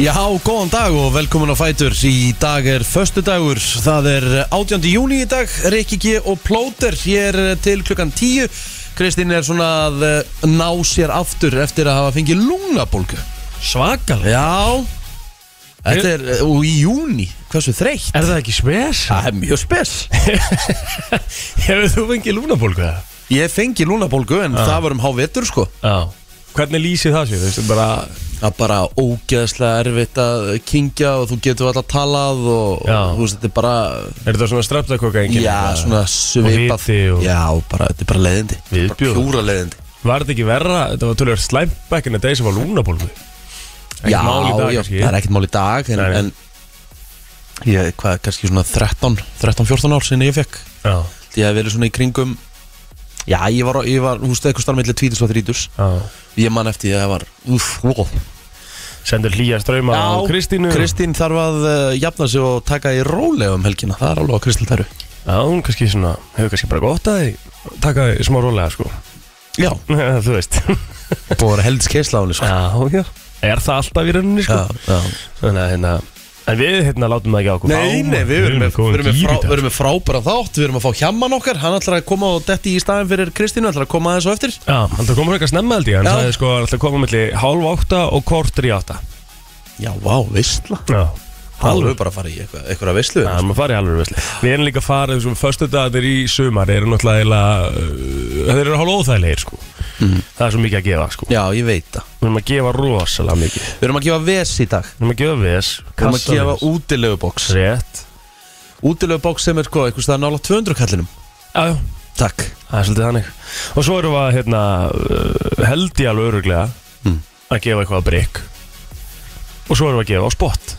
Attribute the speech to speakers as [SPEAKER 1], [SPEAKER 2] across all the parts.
[SPEAKER 1] Já, góðan dag og velkomin á Fætur Í dag er förstu dagur, það er 18. júni í dag Rikki G og Plóter hér til klukkan 10 Kristín er svona að eh, ná sér aftur eftir að hafa fengið lungnabólgu
[SPEAKER 2] Svakal
[SPEAKER 1] Já, þetta er, eh, og í júni, hversu þreytt
[SPEAKER 2] Er það ekki spes?
[SPEAKER 1] Það er mjög spes
[SPEAKER 2] Hefur þú fengið lúnabólgu það?
[SPEAKER 1] Ég fengi lungnabólgu en það var um hávetur sko
[SPEAKER 2] Já Hvernig lýsið það sér? Þú veist, bara
[SPEAKER 1] Það er bara ógeðslega erfitt að kingja og þú getur alltaf talað og,
[SPEAKER 2] Já.
[SPEAKER 1] og þú veist, þetta er bara
[SPEAKER 2] Er þetta svona streptakokka enginn?
[SPEAKER 1] Já, svona svipað
[SPEAKER 2] viti og-
[SPEAKER 1] Já, bara, þetta er bara leiðindi
[SPEAKER 2] Viðbjóður.
[SPEAKER 1] Bara Pjúra leiðindi
[SPEAKER 2] Var þetta ekki verra? Þetta var tölur slæmt back in the day sem var lúnabólgu Ekkert
[SPEAKER 1] Já,
[SPEAKER 2] mál í dag,
[SPEAKER 1] já,
[SPEAKER 2] kannski.
[SPEAKER 1] það er ekkert mál í dag
[SPEAKER 2] Nei,
[SPEAKER 1] En,
[SPEAKER 2] nei.
[SPEAKER 1] en ég, hvað, kannski svona 13, 13, 14 ár sinni ég fekk
[SPEAKER 2] Já
[SPEAKER 1] Því að verið svona í kringum Já, ég var, ég var húst eitthvað starfmiðli tvítus og þrítus
[SPEAKER 2] Já
[SPEAKER 1] Ég man eftir því að það var Úf, ó
[SPEAKER 2] Sendur hlýja ströma á Kristínu
[SPEAKER 1] Kristín þarf að uh, jafna sig og taka í rólega um helgina Það er alveg á Kristín Tæru
[SPEAKER 2] Já, hún kannski svona Hefur kannski bara gott að því Taka því smá rólega sko
[SPEAKER 1] Já,
[SPEAKER 2] Þú veist
[SPEAKER 1] búið að vera helds keisla á henni sko.
[SPEAKER 2] Já, já Er það alltaf í rauninni sko?
[SPEAKER 1] Já, já
[SPEAKER 2] Þannig að hérna En við hérna látum það ekki á okkur
[SPEAKER 1] Nei,
[SPEAKER 2] fá,
[SPEAKER 1] nei, við erum með,
[SPEAKER 2] góðan
[SPEAKER 1] við erum með,
[SPEAKER 2] gír í
[SPEAKER 1] frá,
[SPEAKER 2] dag.
[SPEAKER 1] við erum með frábæra þátt Við erum að fá hjaman okkar Hann ætlar að koma og detti í staðin fyrir Kristínu ætlar að koma aðeins og eftir
[SPEAKER 2] Já, hann það komur eitthvað snemma held ég, hann
[SPEAKER 1] Já.
[SPEAKER 2] sagði sko að hann ætla að koma melli hálf átta og kortur í átta.
[SPEAKER 1] Já, vá, veistla
[SPEAKER 2] Já.
[SPEAKER 1] Alveg bara að fara í eitthvað, eitthvað að veistlu
[SPEAKER 2] Það er maður farið alveg veist. Við erum líka farið, þessum förstu dagarnir í sumar eru náttúrulega, eiginlega, uh, þeir eru hálf óþægilegir sko. Það er svo mikið að gefa sko.
[SPEAKER 1] Já, ég veit það
[SPEAKER 2] Við erum að gefa rosalega mikið.
[SPEAKER 1] Við erum að gefa ves í dag
[SPEAKER 2] Við erum að gefa ves,
[SPEAKER 1] Við erum að
[SPEAKER 2] kassaves,
[SPEAKER 1] gefa útilegubóks
[SPEAKER 2] rétt.
[SPEAKER 1] Útilegubóks sem er hvað, eitthvað staðar nála 200 kallinum
[SPEAKER 2] Já, já,
[SPEAKER 1] Takk
[SPEAKER 2] það er svolítið þannig. Og svo erum við að, hérna, uh, held ég alveg öruglega
[SPEAKER 1] Mm.
[SPEAKER 2] að gefa eitthvað að breyk. Og svo erum við að gefa á spott.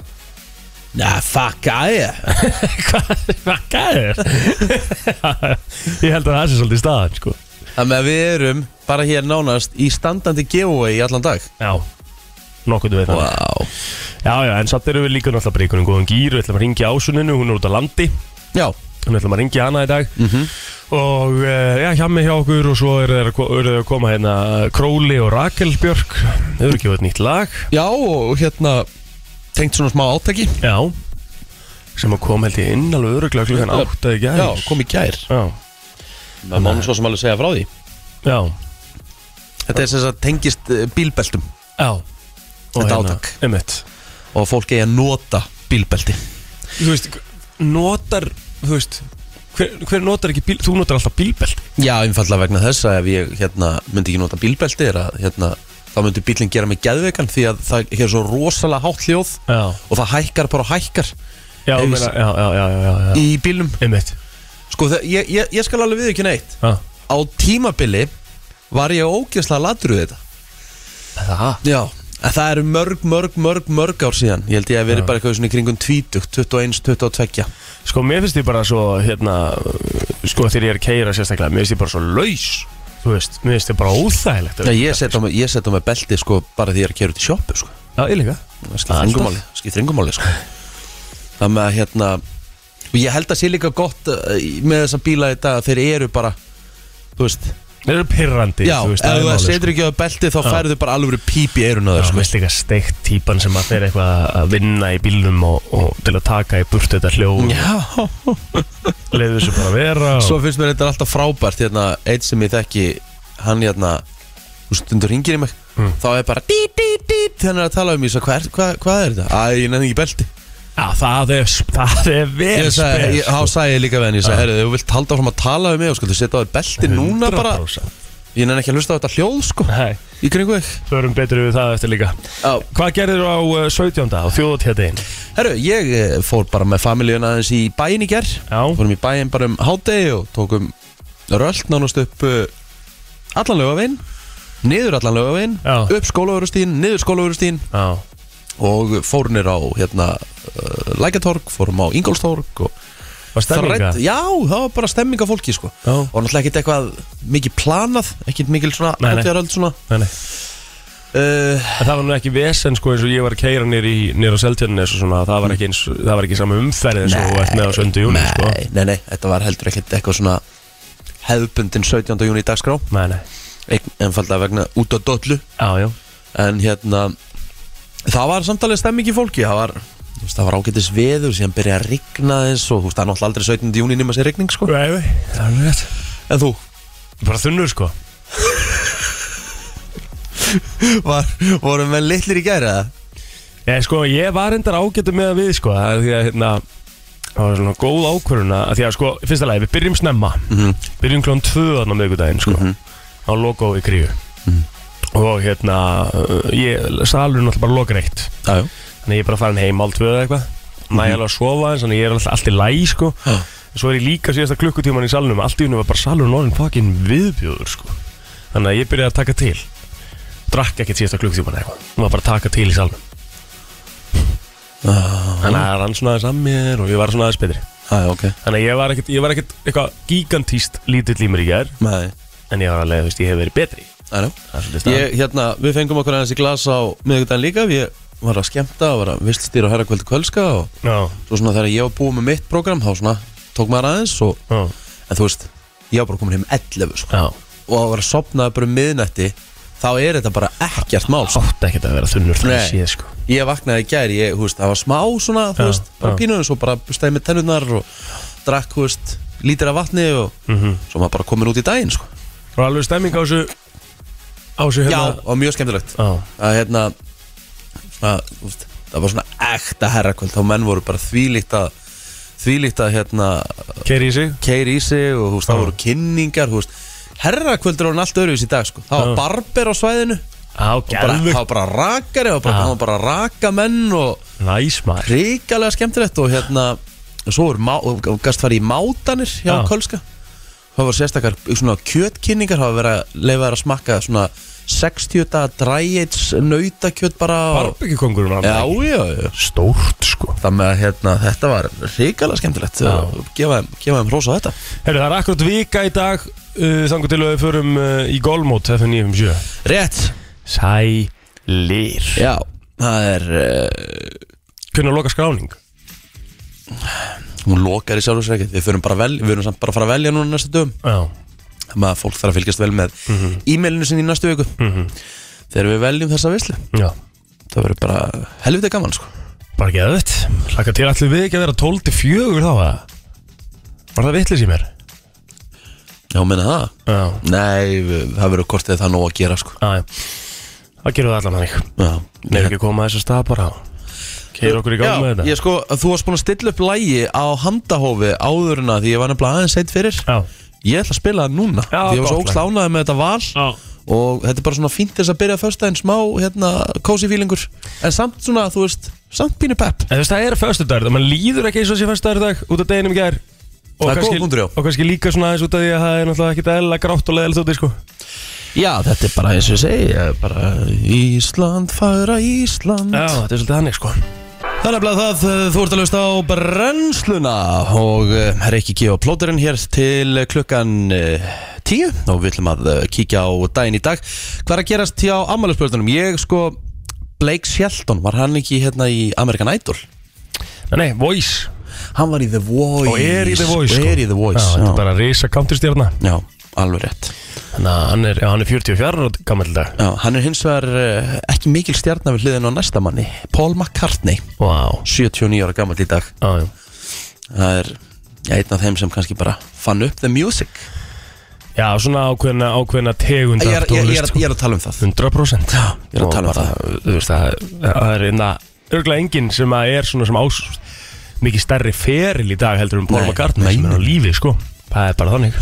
[SPEAKER 1] Næ, fuck aðeins
[SPEAKER 2] Hvað hvað gæðir? ég held að það sé svolítið staðan sko.
[SPEAKER 1] Þannig að við erum bara hér nánast í standandi giveaway í allan dag
[SPEAKER 2] Já Nokkuð við það
[SPEAKER 1] Vá
[SPEAKER 2] Já, já, en samt erum við líka náttúrulega bara í einhvern góðan gýr Við ætlum að ringja ásuninu, hún er út á landi
[SPEAKER 1] Já,
[SPEAKER 2] Við ætlum að ringja hana í dag
[SPEAKER 1] Mhm.
[SPEAKER 2] Og eh, já, hjá mig hjá okkur Og svo eru þeir að, ko- eru þeir að koma hérna Króli og Rakel Björk Þau eru gefið nýtt lag
[SPEAKER 1] já og hérna Tengt svona smá átaki
[SPEAKER 2] Já Sem að kom held ég inn alveg öruglega klukkan
[SPEAKER 1] Já.
[SPEAKER 2] átta í
[SPEAKER 1] Já,
[SPEAKER 2] gæðir
[SPEAKER 1] kom í gær
[SPEAKER 2] já,
[SPEAKER 1] Það má nú svo sem alveg segja frá því
[SPEAKER 2] já,
[SPEAKER 1] Þetta er sem sagt tengist eh, bílbeltum
[SPEAKER 2] já. Og
[SPEAKER 1] Þetta
[SPEAKER 2] hérna,
[SPEAKER 1] átak.
[SPEAKER 2] einmitt
[SPEAKER 1] og fólk eigi að nota bílbelti
[SPEAKER 2] þú veist, notar þú veist, hver, hver notar ekki bíl þú notar alltaf bílbelt
[SPEAKER 1] Já, einfallega vegna þess að ef ég hérna, myndi ekki nota bílbelti er að hérna, þá myndi bílinn gera mig geðveikan því að það er svo rosalega hátt hljóð
[SPEAKER 2] já,
[SPEAKER 1] og það hækkar bara og hækkar
[SPEAKER 2] já,
[SPEAKER 1] Ef ég
[SPEAKER 2] meina,
[SPEAKER 1] s-
[SPEAKER 2] já, já, já, já, já, já.
[SPEAKER 1] í bílnum
[SPEAKER 2] einmitt
[SPEAKER 1] Sko, það, ég, ég, ég skal alveg við ekki neitt
[SPEAKER 2] já.
[SPEAKER 1] Á tímabili var ég ógeðslega latur við þetta
[SPEAKER 2] það
[SPEAKER 1] Já, en það eru mörg, mörg, mörg, mörg ár síðan Ég held ég að verið bara eitthvað svona í kringum 20, 21, 22
[SPEAKER 2] sko, mér finnst ég bara svo hérna, sko, þegar ég er að keira sérstaklega mér finnst ég bara svo laus þú veist, mér finnst ég bara óþægilegt
[SPEAKER 1] Já, ég set á mig, ég set á mig belti sko bara því ég er að kera út í sjoppu sko
[SPEAKER 2] já, ég líka
[SPEAKER 1] Það skiptir engu máli, það skiptir engu máli sko. það með að hérna og ég held að sé líka gott uh, í- með þessa bíla í dag að þeir eru bara þú veist,
[SPEAKER 2] þeir eru pirrandi
[SPEAKER 1] já,
[SPEAKER 2] þú veist,
[SPEAKER 1] ef
[SPEAKER 2] er
[SPEAKER 1] það
[SPEAKER 2] málið, sko.
[SPEAKER 1] setur ekki á belti þá færðu bara alveg píp í eirun á
[SPEAKER 2] Já,
[SPEAKER 1] þér
[SPEAKER 2] sko.
[SPEAKER 1] sko.
[SPEAKER 2] veist líka steikt típan sem að þeir eitthvað að vinna í bílnum og, og til að taka í burt þetta hljóð
[SPEAKER 1] já,
[SPEAKER 2] leiðu þessu bara vera og...
[SPEAKER 1] svo finnst mér þetta alltaf frábært hérna, einn sem ég þekki, hann hérna þú stundur ringir í mig
[SPEAKER 2] Mm.
[SPEAKER 1] þá er bara dít, dít, dít, þannig að tala um ég svo, hvað, er- hvað, hvað er þetta? Æ, ég nefn ekki belti
[SPEAKER 2] já, það er, það er vel
[SPEAKER 1] Ég
[SPEAKER 2] spes,
[SPEAKER 1] sagði,
[SPEAKER 2] sko.
[SPEAKER 1] ég, þá sagði ég líka við henni, ég sagði, herru, þú vilt halda áfram að tala um mig og sko, þú setja á þér belti núna bara
[SPEAKER 2] 100%.
[SPEAKER 1] Ég nenni ekki að hlusta á þetta hljóð sko
[SPEAKER 2] Nei,
[SPEAKER 1] Í kringu þig
[SPEAKER 2] förum betur við það eftir líka
[SPEAKER 1] Já.
[SPEAKER 2] Hvað gerðir á uh, 17. á þjóðatíðadein?
[SPEAKER 1] Herru, ég eh, fór bara með familíun aðeins í bæin í ger
[SPEAKER 2] Já.
[SPEAKER 1] Fórum í bæin bara um hádegi og tókum rölt nánast upp eh, allan laugavinn Niður allan laugavinn
[SPEAKER 2] Já.
[SPEAKER 1] Upp skólaugurustín, niður skólaugurustín
[SPEAKER 2] Já,
[SPEAKER 1] Og fórnir á hérna uh, Lækjatorg, fórum á Ingolstorg og
[SPEAKER 2] var stemminga?
[SPEAKER 1] Þrædd- Já, það var bara stemming af fólki sko
[SPEAKER 2] Já.
[SPEAKER 1] Og náttúrulega ekkert eitthvað mikið planað Ekkert mikil svona
[SPEAKER 2] Nei, Eh, nei.
[SPEAKER 1] hátíðarhöld svona
[SPEAKER 2] Nei, nei.
[SPEAKER 1] uh,
[SPEAKER 2] En það var nú ekki vesen sko eins og ég var að keira nýr í nýr á Seltjarnes og svona það var ekki eins það var ekki sama umferð eins og þú ert með á söndu júni
[SPEAKER 1] nei,
[SPEAKER 2] sko
[SPEAKER 1] nei, nei, þetta var heldur ekkert eitthvað svona hefðbundin 17. júni í dagskrá
[SPEAKER 2] Nei, nei,
[SPEAKER 1] Eh, einfalda vegna út á dollu
[SPEAKER 2] Já, já
[SPEAKER 1] en hérna það var samtalið stemming í fólki það var, þú veist, það var ágætis veður síðan byrjaði að rigna eins og þú veist, það er náttúrulega aldrei 17. júni nema sér rigning sko
[SPEAKER 2] Nei, nei, það er rétt
[SPEAKER 1] en þú
[SPEAKER 2] Bara þunnur sko
[SPEAKER 1] var, voru menn litlir í gæri eða?
[SPEAKER 2] Ég, sko, ég var endar ágættu með að við sko það er Því að hérna Það var svona góð ákvörðuna að Því að sko, í fyrsta lagi, við byrjum snemma Byrjum klón tvö þarna miðvikudaginn sko Á logo í kríu Og hérna, uh, ég, salurinn alltaf bara lokar eitt
[SPEAKER 1] Já, já,
[SPEAKER 2] Þannig að ég er bara farin heim allt við eða eitthvað Næ alveg að sofa eins, þannig að ég er alltaf allt í læg sko
[SPEAKER 1] Já.
[SPEAKER 2] Svo er ég líka síðasta klukkutíman í salnum Allt í hennu var bara salurinn orðin fucking viðbjóður sko Þannig að ég byrjaði að taka til Drakk ekkert síðasta klukkutíman eða eitthvað Hún var bara að taka til í salnum Þannig að hann svona aðeins að mér og ég var svona aðeins betri
[SPEAKER 1] já, ok
[SPEAKER 2] Þannig að ég var ekkert, ég var ekkert eitthvað gigantíst lítill í mér í gær
[SPEAKER 1] Nei,
[SPEAKER 2] En ég var alveg, þú veist, ég hef verið betri
[SPEAKER 1] já, já
[SPEAKER 2] Það er svolítið staðan.
[SPEAKER 1] Ég, hérna, við fengum okkur aðeins í glas á miðvikudaginn líka, ég var að skemmta og var að vistlstýra og herra kvöldu kvölska og
[SPEAKER 2] Já,
[SPEAKER 1] svo svona þegar ég var búið með mitt program þá svona tók maður aðeins og
[SPEAKER 2] já,
[SPEAKER 1] en þú veist, ég var bara komin heim 11 sko.
[SPEAKER 2] já
[SPEAKER 1] og að vera sopnað bara um miðnætti þá er þetta bara ekkert mál sko.
[SPEAKER 2] Átti ekkert að vera þunnur þannig
[SPEAKER 1] Nei.
[SPEAKER 2] séð sko
[SPEAKER 1] ég vaknaði í gær, ég, þú veist, það var smá svona, þú
[SPEAKER 2] Já,
[SPEAKER 1] veist, bara
[SPEAKER 2] já.
[SPEAKER 1] pínuðum svo bara stæði með tennurnar og drakk, þú veist lítir af vatni og
[SPEAKER 2] Mhm.
[SPEAKER 1] svo maður bara komin út í daginn, sko
[SPEAKER 2] Og alveg stemming á þessu Á þessu
[SPEAKER 1] já,
[SPEAKER 2] hérna
[SPEAKER 1] og mjög skemmtilegt
[SPEAKER 2] Já,
[SPEAKER 1] að hérna svona, þú veist, það var svona ekta herrakvöld þá menn voru bara þvílíkt að þvílíkt að hérna
[SPEAKER 2] keiri í sig
[SPEAKER 1] keiri í sig og þú veist, það voru kynningar, þú veist herrakvöldur var hann allt öðruvis í dag, sko það var
[SPEAKER 2] Já.
[SPEAKER 1] barber á svæðinu
[SPEAKER 2] Á,
[SPEAKER 1] bara,
[SPEAKER 2] gerðu
[SPEAKER 1] það var bara rakari, það var bara,
[SPEAKER 2] Já.
[SPEAKER 1] það var bara raka menn og
[SPEAKER 2] Næs maður
[SPEAKER 1] ríkalega skemmtilegt og hérna svo er má, og gast farið í mátanir hjá
[SPEAKER 2] Já.
[SPEAKER 1] Kölska það var sérstakar svona kjötkinningar það var verið að leifa þær að smakka svona 60 daga dræjits nautakjöt bara og,
[SPEAKER 2] Barbekjukongurinn var
[SPEAKER 1] já,
[SPEAKER 2] hann
[SPEAKER 1] já, já
[SPEAKER 2] Stórt sko
[SPEAKER 1] það með að hérna, þetta var ríkalega skemmtilegt
[SPEAKER 2] Já.
[SPEAKER 1] og gefa þeim- gefa þeim rosa þetta
[SPEAKER 2] Herru, það er akkurat vika í dag uh, Þangur til að við förum uh, í golfmót FN957
[SPEAKER 1] rétt,
[SPEAKER 2] Sælir
[SPEAKER 1] já, það er uh,
[SPEAKER 2] Hvernig að loka skráning?
[SPEAKER 1] hún lokar í sjálfur sér ekkert við förum bara að velja, við förum samt bara að fara að velja núna næstu dögum
[SPEAKER 2] Já
[SPEAKER 1] þannig að fólk þarf að fylgjast vel með
[SPEAKER 2] Mhm.
[SPEAKER 1] e-mailinu sinni í næstu viku þegar við veljum þessa vislu
[SPEAKER 2] Já
[SPEAKER 1] það verður bara helviti gaman sko.
[SPEAKER 2] Bara geða þetta Laka til allir við ekki að vera 12 til 4 þá eða? Var það vitlis í mér?
[SPEAKER 1] já, menna það
[SPEAKER 2] Já
[SPEAKER 1] nei, við- það verður kortið það nóg að gera sko.
[SPEAKER 2] Já, já Það gerum við allan þannig
[SPEAKER 1] já,
[SPEAKER 2] Nei, ekki að koma að þess að stað bara Keir okkur í gang með þetta
[SPEAKER 1] ég, sko, þú varst búin að stilla upp lægi á handahófi áður en að því ég var nefnilega aðeins eitt fyrir
[SPEAKER 2] Já
[SPEAKER 1] ég ætla að spila það núna
[SPEAKER 2] Já,
[SPEAKER 1] því ég var svo
[SPEAKER 2] gott lag.
[SPEAKER 1] ókslánaði með þetta val
[SPEAKER 2] Já
[SPEAKER 1] og þetta er bara svona fínt þess að byrja fyrst aðeins smá hérna, cozy feelingur en samt svona, þú veist, samt pínu pepp
[SPEAKER 2] En þú veist, það er föstudagur dag, mann líður ekki eins og sé föstudagur dag út af deginum í gær og
[SPEAKER 1] Það er
[SPEAKER 2] kannski-
[SPEAKER 1] góð punktur, já.
[SPEAKER 2] Og kannski líka svona aðeins út af því að það er náttúrulega ekkit eðla grátt og leðilegt úti, sko
[SPEAKER 1] Já, þetta er bara eins og ég segi ég er bara Ísland, fara Ísland
[SPEAKER 2] Já, þetta er svolítið hannig, sko
[SPEAKER 1] Það er nefnilega það, eh, þú ert að lösta á brennsluna og eh, Rikki G og plóturinn hér til klukkan eh, 10 og við ætlum að eh, kíkja á daginn í dag Hvað er að gerast hjá ammælisbjörnunum? Ég sko, Blake Shelton var hann ekki hérna í American Idol?
[SPEAKER 2] Nei, nei, voice
[SPEAKER 1] Hann var í The Voice
[SPEAKER 2] Og er í The Voice,
[SPEAKER 1] Og
[SPEAKER 2] sko.
[SPEAKER 1] er í The Voice,
[SPEAKER 2] Já, þetta er
[SPEAKER 1] já,
[SPEAKER 2] bara risa counterstjörna
[SPEAKER 1] já, alveg rétt
[SPEAKER 2] Þannig að hann er, já, hann er 44 ára gammal dag
[SPEAKER 1] já, Hann er hins vegar eh, ekki mikil stjarnar við hliðin á næsta manni Paul McCartney
[SPEAKER 2] Vá wow.
[SPEAKER 1] 79 ára gammal í dag
[SPEAKER 2] Já, já
[SPEAKER 1] það er ja, einn af þeim sem kannski bara fann upp the music
[SPEAKER 2] Já, svona ákveðna, ákveðna tegund
[SPEAKER 1] ég er,
[SPEAKER 2] af
[SPEAKER 1] ég, ég, er,
[SPEAKER 2] tónlist
[SPEAKER 1] ég er að tala um það
[SPEAKER 2] 100% Já,
[SPEAKER 1] ég er að tala um
[SPEAKER 2] Þú veist, það, það er einna örglega enginn sem að er svona sem ás mikið stærri feril í dag heldur um Paul
[SPEAKER 1] Nei,
[SPEAKER 2] McCartney
[SPEAKER 1] nei,
[SPEAKER 2] sem er á
[SPEAKER 1] nei.
[SPEAKER 2] lífi, sko Það er bara þannig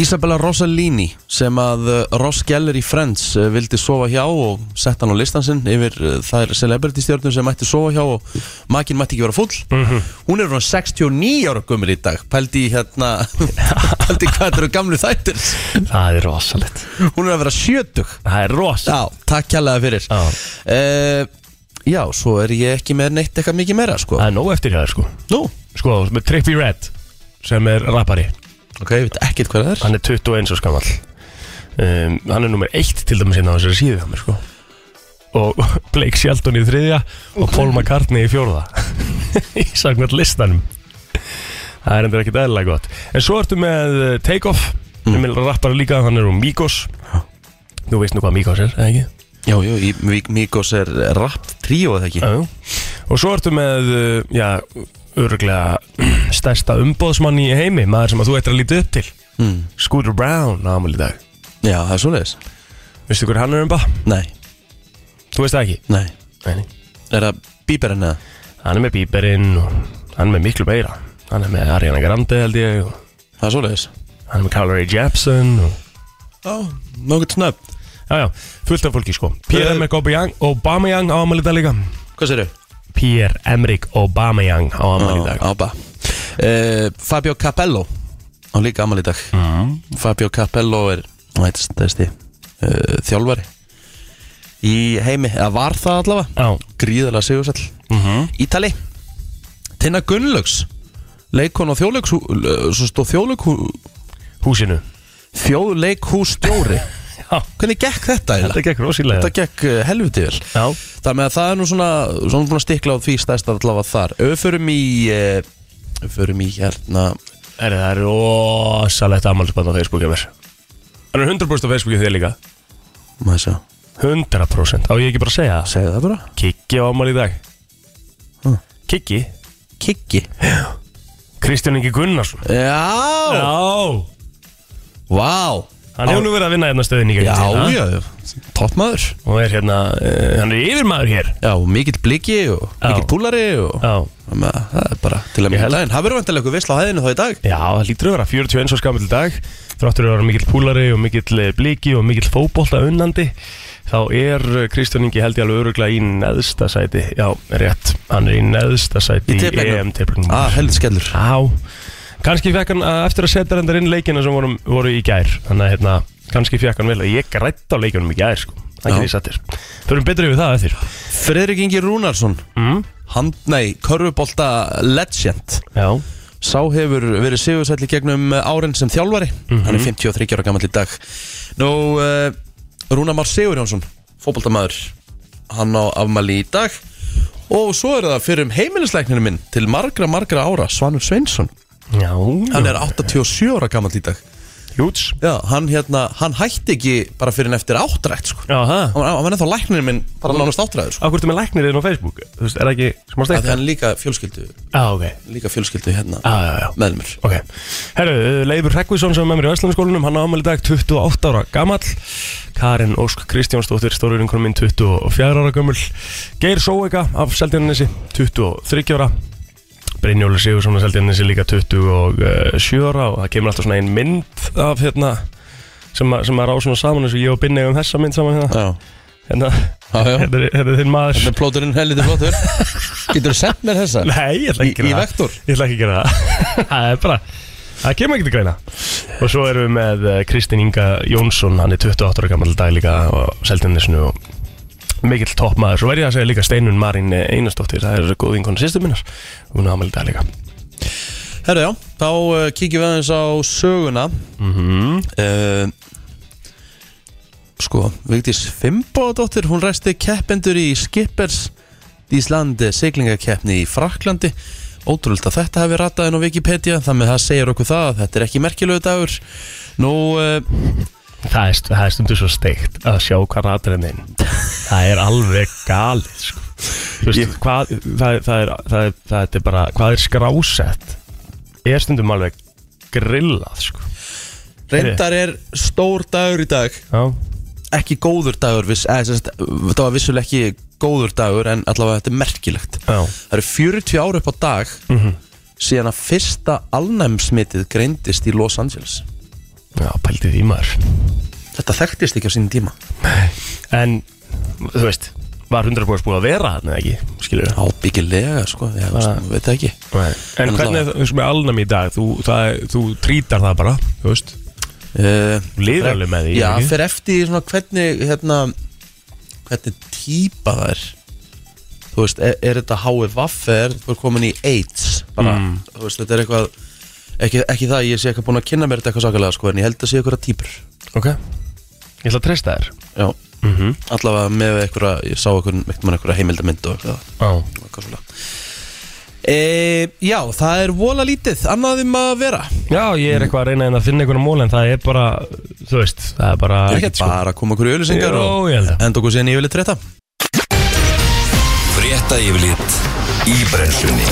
[SPEAKER 1] Isabella Rossellini sem að uh, Ross Geller í Friends uh, vildi sofa hjá og sett hann á listan sinn yfir uh, þær celebrity stjórnum sem mætti sofa hjá og makinn mætti ekki vera full hún er svona 69 ára gummur í dag pældi í hérna pældi í hvað þetta eru gamlu þættir
[SPEAKER 2] Það er rosalegt
[SPEAKER 1] hún er að vera 70
[SPEAKER 2] Það er rosalegt
[SPEAKER 1] Já, takk kjærlega fyrir
[SPEAKER 2] Já.
[SPEAKER 1] Eh, Já, svo er ég ekki með neitt eitthvað mikið meira sko
[SPEAKER 2] Það er nóg eftir hjá þér, sko
[SPEAKER 1] Nú,
[SPEAKER 2] Sko, með Trippy Red sem er rappari
[SPEAKER 1] ok, ég veit ekkert hvað það er
[SPEAKER 2] Hann er 21 og skamall um, Hann er nummer 1 til dæmis hérna á þessari síðu hjá mér, sko Og Blake Shelton í þriðja og Paul McCartney í fjórða Í samkvæmt listanum Það er endur ekkit eðlilega gott En svo ertu með eh, Takeoff mm. Emil rappar líka, hann er um Migos Nú veist nú hvað Míkos er, eða ekki?
[SPEAKER 1] Jú, jú, í- Mí- Míkos er rapp tríó eða ekki
[SPEAKER 2] Já, já. Og svo ertu með, uh, já, öruglega stærsta umbóðsmann í heimi, maður sem að þú ættir að líta upp til.
[SPEAKER 1] mm.
[SPEAKER 2] Scooter Brown, ámul í dag.
[SPEAKER 1] Já, það er svoleiðis
[SPEAKER 2] Veistu hver hann er um ba?
[SPEAKER 1] Nei,
[SPEAKER 2] Þú veist það ekki?
[SPEAKER 1] nei
[SPEAKER 2] Nei, nei.
[SPEAKER 1] Er það bíberinn eða?
[SPEAKER 2] Hann er með Bieberinn og hann er með miklu meira. Hann er með Ariana Grande held ég og
[SPEAKER 1] Það er svoleiðis
[SPEAKER 2] hann er með Carl Ray Jepsen og...
[SPEAKER 1] Já, nokkuð snöpp
[SPEAKER 2] Já, já, fullt af fólki sko. Pierre-Emerick Aubameyang- Aubameyang á afmæli í dag líka.
[SPEAKER 1] Hvað sér þau?
[SPEAKER 2] Pierre-Emerick Aubameyang á afmæli í dag.
[SPEAKER 1] Ába uh, Fabio Capello á líka amal í dag Fabio Capello er nættist, uh, þjálfari í heimi, eða var það allavega
[SPEAKER 2] Já,
[SPEAKER 1] gríðarlega sigursall
[SPEAKER 2] Mhm.
[SPEAKER 1] Ítali Tina Gunnlaugs leikon og þjóðleiks svo stóð þjóðleik
[SPEAKER 2] húsinu.
[SPEAKER 1] þjóðleikhústjóri
[SPEAKER 2] Já,
[SPEAKER 1] hvernig gekk þetta
[SPEAKER 2] þetta
[SPEAKER 1] eiginlega?
[SPEAKER 2] gekk rosilega.
[SPEAKER 1] Þetta gekk eh, helviti vel
[SPEAKER 2] Já,
[SPEAKER 1] Þar með að það er nú svona, svona búin að stikla á því stærst allavega þar Ef Við förum í, eh, við förum í hérna
[SPEAKER 2] er það er rosalegt afmælisbann á Facebooku mér. Það er 100% á Facebooku þér líka.
[SPEAKER 1] Maður sjá,
[SPEAKER 2] 100%. Á ég ekki bara að segja það?
[SPEAKER 1] segðu það bara
[SPEAKER 2] Kikki á afmæli í dag.
[SPEAKER 1] Hm.
[SPEAKER 2] Kikki?
[SPEAKER 1] Kikki
[SPEAKER 2] Kristján Ingi Gunnarsson.
[SPEAKER 1] Já,
[SPEAKER 2] Já,
[SPEAKER 1] vá
[SPEAKER 2] hann hefur nú verið að vinna hérna stöðin í
[SPEAKER 1] Já,
[SPEAKER 2] gangi.
[SPEAKER 1] já, toppmaður
[SPEAKER 2] Og er hérna, uh, hann er yfirmaður hér.
[SPEAKER 1] Já, og mikill bliki og
[SPEAKER 2] Já.
[SPEAKER 1] mikill púlari og
[SPEAKER 2] Já.
[SPEAKER 1] Þannig að það er bara til að
[SPEAKER 2] Ég
[SPEAKER 1] mjög
[SPEAKER 2] held-
[SPEAKER 1] daginn Það verður vantilega eitthvað visla á hæðinu þá í dag
[SPEAKER 2] Já, það lítur að vera 41 svo skamil dag Þráttur að vera mikill púlari og mikill eh, bliki og mikill fótbolta unnandi Þá er eh, Kristján Ingi held ég alveg öruglega í neðsta sæti Já, rétt, hann er í neðsta sæti
[SPEAKER 1] Í
[SPEAKER 2] Í E
[SPEAKER 1] tippleiknum?
[SPEAKER 2] EM-tilbyrgnum
[SPEAKER 1] Ah, heldur skellur
[SPEAKER 2] Já, kannski fekk hann eh, eftir að setja reyndar inn leikina sem voru, voru í gær Þannig að hérna, kannski fekk hann vel Ég grætt á leikunum í gær, sko Það
[SPEAKER 1] Já.
[SPEAKER 2] er ekki því sattir Förum betur yfir það eftir
[SPEAKER 1] Fredrik Ingi Rúnarsson
[SPEAKER 2] mm?
[SPEAKER 1] Hand, nei, körfubolta legend
[SPEAKER 2] Já,
[SPEAKER 1] Sá hefur verið sigursætli gegnum árin sem þjálfari Hann er
[SPEAKER 2] Mhm.
[SPEAKER 1] 53 ára gammal í dag Nú, uh, Rúnar Már Sigurjónsson Fótboltamaður Hann á afmæli í dag Og svo er það fyrir um heimilisleikninu minn Til margra, margra ára, Svanur Sveinsson
[SPEAKER 2] já
[SPEAKER 1] Hann er 87 ára gammal í dag
[SPEAKER 2] Júts
[SPEAKER 1] Já, hann hérna, hann hætti ekki bara fyrir en eftir áttrætt sko
[SPEAKER 2] Já, það
[SPEAKER 1] Hann var, hann var ennþá lækninu minn bara nánast áttræður sko
[SPEAKER 2] Akkur ertu með læknirinn á Facebook? Þú veist, er það ekki smá
[SPEAKER 1] Af
[SPEAKER 2] steikt?
[SPEAKER 1] Því hann er líka fjölskyldu,
[SPEAKER 2] Já, Ah, ok
[SPEAKER 1] líka fjölskyldu hérna
[SPEAKER 2] Já, já, já
[SPEAKER 1] meðlumur
[SPEAKER 2] Ok Herru, Leifur Hrekkvísson sem er með mér í Vestlandskólanum Hann ámæli dag 28 ára gamall Karin Ósk Kristjánsdóttir Stóruvinkonum minn 24 ára gömul Geir Sóega af Seldjarnanesi 23 ára Brynjóli Sigursson af Seldjarnanesi líka 27 ára Og það kemur alltaf svona ein mynd af hérna Sem, að- sem að rá svona saman eins og ég og Binni um þessa mynd saman hérna
[SPEAKER 1] Já,
[SPEAKER 2] Hérna,
[SPEAKER 1] já, já
[SPEAKER 2] hérna, hérna þinn maður
[SPEAKER 1] Þannig að plóturinn helviti flottur Getur þú sent mér þessa?
[SPEAKER 2] Nei, ég ætla
[SPEAKER 1] Í,
[SPEAKER 2] ekki að
[SPEAKER 1] í
[SPEAKER 2] gera það
[SPEAKER 1] vektor?
[SPEAKER 2] Ég ætla ekki að gera það Það er bara Það kemur ekki til greina Og svo erum við með eh, Kristinn Inga Jónsson Hann er 28 ára gammal dag líka Og seldinnisnu og mikill toppmaður Svo verð ég að segja líka Steinun Marín Einarsdóttir Það er góð vinkonu sýstu minnar Hún er ámæli dag líka
[SPEAKER 1] Herra já, þá uh, kíkjum við aðeins á söguna uh, Sko, Vigdís Fimboðadóttir, hún resti keppendur í Skippers Íslandi siglingakeppni í Fraklandi Ótrúld að þetta hefði ratað inn á Wikipedia þannig að það segir okkur það að þetta er ekki merkilegu dagur Nú, uh,
[SPEAKER 2] Það er, st- það er stundu svo steikt Að sjá hvað ratar henni inn Það er alveg galið sko. Þú veist, hvað, það, er- það, er, það, er, það er bara Hvað er skrásett Er stundum alveg grillað sko.
[SPEAKER 1] reyndar er stór dagur í dag
[SPEAKER 2] Já
[SPEAKER 1] ekki góður dagur viss, eða, sérst, það var vissulega ekki góður dagur en allavega þetta er merkilegt
[SPEAKER 2] Já.
[SPEAKER 1] það eru 40 ár upp á dag
[SPEAKER 2] Mhm.
[SPEAKER 1] síðan að fyrsta alnæmsmitið greindist í Los Angeles
[SPEAKER 2] Já, pældi því maður
[SPEAKER 1] þetta þekktist ekki á sínum tíma
[SPEAKER 2] En, þú veist, var 100 búið að vera þarna eða ekki, skilur við
[SPEAKER 1] ábyggilega sko,
[SPEAKER 2] Ah.
[SPEAKER 1] já, þú veist, maður veit það ekki
[SPEAKER 2] En
[SPEAKER 1] En
[SPEAKER 2] hvernig, er það- þú veist, með alnum í dag, þú, það, er- þú trítar það bara, þú veist
[SPEAKER 1] uh,
[SPEAKER 2] Þú lifir alveg með því,
[SPEAKER 1] já,
[SPEAKER 2] ekki?
[SPEAKER 1] fyrir eftir því svona hvernig hérna, hvernig típa það er þú veist, er, er þetta HIV er, þú er komin í AIDS bara,
[SPEAKER 2] Mm.
[SPEAKER 1] þú veist, þetta er eitthvað ekki, ekki það, að ég sé eitthvað búin að kynna mér þetta eitthvað sakalega sko, en ég held að sé eitthvað típur
[SPEAKER 2] Ok Ég ætla að treysta þér
[SPEAKER 1] já,
[SPEAKER 2] mm
[SPEAKER 1] Mhm.
[SPEAKER 2] -hmm.
[SPEAKER 1] allavega með eitthvað, ég sá eitthvað, eitthvað, eitthvað heimildamynd og eitthvað,
[SPEAKER 2] Á
[SPEAKER 1] eitthvað svona e, Já, það er vola lítið Annað um að vera
[SPEAKER 2] Já, ég er eitthvað að reyna hérna að finna einhverja mól en það er bara, þú veist, það er bara
[SPEAKER 1] Það er ekki bara að koma okkur í ölusingar
[SPEAKER 2] Jó, ég held
[SPEAKER 1] Enda okkur síðan í yfirleitt rétta
[SPEAKER 3] Frétta yfirlit í brennslunni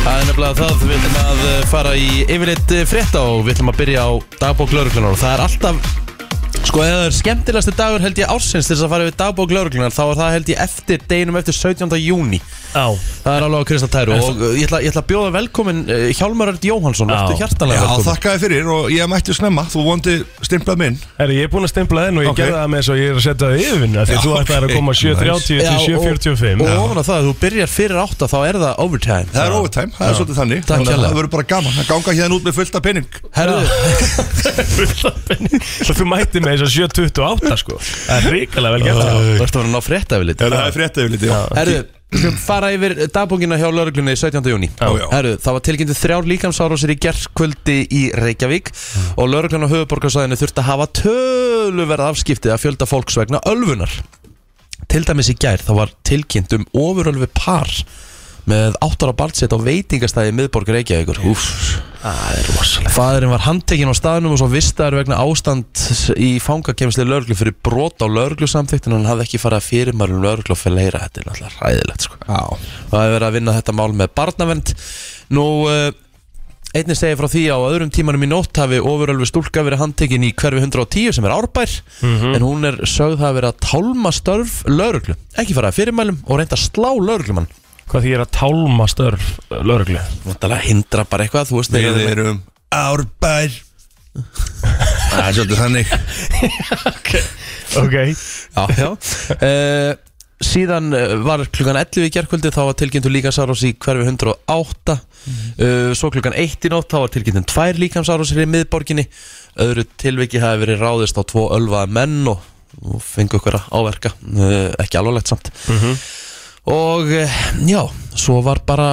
[SPEAKER 1] Það er nefnilega það, við ætlum að eh, fara í yfirleitt eh, frétta og við ætlum að byrja á dagbók lauruglunar og það er alltaf Sko eða það er skemmtilegasti dagur held ég ársins til þess að fara yfir dagbók lauruglunar þá er það held ég eftir deginum eftir 17. júni
[SPEAKER 2] Já,
[SPEAKER 1] Það er alveg á Kristján Tæru
[SPEAKER 2] En
[SPEAKER 1] og eh, ég ætla, ég ætla að bjóða velkomin Hjálmar Örd Jóhansson,
[SPEAKER 2] Já.
[SPEAKER 1] verður hjartanlega
[SPEAKER 4] Já,
[SPEAKER 1] velkomin
[SPEAKER 4] þakkaði fyrir og ég mætti snemma Þú vondi stimplað minn
[SPEAKER 2] Herri, ég er búinn að stempla þenn og ég
[SPEAKER 4] Ok.
[SPEAKER 2] gerði það með þess að ég er að setja það yfirvinna því
[SPEAKER 4] Já,
[SPEAKER 2] þú ætlar að
[SPEAKER 4] ok.
[SPEAKER 2] koma 7.30
[SPEAKER 1] Já,
[SPEAKER 2] til
[SPEAKER 1] og-
[SPEAKER 2] 7.45
[SPEAKER 1] Og ofan á það, ef þú byrjar fyrir 8 þá er það overtime
[SPEAKER 4] Það er overtime, það er svolítið þannig
[SPEAKER 1] Takk
[SPEAKER 4] Þannig að
[SPEAKER 1] hérlega.
[SPEAKER 4] Það verður bara gaman að ganga hérna út með fullt af penning
[SPEAKER 1] Herðu,
[SPEAKER 2] og þú mætti með þess að 7.28 sko það er ríkilega vel gert
[SPEAKER 1] þú ert að vera að ná frétta yfirleitt
[SPEAKER 4] Það er frétta yfir liti
[SPEAKER 1] Herru, við skulum fara yfir dagbókina hjá lauruglunni 17. júni
[SPEAKER 4] Já, já.
[SPEAKER 1] Herru, það var tilkynntu þrjár líkamsárásir í gerðkvöldi í Reykjavík og lauruglun á höfuborgarsæðinu þurfti að hafa töluverð afskiptið að fjölda fólks vegna ölfunar Til dæmis í gær þá var tilkynnt um ofurölfi par með áttara barnsett á veitingastæði í miðborg Reykjavíkur Úff
[SPEAKER 2] það er rosalega
[SPEAKER 1] Fadurinn var handtekinn á staðnum og svo vistaður vegna ástand í fangakemsli lörglu fyrir brot á lörglusamþykt en hann hafði ekki farið að fyrirmælum lörglu og feleira þetta er náttúrulega ræðilegt sko. Það hefur verið að vinna þetta mál með barnavernd Nú, uh, einnig segi frá því að á öðrum tímanum í nótt hafi ofurölfi stúlka verið handtekinn í hverfi 110 sem er árbær en hún er sögð hafa verið að tálma störf lörglu ekki farið að fyrirmælum og reynda að slá lörglumann
[SPEAKER 2] hvað því ég er að tálma störf lauruglu
[SPEAKER 1] Vandalega hindra bara eitthvað, þú veist
[SPEAKER 4] Við
[SPEAKER 1] þeir eru-
[SPEAKER 4] erum árbær Það er svolítið þannig
[SPEAKER 2] ok
[SPEAKER 1] Já, já uh, Síðan eh, var klukkan 11 í gerkvöldi þá var tilkynntu líkamsárás í hverfi 108 uh, Svo klukkan 1 í nótt þá var tilkynntum tvær líkamsárásir í miðborginni Öðru tilviki hafi verið ráðist á tvo ölvaða menn og, og fengu ykkur að áverka uh, Ekki alvarlegt samt Og uh, já, svo var bara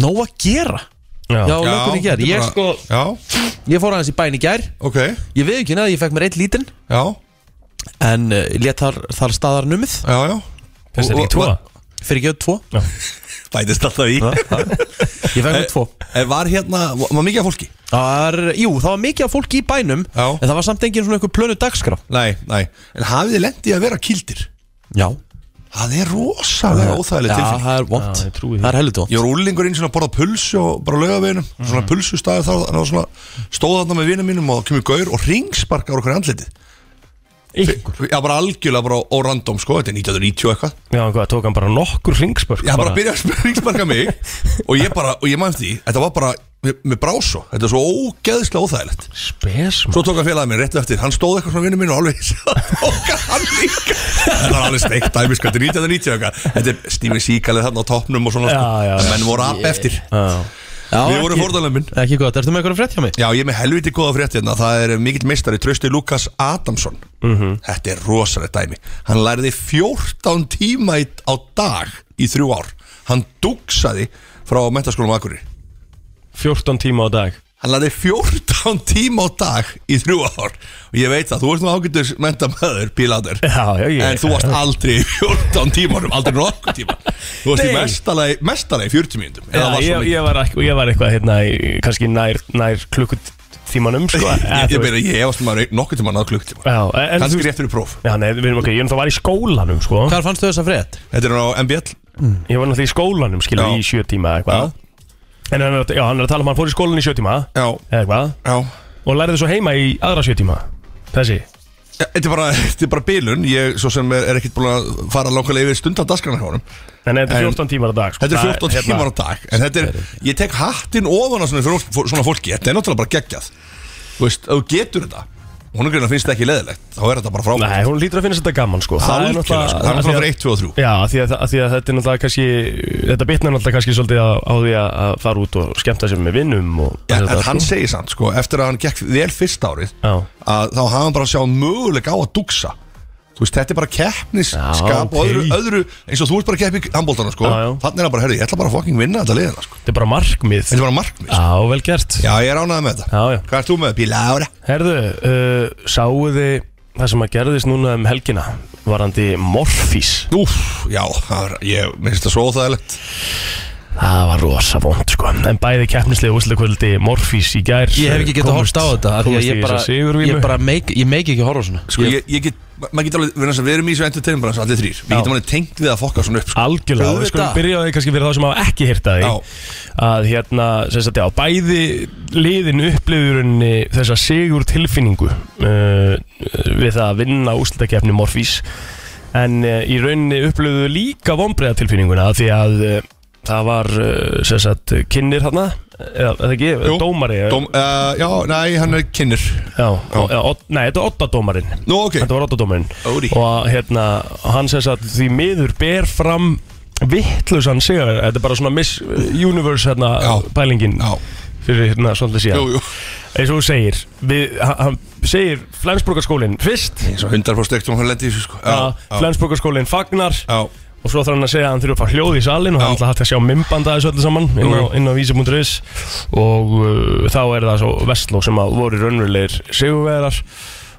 [SPEAKER 1] nóg að gera
[SPEAKER 2] Já.
[SPEAKER 1] Já, lökun í gær Ég, sko,
[SPEAKER 4] Já,
[SPEAKER 1] ég fór aðeins í bæn í gær
[SPEAKER 4] ok,
[SPEAKER 1] Ég veið ekki neða, ég fekk mér eitt lítinn
[SPEAKER 4] já,
[SPEAKER 1] En uh, lét þar, þar staðar numið
[SPEAKER 4] já, já
[SPEAKER 2] finnst þetta
[SPEAKER 4] Og-
[SPEAKER 2] ekki tóa?
[SPEAKER 1] Fyrir ekki tvo
[SPEAKER 4] Bætist alltaf í
[SPEAKER 1] Ég fæði með tvo
[SPEAKER 4] Eh, Var hérna, var mikið af fólki?
[SPEAKER 1] Ar, Jú, það var mikið af fólki í bænum
[SPEAKER 4] Já.
[SPEAKER 1] En það var samt engin svona einhver plönu dagskrá
[SPEAKER 4] Nei, nei En hafið þið lendið að vera kildir?
[SPEAKER 1] Já
[SPEAKER 4] Það er rosalega óþægileg
[SPEAKER 1] Já,
[SPEAKER 4] tilfinning
[SPEAKER 1] það er vond
[SPEAKER 2] Já, ég trúi því.
[SPEAKER 1] Það er helviti vond
[SPEAKER 4] Ég var úlingur eins og að borða pulsu og bara laugaveginum Svona pulsu staði þar þannig að svona Stóð þarna með vinum mínum og það kemur gaur og ringsparkar okkur í andlitið
[SPEAKER 2] Ykkur.
[SPEAKER 4] Já, bara algjörlega bara á random sko Þetta er 1990 og eitthvað
[SPEAKER 2] já, hvað, tók hann bara nokkur ringspörk
[SPEAKER 4] Já, bara byrjaði að ringsparka mig Og ég bara, og ég maður því Þetta var bara, mér- mér brá svo Þetta er svo ógeðslega óþægilegt
[SPEAKER 2] spes
[SPEAKER 4] Svo tók að félagið mér rétt eftir Hann stóð eitthvað svona vinnu mínu og alveg Tók að hann líka Þetta var alveg steikt dæmi sko Þetta er 1990 og eitthvað Þetta er Stími Síkalið þarna á toppnum og svona sko.
[SPEAKER 2] Já, já,
[SPEAKER 4] En
[SPEAKER 2] já.
[SPEAKER 4] Menn voru app eftir
[SPEAKER 1] Já,
[SPEAKER 4] Við vorum
[SPEAKER 1] ekki-
[SPEAKER 4] fórðalömbin
[SPEAKER 1] Ekki gott, ertu með eitthvað frétt hjá mig?
[SPEAKER 4] Já, ég er með helviti góða frétt hérna Það er mikill meistari Trösti Lukas Adamsson
[SPEAKER 2] Mhm.
[SPEAKER 4] Þetta er rosalegt dæmi Hann lærði 14 tíma í, á dag í þrjú ár Hann dugsaði frá mentaskólum Akureyri
[SPEAKER 2] 14 tíma á dag
[SPEAKER 4] Hann lærði 14 tíma á dag í þrjú ár Og ég veit það, þú ert nú ágættur mentamöður, pílatur
[SPEAKER 2] Já, já, ég-
[SPEAKER 4] En þú varst aldrei í 14 tímanum, aldrei nokkuð tíma Þú varst í
[SPEAKER 2] Nei.
[SPEAKER 4] mestalagi, mestalagi 40 mínútum
[SPEAKER 2] já, ég, ég, var ekki, ég var eitthvað hérna í, kannski nær, nær klukkutímanum sko, eða,
[SPEAKER 4] Ég, ég,
[SPEAKER 2] þú veist.
[SPEAKER 4] meina, ég hefast maður nokkuð tíma að klukk tíma
[SPEAKER 2] já, en, en, þú
[SPEAKER 4] Kannski
[SPEAKER 2] veist-
[SPEAKER 4] rétt fyrir próf
[SPEAKER 2] já, nei, við erum ok, ég er náttúrulega var í skólanum sko.
[SPEAKER 1] Hvar fannst þau þessa frétt?
[SPEAKER 4] Þetta er hann á MBL
[SPEAKER 2] Ég var náttúrulega í skólanum, skilur,
[SPEAKER 4] Já.
[SPEAKER 2] í sjö tíma eða eitthvað En hann er, að- já, hann er að tala um að hann fór í skólan í sjö tíma
[SPEAKER 4] Já,
[SPEAKER 2] eða eitthvað
[SPEAKER 4] já
[SPEAKER 2] Og lærði svo heima í aðra sjö tíma Þessi
[SPEAKER 4] Ja, Þetta er bara, þetta er bara bilun Ég svo sem er, er ekkert búin að fara langarlega yfir stundadaskrana hjá honum
[SPEAKER 2] En þetta er
[SPEAKER 4] En-
[SPEAKER 2] 14 tímar á dag sko.
[SPEAKER 4] Þetta er
[SPEAKER 2] Það
[SPEAKER 4] 14
[SPEAKER 2] hérna,
[SPEAKER 4] tímar á dag En þetta er, ég tek hattinn ofan á svona, fyrir, fólk- svona fólki Þetta er náttúrulega bara geggjað Þú veist, ef þú getur þetta Hún er greina finnst þetta ekki leðilegt Þá er þetta bara frábært
[SPEAKER 2] Nei, hún lítur að finna þetta gaman sko
[SPEAKER 4] Það er
[SPEAKER 2] náttúrulega-
[SPEAKER 4] náttúrulega sko, Það er
[SPEAKER 2] af því
[SPEAKER 4] náttúrulega
[SPEAKER 2] að-
[SPEAKER 4] fyrir 1, 2 og 3
[SPEAKER 2] Já, af því að, að því að þetta er náttúrulega kannski Þetta bitnar náttúrulega kannski svolítið á, á því að að fara út og skemmta sér með vinnum og,
[SPEAKER 4] Já,
[SPEAKER 2] og
[SPEAKER 4] en
[SPEAKER 2] þetta,
[SPEAKER 4] hann
[SPEAKER 2] sko.
[SPEAKER 4] segir samt, sko, eftir að hann gekk vel fyrst árið
[SPEAKER 2] Já.
[SPEAKER 4] að þá hafa hann bara að sjá möguleika á að dugsa Þú veist, þetta er bara
[SPEAKER 2] Já,
[SPEAKER 4] keppnisskap
[SPEAKER 2] ok.
[SPEAKER 4] og öðru, öðru, eins og þú ert bara að keppa í handbóltana, sko
[SPEAKER 2] Já, já.
[SPEAKER 4] Þannig er hann bara, herri, ég ætla bara að fucking vinna þetta liðina, sko
[SPEAKER 2] Þetta er bara markmið
[SPEAKER 4] Þetta er bara markmið, sko
[SPEAKER 2] Já, vel gert
[SPEAKER 4] Já, ég er ánægð með þetta
[SPEAKER 2] Já, já.
[SPEAKER 4] Hvað ert þú með? Píla ára
[SPEAKER 2] Herðu, uh, sáu þið það sem að gerðist núna um helgina varandi Morfís
[SPEAKER 4] Úf, já, það var, ég minnst það svo óþægilegt
[SPEAKER 2] Það var rosa vond sko En bæði keppnislegu úsleikvöldi Morfís í gær
[SPEAKER 1] Ég hef ekki getað horft á þetta af Því að ég bara, ég bara meik, ég meik ekki að horfa á svona
[SPEAKER 4] Sko, ég, ég get, ma- maður getur alveg, við erum- við erum í þessu entertainment bransu, allir þrýr Við
[SPEAKER 2] Já.
[SPEAKER 4] getum alveg tengt við að fokka svona upp, sko
[SPEAKER 2] Algjörlega,
[SPEAKER 1] Auðvitað.
[SPEAKER 2] við skulum byrja á því kannski fyrir þá sem hafa ekki hýrta því
[SPEAKER 4] Já.
[SPEAKER 2] að hérna, sem sagt, já, bæði liðin upplifurunni þessa sigur tilfinningu uh, við það að vinna úslutakefni Morfís en uh, í rauninni upplifðu líka vonbreiða tilfinninguna því að uh, það var uh, sem sagt, kynir þarna eða eða ekki,
[SPEAKER 4] Jú.
[SPEAKER 2] dómari
[SPEAKER 4] Dóm, uh, já, næ, hann er kynir
[SPEAKER 2] já, já, odd, nei, þetta er oddadómarinn
[SPEAKER 4] Nú, ok,
[SPEAKER 2] þetta var oddadómarinn
[SPEAKER 4] Óri.
[SPEAKER 2] og hérna, hann sem sagt því miður ber fram vittlusan sigur, þetta er bara svona Miss Universe hérna,
[SPEAKER 4] Já.
[SPEAKER 2] pælingin
[SPEAKER 4] já,
[SPEAKER 2] fyrir hérna svolítið
[SPEAKER 4] jú,
[SPEAKER 2] síðan
[SPEAKER 4] jú
[SPEAKER 2] eins og þú segir, við, hann- hann segir Flensburgarskólinn fyrst
[SPEAKER 4] Eins og hundar fór stöktum hann lendi í þessu, sko
[SPEAKER 2] að
[SPEAKER 4] já,
[SPEAKER 2] Flensburgarskólinn fagnar
[SPEAKER 4] já,
[SPEAKER 2] og svo þarf hann að segja að hann þurfa að fá hljóð í salin og hann
[SPEAKER 4] Já.
[SPEAKER 2] ætla hægt að sjá mymbanda þessu öllu saman inn á, inn á vísi.is og uh, þá er það svo Vestló sem að voru raunverulegir sigurverðar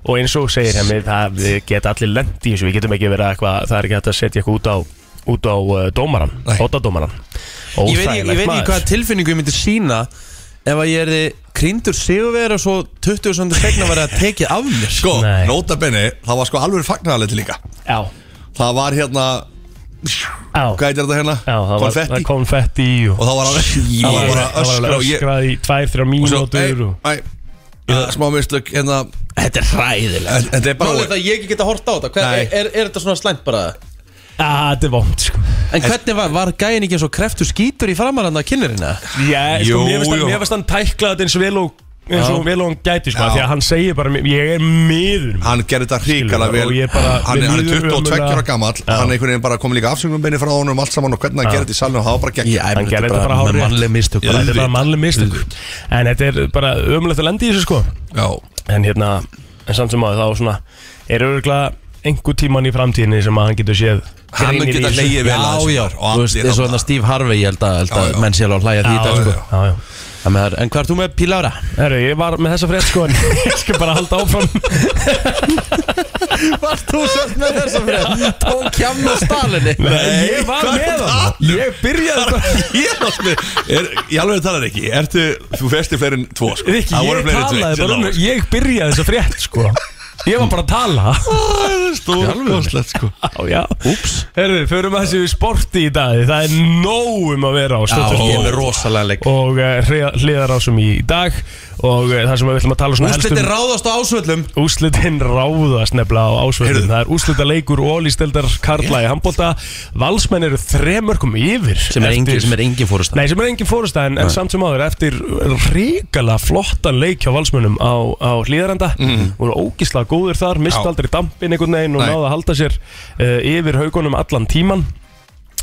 [SPEAKER 2] og eins og segir hemmi það við geta allir lent í þessu, við getum ekki verið eitthvað, það er ekki hægt að setja eitthvað út á út á uh, dómaran,
[SPEAKER 4] Nei.
[SPEAKER 2] oddadómaran
[SPEAKER 1] Ég veit, ég, ég veit ekki hvaða tilfinningu ég myndi sína Ef að ég erði krýndur sigurveri og svo 20 söndur segna var að tekið af mér
[SPEAKER 4] Sko,
[SPEAKER 2] Nei.
[SPEAKER 4] nota bene, það var sko alveg fagnarleiti líka
[SPEAKER 2] Já,
[SPEAKER 4] Það var hérna,
[SPEAKER 2] já,
[SPEAKER 4] hvað heitir þetta hérna?
[SPEAKER 2] já það var það
[SPEAKER 4] Konfetti
[SPEAKER 2] er konfetti og
[SPEAKER 4] Og það var alveg, það var bara
[SPEAKER 2] það var
[SPEAKER 4] öskra og ég
[SPEAKER 2] öskrað í tvær, þrjá
[SPEAKER 4] og svo, ei,
[SPEAKER 2] mínútur og
[SPEAKER 4] ei, eh, Smá mistök, hérna
[SPEAKER 1] Þetta er hræðilegt
[SPEAKER 4] en- en Þetta er
[SPEAKER 1] Málið er
[SPEAKER 4] bara,
[SPEAKER 1] það að ég ekki geta hort á þetta Hver,
[SPEAKER 4] Nei.
[SPEAKER 1] er, er, er þetta svona slæmt bara?
[SPEAKER 2] að þetta er vond sko
[SPEAKER 1] En hvernig var, var gæin ekki eins og kreftur skítur í framaranda kynnerina?
[SPEAKER 2] Já, sko,
[SPEAKER 4] Jú,
[SPEAKER 2] mér finnst
[SPEAKER 4] jú.
[SPEAKER 2] hann- mér finnst hann tækla þetta eins og vel og eins og
[SPEAKER 1] Já.
[SPEAKER 2] vel og hann gæti sko,
[SPEAKER 4] Já.
[SPEAKER 2] því að hann segir bara ég er miður mín.
[SPEAKER 4] hann gerði þetta
[SPEAKER 2] Skilur,
[SPEAKER 4] hrikalega
[SPEAKER 2] og
[SPEAKER 4] vel
[SPEAKER 2] ég bara-
[SPEAKER 4] Hann er
[SPEAKER 2] mér
[SPEAKER 4] hann er
[SPEAKER 2] líður
[SPEAKER 4] 22
[SPEAKER 2] ömurlega-
[SPEAKER 4] ára gamall
[SPEAKER 2] Já.
[SPEAKER 4] Hann er einhvern veginn bara komið líka afsöngumbeini frá honum um allt saman og hvernig hann gerði þetta í salinu og það var bara gegn
[SPEAKER 2] Hann gerði þetta bara hárrétt.
[SPEAKER 1] Mannleg mistök bara.
[SPEAKER 2] þetta er bara
[SPEAKER 4] auðvitað,
[SPEAKER 2] mannleg mistök en þetta er bara ömulegt að lenda í þessu sko
[SPEAKER 4] Já,
[SPEAKER 2] en hérna, en samt sem áður þá svona er örgulega einhver tíman í framtíðinni sem að hann getur séð
[SPEAKER 4] Hann mun
[SPEAKER 2] greinir í
[SPEAKER 4] geta
[SPEAKER 2] þessu.
[SPEAKER 4] hlegið vel að
[SPEAKER 1] Já,
[SPEAKER 4] þessu
[SPEAKER 1] já,
[SPEAKER 4] þar og
[SPEAKER 1] þú veist,
[SPEAKER 4] allir
[SPEAKER 1] eins og
[SPEAKER 4] þarna.
[SPEAKER 1] þannig Steve Harvey, ég held að, held
[SPEAKER 4] Já,
[SPEAKER 1] að
[SPEAKER 4] já.
[SPEAKER 1] menn sé alveg að hlæja því í dag,
[SPEAKER 2] já,
[SPEAKER 1] sko.
[SPEAKER 2] já, já.
[SPEAKER 1] Þannig að- En hvað ert þú með Pílára?
[SPEAKER 2] Herru, ég var með þessa frétt sko en ég skal bara halda áfram
[SPEAKER 1] Varst þú sérst með þessa fyrir? Tók kjamn og stalinni
[SPEAKER 2] Nei, ég var
[SPEAKER 4] hvað
[SPEAKER 2] með
[SPEAKER 4] er
[SPEAKER 2] hann
[SPEAKER 1] um?
[SPEAKER 4] að-
[SPEAKER 2] Ég byrjaði bara
[SPEAKER 4] Ég var með er, Ég alveg talar ekki Ertu, Þú festir fleiri en tvo sko.
[SPEAKER 2] Rikki,
[SPEAKER 4] Það voru
[SPEAKER 2] ég
[SPEAKER 4] fleiri en tveir,
[SPEAKER 2] talaði
[SPEAKER 4] sem
[SPEAKER 2] bara um
[SPEAKER 4] lágu,
[SPEAKER 2] Ég byrjaði þessa frétt sko Ég var bara að tala
[SPEAKER 4] sko. Stórkostlegt sko
[SPEAKER 2] Já, já Úps Herðu, förum að þessu sporti í dag Það er nóg um að vera á
[SPEAKER 1] Já,
[SPEAKER 2] stöttu
[SPEAKER 1] ég er með rosalega leik
[SPEAKER 2] Og uh, hliðarásum í dag Og uh, það sem við ætlum að tala svona helst
[SPEAKER 1] Úrslitin ráðast á ásvöllum
[SPEAKER 2] Úslitin ráðast nefnilega á ásvöldum
[SPEAKER 4] Heyrðu.
[SPEAKER 2] Það er úslita leikur og ólísteldar Karla í handbólta Valsmenn eru þremörkum yfir
[SPEAKER 1] Sem er engin,
[SPEAKER 2] eftir-
[SPEAKER 1] sem er engin fórustan
[SPEAKER 2] Nei, sem er engin fórusta en, en samt sem áður eftir ríkala flottan leik hjá valsmönum á, á hlýðaranda voru ógislega góður þar, mist
[SPEAKER 4] Mhm. Já.
[SPEAKER 2] aldrei dampin einhvern veginn og
[SPEAKER 4] Nei.
[SPEAKER 2] náðu að halda sér uh, yfir haugunum allan tíman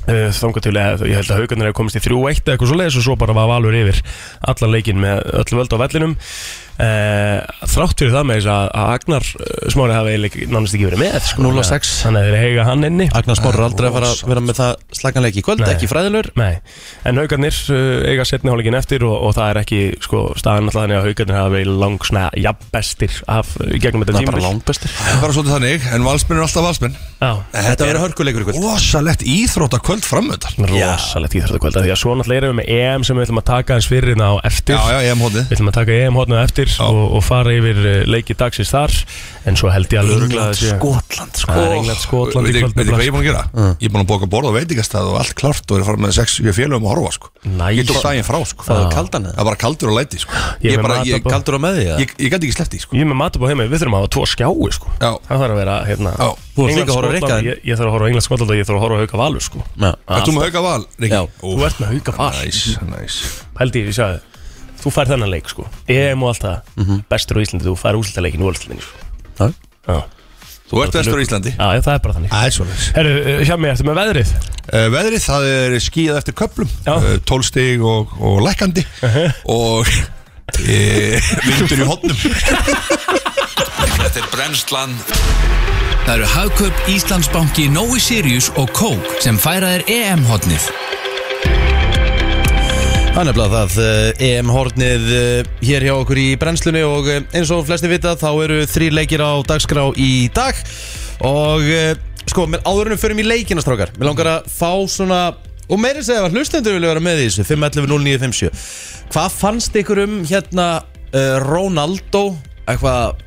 [SPEAKER 2] uh, þangað til að ég held að haugunir hefur komist í 3-1 eða eitthvað svo leiðis og svo bara var valur yfir allan leikin með öll völd á vellinum uh, þrátt fyrir það með þess að, að Agnar uh, smári hafi eiginlega ekki- nánast ekki verið með sko,
[SPEAKER 1] 0-6.
[SPEAKER 2] þannig að þeir eiga hann inni
[SPEAKER 1] Agnar Smári er aldrei að fara að vera með það slaganleik í kvöld,
[SPEAKER 2] Nei.
[SPEAKER 1] ekki fræðilur
[SPEAKER 2] Nei, en haugarnir uh, eiga setni hálfleikin eftir og, og það er ekki sko, staðan alltaf þannig að haugarnir hafa verið lang svona jafnbestir af uh, í gegnum þetta
[SPEAKER 1] Það er
[SPEAKER 2] tíma
[SPEAKER 1] bara langbestir
[SPEAKER 4] Það er bara svolítið þannig En valsmenn er alltaf valsmenn
[SPEAKER 2] Já,
[SPEAKER 1] Þetta verður hörkuleikur í kvöld
[SPEAKER 4] Rosalegt íþróta kvöld framöndar
[SPEAKER 2] rosalegt íþróttakvölda því að svo náttúrulega erum við með EM E sem við ætlum að taka hans fyrir hérna á eftir
[SPEAKER 4] Já, já,
[SPEAKER 1] E
[SPEAKER 4] ég hef hóðið
[SPEAKER 2] Við ætlum að taka E EM hotnað eftir og, og fara yfir uh, leiki dagsins þar en svo held ég alveg örugglega að sé-
[SPEAKER 1] Skotland,
[SPEAKER 2] Það er
[SPEAKER 1] sko
[SPEAKER 2] England, Skotland í
[SPEAKER 4] Veit
[SPEAKER 2] kvöld
[SPEAKER 4] veit ég
[SPEAKER 2] nefnilega.
[SPEAKER 4] hvað ég er búin að gera?
[SPEAKER 1] Mm.
[SPEAKER 4] Ég er búin að bóka borð og veitingastæð og allt klart og er að fara með sex við félögum að horfa sko.
[SPEAKER 2] Næs.
[SPEAKER 4] Ég tók daginn frá sko.
[SPEAKER 1] Það var kaldan
[SPEAKER 4] Það er bara kaldur og læti sko. Ég,
[SPEAKER 2] Ég er með
[SPEAKER 4] bara, ég,
[SPEAKER 2] matabóð.
[SPEAKER 1] Kaldur á með því, eða?
[SPEAKER 4] ég, ég gæti ekki sleppt í sko.
[SPEAKER 2] Ég er með matabá heima, við þurfum að hafa tvo skjái sko
[SPEAKER 4] Já.
[SPEAKER 2] Það þarf að vera hérna
[SPEAKER 4] Já.
[SPEAKER 1] Þú ert líka
[SPEAKER 2] England,
[SPEAKER 1] að horfa á
[SPEAKER 2] Skotland,
[SPEAKER 1] Rikka, en-
[SPEAKER 2] ég, ég þarf að horfa á England Skotland og ég þarf að horfa á hauka valur sko
[SPEAKER 1] Já.
[SPEAKER 4] Ert þú með hauka val? Riki?
[SPEAKER 1] Já.
[SPEAKER 4] Ó,
[SPEAKER 2] Þú ert með Hauka Val.
[SPEAKER 4] Næs, næs
[SPEAKER 2] held ég, ég sagði þú fær þennan leik sko EM og allt það, bestur á Íslandi, þú fær úrslitaleikin úr Íslandi sko.
[SPEAKER 1] Já.
[SPEAKER 2] Já,
[SPEAKER 4] Þú ert vestur á Íslandi
[SPEAKER 2] Já, það er bara þannig
[SPEAKER 4] Það er svolítið
[SPEAKER 2] Herru, uh, hjá mig, ertu með veðrið?
[SPEAKER 4] Uh, veðrið, það er skíðað eftir köplum
[SPEAKER 2] Já.
[SPEAKER 4] uh, tólstig og, og lækandi og e, vindur í hotnum
[SPEAKER 3] Þetta er brennslan
[SPEAKER 5] Það eru Hagkaup Íslandsbanki Nói Sirius og Kók sem færa þér E EM-hotnið.
[SPEAKER 1] Það er nefnilega það eh, EM-hornið eh, hér hjá okkur í brennslunni og eh, eins og flesti vita þá eru þrý leikir á dagskrá í dag og eh, Sko, mér áður en við förum í leikina, strákar Mér langar að fá svona Og meira að segja að hlustendur vilja vera með í þessu 511-0957 Hvað fannst ykkur um hérna uh, Ronaldo Eitthvað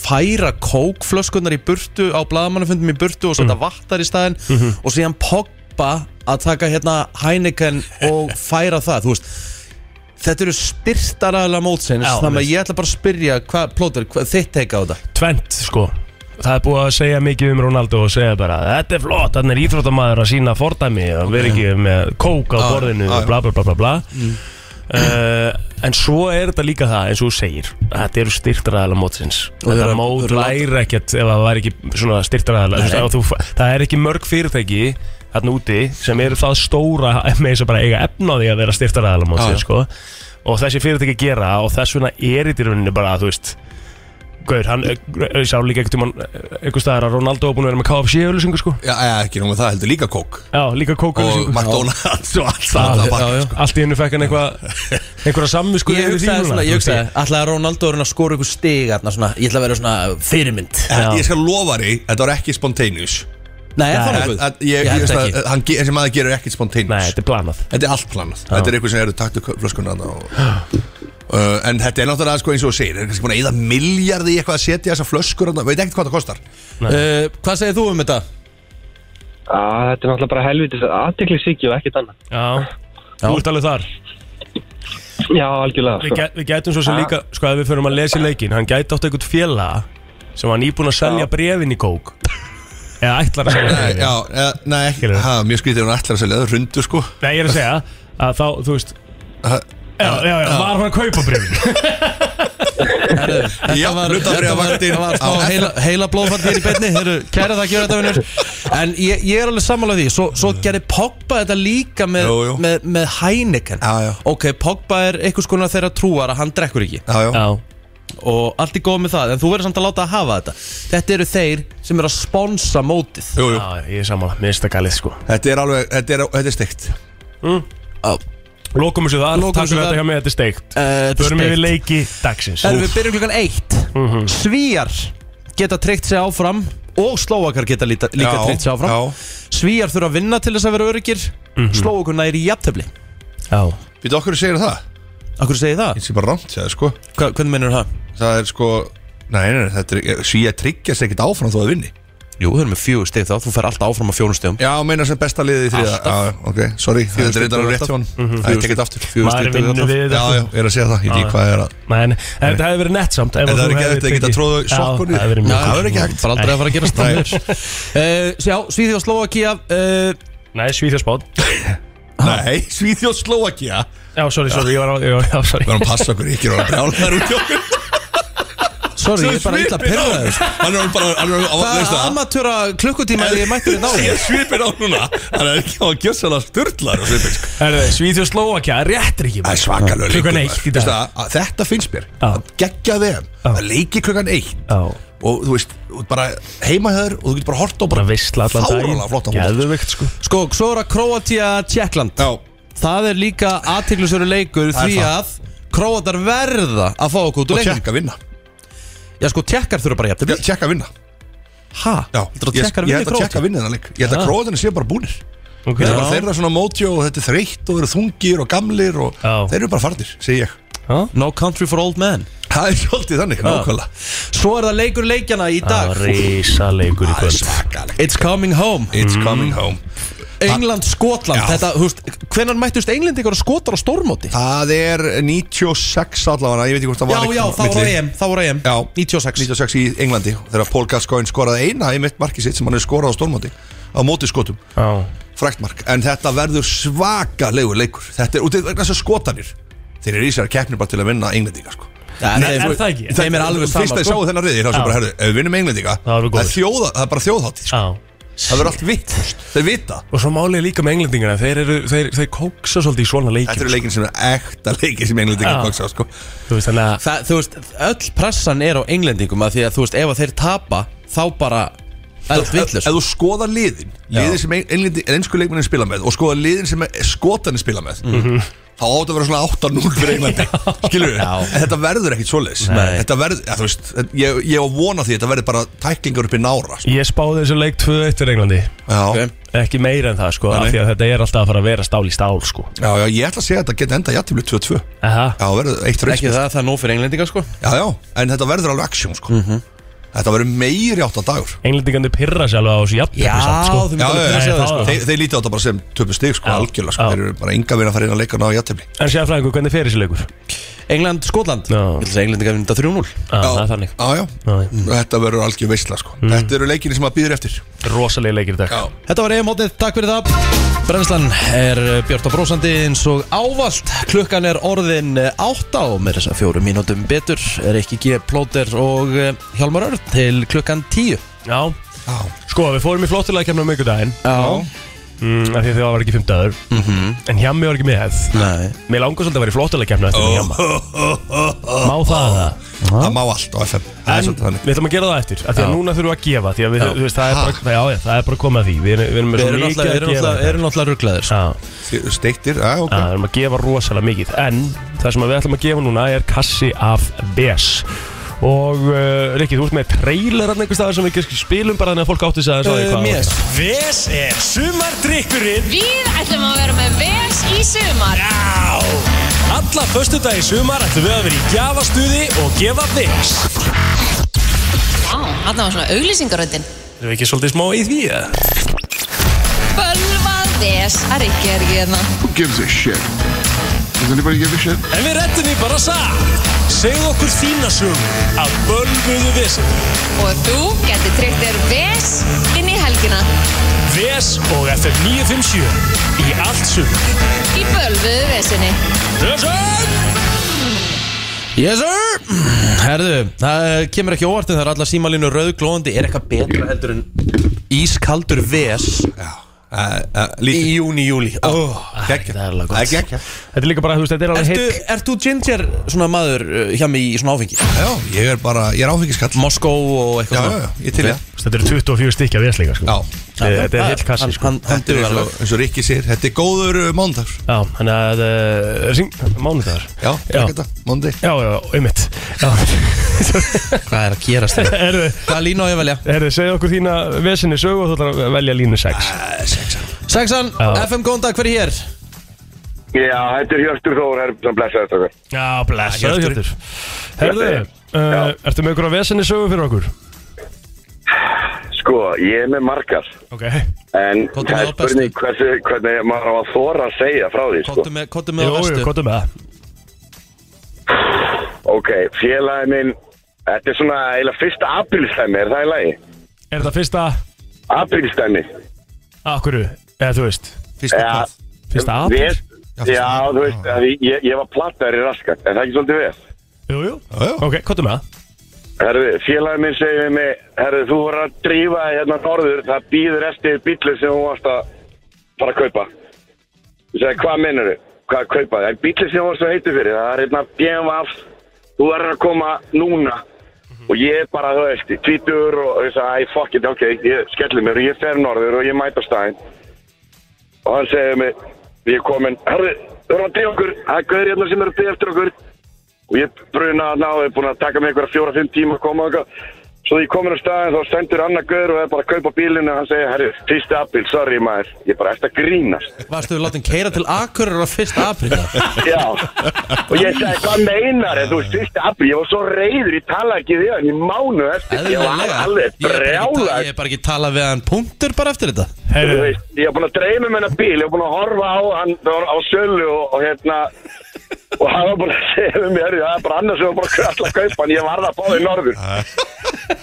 [SPEAKER 1] færa kókflöskunar í burtu Á blaðamannafundum í burtu Og setja vattar í staðinn Og síðan Pogba að taka hérna Heineken og færa það Þú veist Þetta eru styrtaræðilega mótsins
[SPEAKER 2] Já,
[SPEAKER 1] Þannig að ég ætla bara að spyrja hvað, plóter, hvað þitt teika á þetta
[SPEAKER 2] Tvent sko Það er búið að segja mikið um Ronaldo og segja bara Þetta er flott, hann er íþróttamaður að sína fordæmi og vera ekki með kók á
[SPEAKER 1] Ah,
[SPEAKER 2] borðinu
[SPEAKER 4] já, já.
[SPEAKER 2] og bla bla bla bla bla
[SPEAKER 1] Mm.
[SPEAKER 2] uh, En svo er þetta líka það eins og þú segir Þetta eru styrtaræðala mótsins
[SPEAKER 1] Og þeir
[SPEAKER 2] Þetta
[SPEAKER 1] eru- þeir
[SPEAKER 2] mót
[SPEAKER 1] eru
[SPEAKER 2] væri ekkert ef það væri ekki svona styrtaræðala Það er ekki mörg fyrirtæki þarna úti sem eru það stóra með þess að bara eiga efnaði að vera
[SPEAKER 4] Já, já.
[SPEAKER 2] styrtaræðala
[SPEAKER 1] Ah,
[SPEAKER 2] mótsins sko. og þessi fyrirtæki gera og þess vegna er þetta í rauninni bara þú veist Gaur, hann, eh, ég sá líka einhvern tímann einhvern staðar að Ronaldo var búin að vera með KFC auðlýsingu sko
[SPEAKER 4] Já, já, ekki nóg með það, heldur líka kók
[SPEAKER 2] Já, líka kók
[SPEAKER 4] Og
[SPEAKER 2] auðlýsingu
[SPEAKER 4] McDonalds og allt
[SPEAKER 2] Já,
[SPEAKER 4] það
[SPEAKER 2] já, já. Allt í hennu fekk hann eitthvað einhverja samvisku
[SPEAKER 1] sko. Ég hugsaði svona, ég hugsaði Ætlaði að Ronaldo er að skora ykkur stig þarna svona, Ég ætla að vera svona fyrirmynd
[SPEAKER 2] Já.
[SPEAKER 4] Ég skal lofa því, þetta var ekki spontaneous
[SPEAKER 1] Nei, er það
[SPEAKER 4] Að-
[SPEAKER 1] nokkuð?
[SPEAKER 4] að- Ég, ég, ég,
[SPEAKER 1] held ekki
[SPEAKER 4] að- eh, hann ge- þessi maður gerur ekkert
[SPEAKER 2] Nei,
[SPEAKER 4] spontaneous
[SPEAKER 2] þetta er planað
[SPEAKER 4] Þetta er allt planað Þetta er eitthvað sem eru taktu flöskuna þarna og, uh, En þetta er náttúrulega sko eins og þú segir Þetta er kannski búin að eða miljardi í eitthvað að setja þessa flöskur þarna, Veit ekkert hvað það kostar
[SPEAKER 1] uh, Hvað segir þú um þetta?
[SPEAKER 6] Ah, þetta er náttúrulega bara helvitis aðtekli og ekkert annað.
[SPEAKER 2] Já, þú ert alveg þar
[SPEAKER 6] Já, algjörlega.
[SPEAKER 2] Við,
[SPEAKER 6] Sko.
[SPEAKER 2] gæ, við gætum svo sem líka, sko að við förum að lesa í leikin Hann gæti átt einhvern félaga sem var nýbúin að selja brefin í kók Eða ætlar að selja
[SPEAKER 4] Nei,
[SPEAKER 2] brefin
[SPEAKER 4] já, eh, nei, ekki
[SPEAKER 2] Skilurðu?
[SPEAKER 4] ha, Mjög skrítið er hún ætlar að selja það rundu sko
[SPEAKER 2] Nei, ég er að segja að þá, þú veist
[SPEAKER 4] Ha,
[SPEAKER 2] Já, já, já, var hann að kaupa brefin
[SPEAKER 4] Já, hlutabréfavaktin
[SPEAKER 1] þetta var smá
[SPEAKER 4] á-
[SPEAKER 1] heila, heila blóðfall hér í beinni Heru, Kæra það að gera þetta vinnur En ég, ég er alveg sammála því Svo, svo gerir Pogba þetta líka með,
[SPEAKER 4] Jú, jú.
[SPEAKER 1] með, með Heineken
[SPEAKER 4] Já, já.
[SPEAKER 1] Ok, Pogba er einhvers konar þeirra trúar að hann drekkur ekki
[SPEAKER 4] Já, já,
[SPEAKER 2] Já,
[SPEAKER 1] Og allt er góð með það En þú verður samt að láta að hafa þetta Þetta eru þeir sem eru að sponsa mótið
[SPEAKER 4] jú, jú.
[SPEAKER 2] já, ég er sammála, mér finnst það galið sko
[SPEAKER 4] Þetta er alveg, þetta er, þetta er steikt
[SPEAKER 2] Lókum þessu þar,
[SPEAKER 1] Lokum
[SPEAKER 2] takk
[SPEAKER 1] þessu
[SPEAKER 2] fyrir
[SPEAKER 1] þar.
[SPEAKER 2] þetta hjá mig, þetta er steikt
[SPEAKER 1] Eh, þetta er
[SPEAKER 2] Förum yfir
[SPEAKER 1] steikt.
[SPEAKER 2] leiki dagsins
[SPEAKER 1] Erum við byrjum klukkan eitt Mhm. Svíjar geta tryggt sig áfram Og Slóakar geta líta, líka
[SPEAKER 4] Já,
[SPEAKER 1] tryggt sig áfram
[SPEAKER 4] já.
[SPEAKER 1] Svíjar þurfa að vinna til þess að vera öryggir mm -hmm. Slóakar næri í jafntefli
[SPEAKER 2] Já,
[SPEAKER 4] Við okkur segir það?
[SPEAKER 1] Akkur segir það?
[SPEAKER 4] Ég sé bara rámt, segir sko
[SPEAKER 1] Hva, hvernig mennur það?
[SPEAKER 4] Það er sko Nei, nei, nei, þetta er, svíja tryggjast ekkert áfram þó að vinni
[SPEAKER 1] Jú, þau eru með fjögur steg þá Þú fer alltaf áfram á fjórum stegum
[SPEAKER 4] Já, meina sem besta liðið í þriða Já, ok, sorry, þetta er reyndar alveg rétt hjá hann Mhm. Það er tekið aftur Fjögur
[SPEAKER 2] Maður
[SPEAKER 4] stig
[SPEAKER 2] vinnur
[SPEAKER 4] dregið aftur.
[SPEAKER 2] við þetta. Ah.
[SPEAKER 4] Já, já, ég er að segja það, ég veit ekki hvað er að
[SPEAKER 2] Nei, nei, en þetta hefði verið nett samt ef
[SPEAKER 4] En
[SPEAKER 2] að
[SPEAKER 4] það
[SPEAKER 2] þú
[SPEAKER 4] er ekki hægt
[SPEAKER 2] hefðir
[SPEAKER 4] að geta
[SPEAKER 2] tekið-
[SPEAKER 4] tróðu
[SPEAKER 2] Já,
[SPEAKER 4] sokkunni
[SPEAKER 2] Það hefði verið mjög
[SPEAKER 4] Já, það
[SPEAKER 2] kúl.
[SPEAKER 4] er ekki hægt
[SPEAKER 1] Bara aldrei að fara að gera
[SPEAKER 4] Nei.
[SPEAKER 1] stafnir uh, Já, Svíði og Slóakia uh,
[SPEAKER 2] Nei, Svíþjóðsbátt
[SPEAKER 4] Nei, Svíþjóð Slóakia
[SPEAKER 2] Já, sorry, sorry, ég var á Já, já, sorry
[SPEAKER 4] Við erum að passa okkur, ekki erum að brjála þær út í okkur
[SPEAKER 1] Sorry, ég er bara illa pyrraður
[SPEAKER 4] Hann er bara, hann er bara,
[SPEAKER 1] Það
[SPEAKER 4] veist
[SPEAKER 1] er
[SPEAKER 4] það
[SPEAKER 1] amatúra klukkutíma þegar ég mætti við náðu
[SPEAKER 4] Ég svipir á núna Hann er ekki á að gjösa hann að sturla
[SPEAKER 2] Herðu, Svíþjóðslóakja, réttir ekki
[SPEAKER 4] Það er svakalög
[SPEAKER 2] Klukkan eitt í dag.
[SPEAKER 4] Þetta finnst mér
[SPEAKER 2] Já.
[SPEAKER 4] að Geggja þeim
[SPEAKER 2] Já.
[SPEAKER 4] Það leiki klukkan eitt
[SPEAKER 2] Já,
[SPEAKER 4] Og þú veist, þú ert bara heima hjá þér Og þú getur bara hort og
[SPEAKER 2] bara
[SPEAKER 4] bara
[SPEAKER 2] vissla allan dag
[SPEAKER 4] Fáralega flott á mót
[SPEAKER 2] Geðveikt, sko
[SPEAKER 1] Sko, svo er að Kroatia Tjekkland
[SPEAKER 4] Já,
[SPEAKER 1] Það er líka aðtiklisveru leikur
[SPEAKER 4] Það er
[SPEAKER 1] því
[SPEAKER 4] það.
[SPEAKER 1] að Króatar verða að fá okkur út úr
[SPEAKER 4] og
[SPEAKER 1] leikum
[SPEAKER 4] tjekka vinna
[SPEAKER 1] Já sko, tjekkar þurfa bara jæftabli
[SPEAKER 4] Tjekka vinna
[SPEAKER 1] Hæ?
[SPEAKER 4] Já,
[SPEAKER 1] Þetta
[SPEAKER 4] ég, ég
[SPEAKER 1] tjekkar vinni
[SPEAKER 4] held að tjekka
[SPEAKER 1] Króatar
[SPEAKER 4] vinna þennan leik Ég held að króðinu séu bara búnir Þetta
[SPEAKER 2] Ok.
[SPEAKER 4] er
[SPEAKER 2] Já,
[SPEAKER 4] bara þeirra svona mótjó og þetta er þreytt og eru þungir og gamlir og
[SPEAKER 2] Já.
[SPEAKER 4] þeir eru bara farnir, segi ég.
[SPEAKER 1] No country for old men
[SPEAKER 4] Það er svolítið þannig, nákvæmlega.
[SPEAKER 1] Svo er það leikur leikjana í
[SPEAKER 2] það
[SPEAKER 1] dag
[SPEAKER 2] var risa leikur
[SPEAKER 4] Það
[SPEAKER 2] í
[SPEAKER 4] er
[SPEAKER 2] kvöld
[SPEAKER 4] svakalegt.
[SPEAKER 1] It's coming home
[SPEAKER 4] It's coming home.
[SPEAKER 1] England, Skotland
[SPEAKER 4] Já.
[SPEAKER 1] Þetta, húst, hvenan mættust England ykkur skotar á stórmóti?
[SPEAKER 4] Það er 96 allavega, ég veit ekki hvort það
[SPEAKER 1] Já,
[SPEAKER 4] var
[SPEAKER 1] já, þá voru EM, þá voru EM
[SPEAKER 4] Já.
[SPEAKER 1] 96
[SPEAKER 4] 96 í Englandi þegar Paul Gascoigne skoraði eina í mitt marki sitt sem hann hefur skorað á stórmóti á móti skotum,
[SPEAKER 2] Já,
[SPEAKER 4] frækt mark en þetta verður svakalegur leikur þetta er út í þessu skotanir þeir eru í sér að keppni bara til að vinna Englendinga sko.
[SPEAKER 1] Já,
[SPEAKER 2] Nei, er það ekki?
[SPEAKER 1] Þeim er alveg
[SPEAKER 4] Fyrst að
[SPEAKER 1] sama
[SPEAKER 4] ég sáu þennan riðir, þá sem
[SPEAKER 2] Já.
[SPEAKER 4] bara, herðu, ef við vinnum Englendinga
[SPEAKER 2] Það
[SPEAKER 4] það
[SPEAKER 2] erum við
[SPEAKER 4] er
[SPEAKER 2] góðir.
[SPEAKER 4] þjóða, það er bara þjóðhátt
[SPEAKER 2] já
[SPEAKER 4] Það verður allt vitt, þeir vita
[SPEAKER 2] Og svo málið er líka með englendingina Þeir eru, þeir, þeir kóksa svolítið í svona
[SPEAKER 4] Þetta
[SPEAKER 2] leikin
[SPEAKER 4] eru leikin sem er ekta leikin sem englendingar
[SPEAKER 2] Já.
[SPEAKER 4] koksa sko.
[SPEAKER 2] Þú veist, þannig að
[SPEAKER 1] Það, þú veist, öll pressan er á englendingum að því að þú veist, ef að þeir tapa þá bara, eld
[SPEAKER 4] Ef
[SPEAKER 1] vittlust
[SPEAKER 4] ef þú skoðar
[SPEAKER 2] Mhm.
[SPEAKER 4] liðin Liðin sem englendi- ensku leikmennin spila með Og skoðar liðin sem skotanir spila með þá átt að vera svona 8-0 fyrir Englandi skilur við, en þetta verður ekkit svoleiðis
[SPEAKER 1] Nei.
[SPEAKER 4] þetta verður, ja, þú veist ég, ég á vona því að þetta verður bara tæklingar upp í nára sko.
[SPEAKER 2] Ég spáði þessu leik 2-1 fyrir Englandi
[SPEAKER 4] já,
[SPEAKER 2] Ekki meira en það sko af
[SPEAKER 4] nei.
[SPEAKER 2] Því að þetta er alltaf að fara að vera stál í stál sko
[SPEAKER 4] já, já, ég ætla að segja að þetta geti enda jættiflu 2-2 já,
[SPEAKER 2] Aha.
[SPEAKER 4] verður eitt
[SPEAKER 1] Ekki
[SPEAKER 4] reynsmið
[SPEAKER 1] það, það er nóg fyrir englendinga sko
[SPEAKER 4] já, já, en þetta verður alveg aksjón sko. þetta verður meiri átt að dagur
[SPEAKER 2] Englendingandi pyrra sér alveg á þessu jafntefli samt, sko.
[SPEAKER 4] Já,
[SPEAKER 1] þú
[SPEAKER 4] já,
[SPEAKER 1] myndir að
[SPEAKER 4] já,
[SPEAKER 2] pissa
[SPEAKER 1] það
[SPEAKER 2] þig,
[SPEAKER 1] sko
[SPEAKER 2] sko.
[SPEAKER 4] þeir, þeir lítið á þetta bara sem töpu stig sko,
[SPEAKER 2] Já.
[SPEAKER 4] algjörlega, sko.
[SPEAKER 2] Já.
[SPEAKER 4] þeir eru bara enga verið að fara inn að leika og ná jættifli
[SPEAKER 2] En sér fræðingur, hvernig fer þessi leikur?
[SPEAKER 1] England, Skotland
[SPEAKER 2] Já.
[SPEAKER 1] Ég ætla að segja englendinga vinda 3-0
[SPEAKER 2] Já, Ah, það er þannig
[SPEAKER 4] já, já.
[SPEAKER 2] Já, já. Mm.
[SPEAKER 4] þetta verður algjör veistla sko. þetta eru leikinni sem maður býður eftir
[SPEAKER 2] Rosalegi leikir í dag
[SPEAKER 4] já,
[SPEAKER 1] Þetta var EM-mótið, takk fyrir það Brennslan er eh, björt og brósandi eins og ávallt Klukkan er orðin eh, átta og með þess að fjórum mínútum betur er ekki G. Plóter og eh, Hjálmar Örn til klukkan tíu
[SPEAKER 2] Já,
[SPEAKER 4] já.
[SPEAKER 2] sko, við fórum í flottilega kemna um miðgudaginn
[SPEAKER 1] Já
[SPEAKER 2] mm, af Því að það var ekki fymtaður mm -hmm. En hjá mig var ekki með
[SPEAKER 1] Nei
[SPEAKER 2] Mér langar svolítið að vera í flottilega kemna eftir oh. Má það oh. það?
[SPEAKER 4] það má allt á FM Það er
[SPEAKER 2] En
[SPEAKER 4] svolítið þannig.
[SPEAKER 2] við ætlum að gera það eftir af Því að núna þurfum við að gefa Því að við, þú veist, það, er bara, já, já, það er bara komið að því Við erum, við erum með
[SPEAKER 1] Við
[SPEAKER 2] svo
[SPEAKER 1] erum
[SPEAKER 2] mikið
[SPEAKER 1] náttúrulega- við
[SPEAKER 2] að
[SPEAKER 1] erum
[SPEAKER 2] gefa
[SPEAKER 1] náttúrulega- erum náttúrulega rugglaðir
[SPEAKER 2] Já,
[SPEAKER 4] Þið- steiktir, já, ok
[SPEAKER 2] já, við erum að gefa rosalega mikið En það sem við ætlum að gefa núna er kassi af BS Og uh, Rikki, þú ert með trailer Þannig einhvers staðar sem við kannski spilum bara Þannig að fólk átti sig aðeins á því
[SPEAKER 1] Eh,
[SPEAKER 2] hvað
[SPEAKER 1] mér.
[SPEAKER 2] BS er sumardrykkurinn
[SPEAKER 7] Við ætlum að vera með VS í sumar
[SPEAKER 2] Já Alla föstu dag í sumar ættum við að vera í gjafastuði og gefa VS
[SPEAKER 7] Vá, hann var svona auglýsingaröndin
[SPEAKER 2] Erum við ekki svolítið smá í því eða?
[SPEAKER 7] Bölvað VS að Rikki er ekki hérna
[SPEAKER 8] Who gives a shit? Does anybody give a shit?
[SPEAKER 2] En við rettum því bara satt Segðu okkur þína sögum af bölguðu vesen
[SPEAKER 7] Og þú getur tryggt þér VS inn í helgina
[SPEAKER 2] VS og FM 957 Í allt sögum
[SPEAKER 7] Í bölvuðu VS-inni
[SPEAKER 2] Vesen
[SPEAKER 1] Yes sir Herðu, það eh, kemur ekki óvart en það er allar símalínu rauðglóðandi Er eitthvað betra heldur en ískaldur VS
[SPEAKER 4] Já, eh, eh, lítið
[SPEAKER 1] í júni, júli oh.
[SPEAKER 4] Geggjað.
[SPEAKER 2] Það er alveg
[SPEAKER 4] Það er
[SPEAKER 2] gott
[SPEAKER 4] geggjað.
[SPEAKER 2] Þetta er líka bara, þú veist, þetta er alveg
[SPEAKER 1] Ertu,
[SPEAKER 2] heitt
[SPEAKER 1] ert þú ginger svona maður eh, hjá mig í svona áfengi?
[SPEAKER 4] Já, ég er bara, ég er áfengiskall Já,
[SPEAKER 1] Moskó og eitthvað
[SPEAKER 4] já, já, ég til ég
[SPEAKER 2] Þetta eru 24 stykki af vésleika, sko
[SPEAKER 4] Já,
[SPEAKER 2] Þetta er- Þetta er heill kassi, sko
[SPEAKER 1] Hann, hann
[SPEAKER 4] þetta er
[SPEAKER 1] dugar
[SPEAKER 4] eins
[SPEAKER 1] alveg
[SPEAKER 4] og, eins og Rikki sér Þetta er góður uh, mándags
[SPEAKER 2] Já, hann að uh, Ring, mánudagar
[SPEAKER 4] Já,
[SPEAKER 2] já,
[SPEAKER 4] takk þetta, mándi
[SPEAKER 2] já, já, einmitt Já,
[SPEAKER 1] Hvað er að gerast þér?
[SPEAKER 2] herðu
[SPEAKER 1] Hvað línu á ég að velja?
[SPEAKER 2] Herðu, segðu okkur þína vesinni sögu og þú ætlar að velja línu 6
[SPEAKER 1] Sexan,
[SPEAKER 2] Já.
[SPEAKER 1] FM góðan dag, hver er hér?
[SPEAKER 9] Já, þetta er Hjörtur Þór Herb sem blessaði þetta
[SPEAKER 2] Já, blessaðu Hjörtur Herðu, uh, ertu með okkur að vesinni sögu fyrir okkur?
[SPEAKER 9] Sko, ég er með margar
[SPEAKER 2] Ok
[SPEAKER 9] En
[SPEAKER 1] Komdu
[SPEAKER 9] það
[SPEAKER 1] með
[SPEAKER 9] er
[SPEAKER 1] þá
[SPEAKER 9] spurning hversu, hvernig maður á að þóra að segja frá því sko.
[SPEAKER 1] Kottu með, kottu með á
[SPEAKER 2] Jú, jú,
[SPEAKER 1] vestu
[SPEAKER 2] kottum með það
[SPEAKER 9] Ok, félagi minn Þetta er svona eiginlega fyrsta aprílstæmi, er það í lagi?
[SPEAKER 2] Er þetta fyrsta,
[SPEAKER 9] Aprílstæmi
[SPEAKER 2] akkurru, eða þú veist
[SPEAKER 4] Fyrsta
[SPEAKER 9] Já.
[SPEAKER 4] hvað
[SPEAKER 2] Fyrsta apríl?
[SPEAKER 4] Já,
[SPEAKER 9] Já,
[SPEAKER 4] fyrsta apríl.
[SPEAKER 9] þú veist, að ég, ég- ég var plattar í raskat Er það ekki svolítið við?
[SPEAKER 2] Jú, jú
[SPEAKER 4] Já, já.
[SPEAKER 2] Ok, kottum með það
[SPEAKER 9] Herðu, félagi minn segir við mig Herðu, þú voru að drífa þig hérna norður Það býður eftir bílu sem þú varst að fara að kaupa Ég segi, hvað mennur þau? Hvað að kaupa þig? En bílu sem þú varst að heiti fyrir Það er hérna BMW Þú verður að koma núna Og ég er bara, þú veist, tvítur Og ég segi, æ, fuck it, ok Ég skellir mér og ég fer norður og ég mæta stæðin Og hann segir við mig Ég er komin, herðu, þú voru að drífa okkur Það er gauður hérna sem eru að drífa eftir okkur og ég bruna að ná, ég er búin að taka mig einhverja fjóra-fimm tíma að koma og eitthvað svo ég komin á staðin þá sendur annar gaur og er bara að kaupa bílinu og hann segir, herri, fyrsti apíl, sorry maður ég er bara eftir að grínast
[SPEAKER 1] Varstu við látum keira til Akurur á 1. apríl
[SPEAKER 9] já, og ég segi, hvað meinar þú veist, fyrsti apíl, ég var svo reyður ég talaði ekki við hann í mánu eftir ég var
[SPEAKER 1] Eðlilega
[SPEAKER 9] alveg
[SPEAKER 1] Ég er bara ekki ta- Ég
[SPEAKER 9] brjálag
[SPEAKER 1] er bara ekki tala við hann punktur bara eftir þetta
[SPEAKER 9] Þú
[SPEAKER 2] Herðu,
[SPEAKER 9] veist, ég var búin að dreyma um hennar bíl, ég var búin að horfa á hann það var á sölu og, og hérna og hann var búin að segja um mér það er bara annars sem var bara að kalla að kaupa hann ég varð að báði norður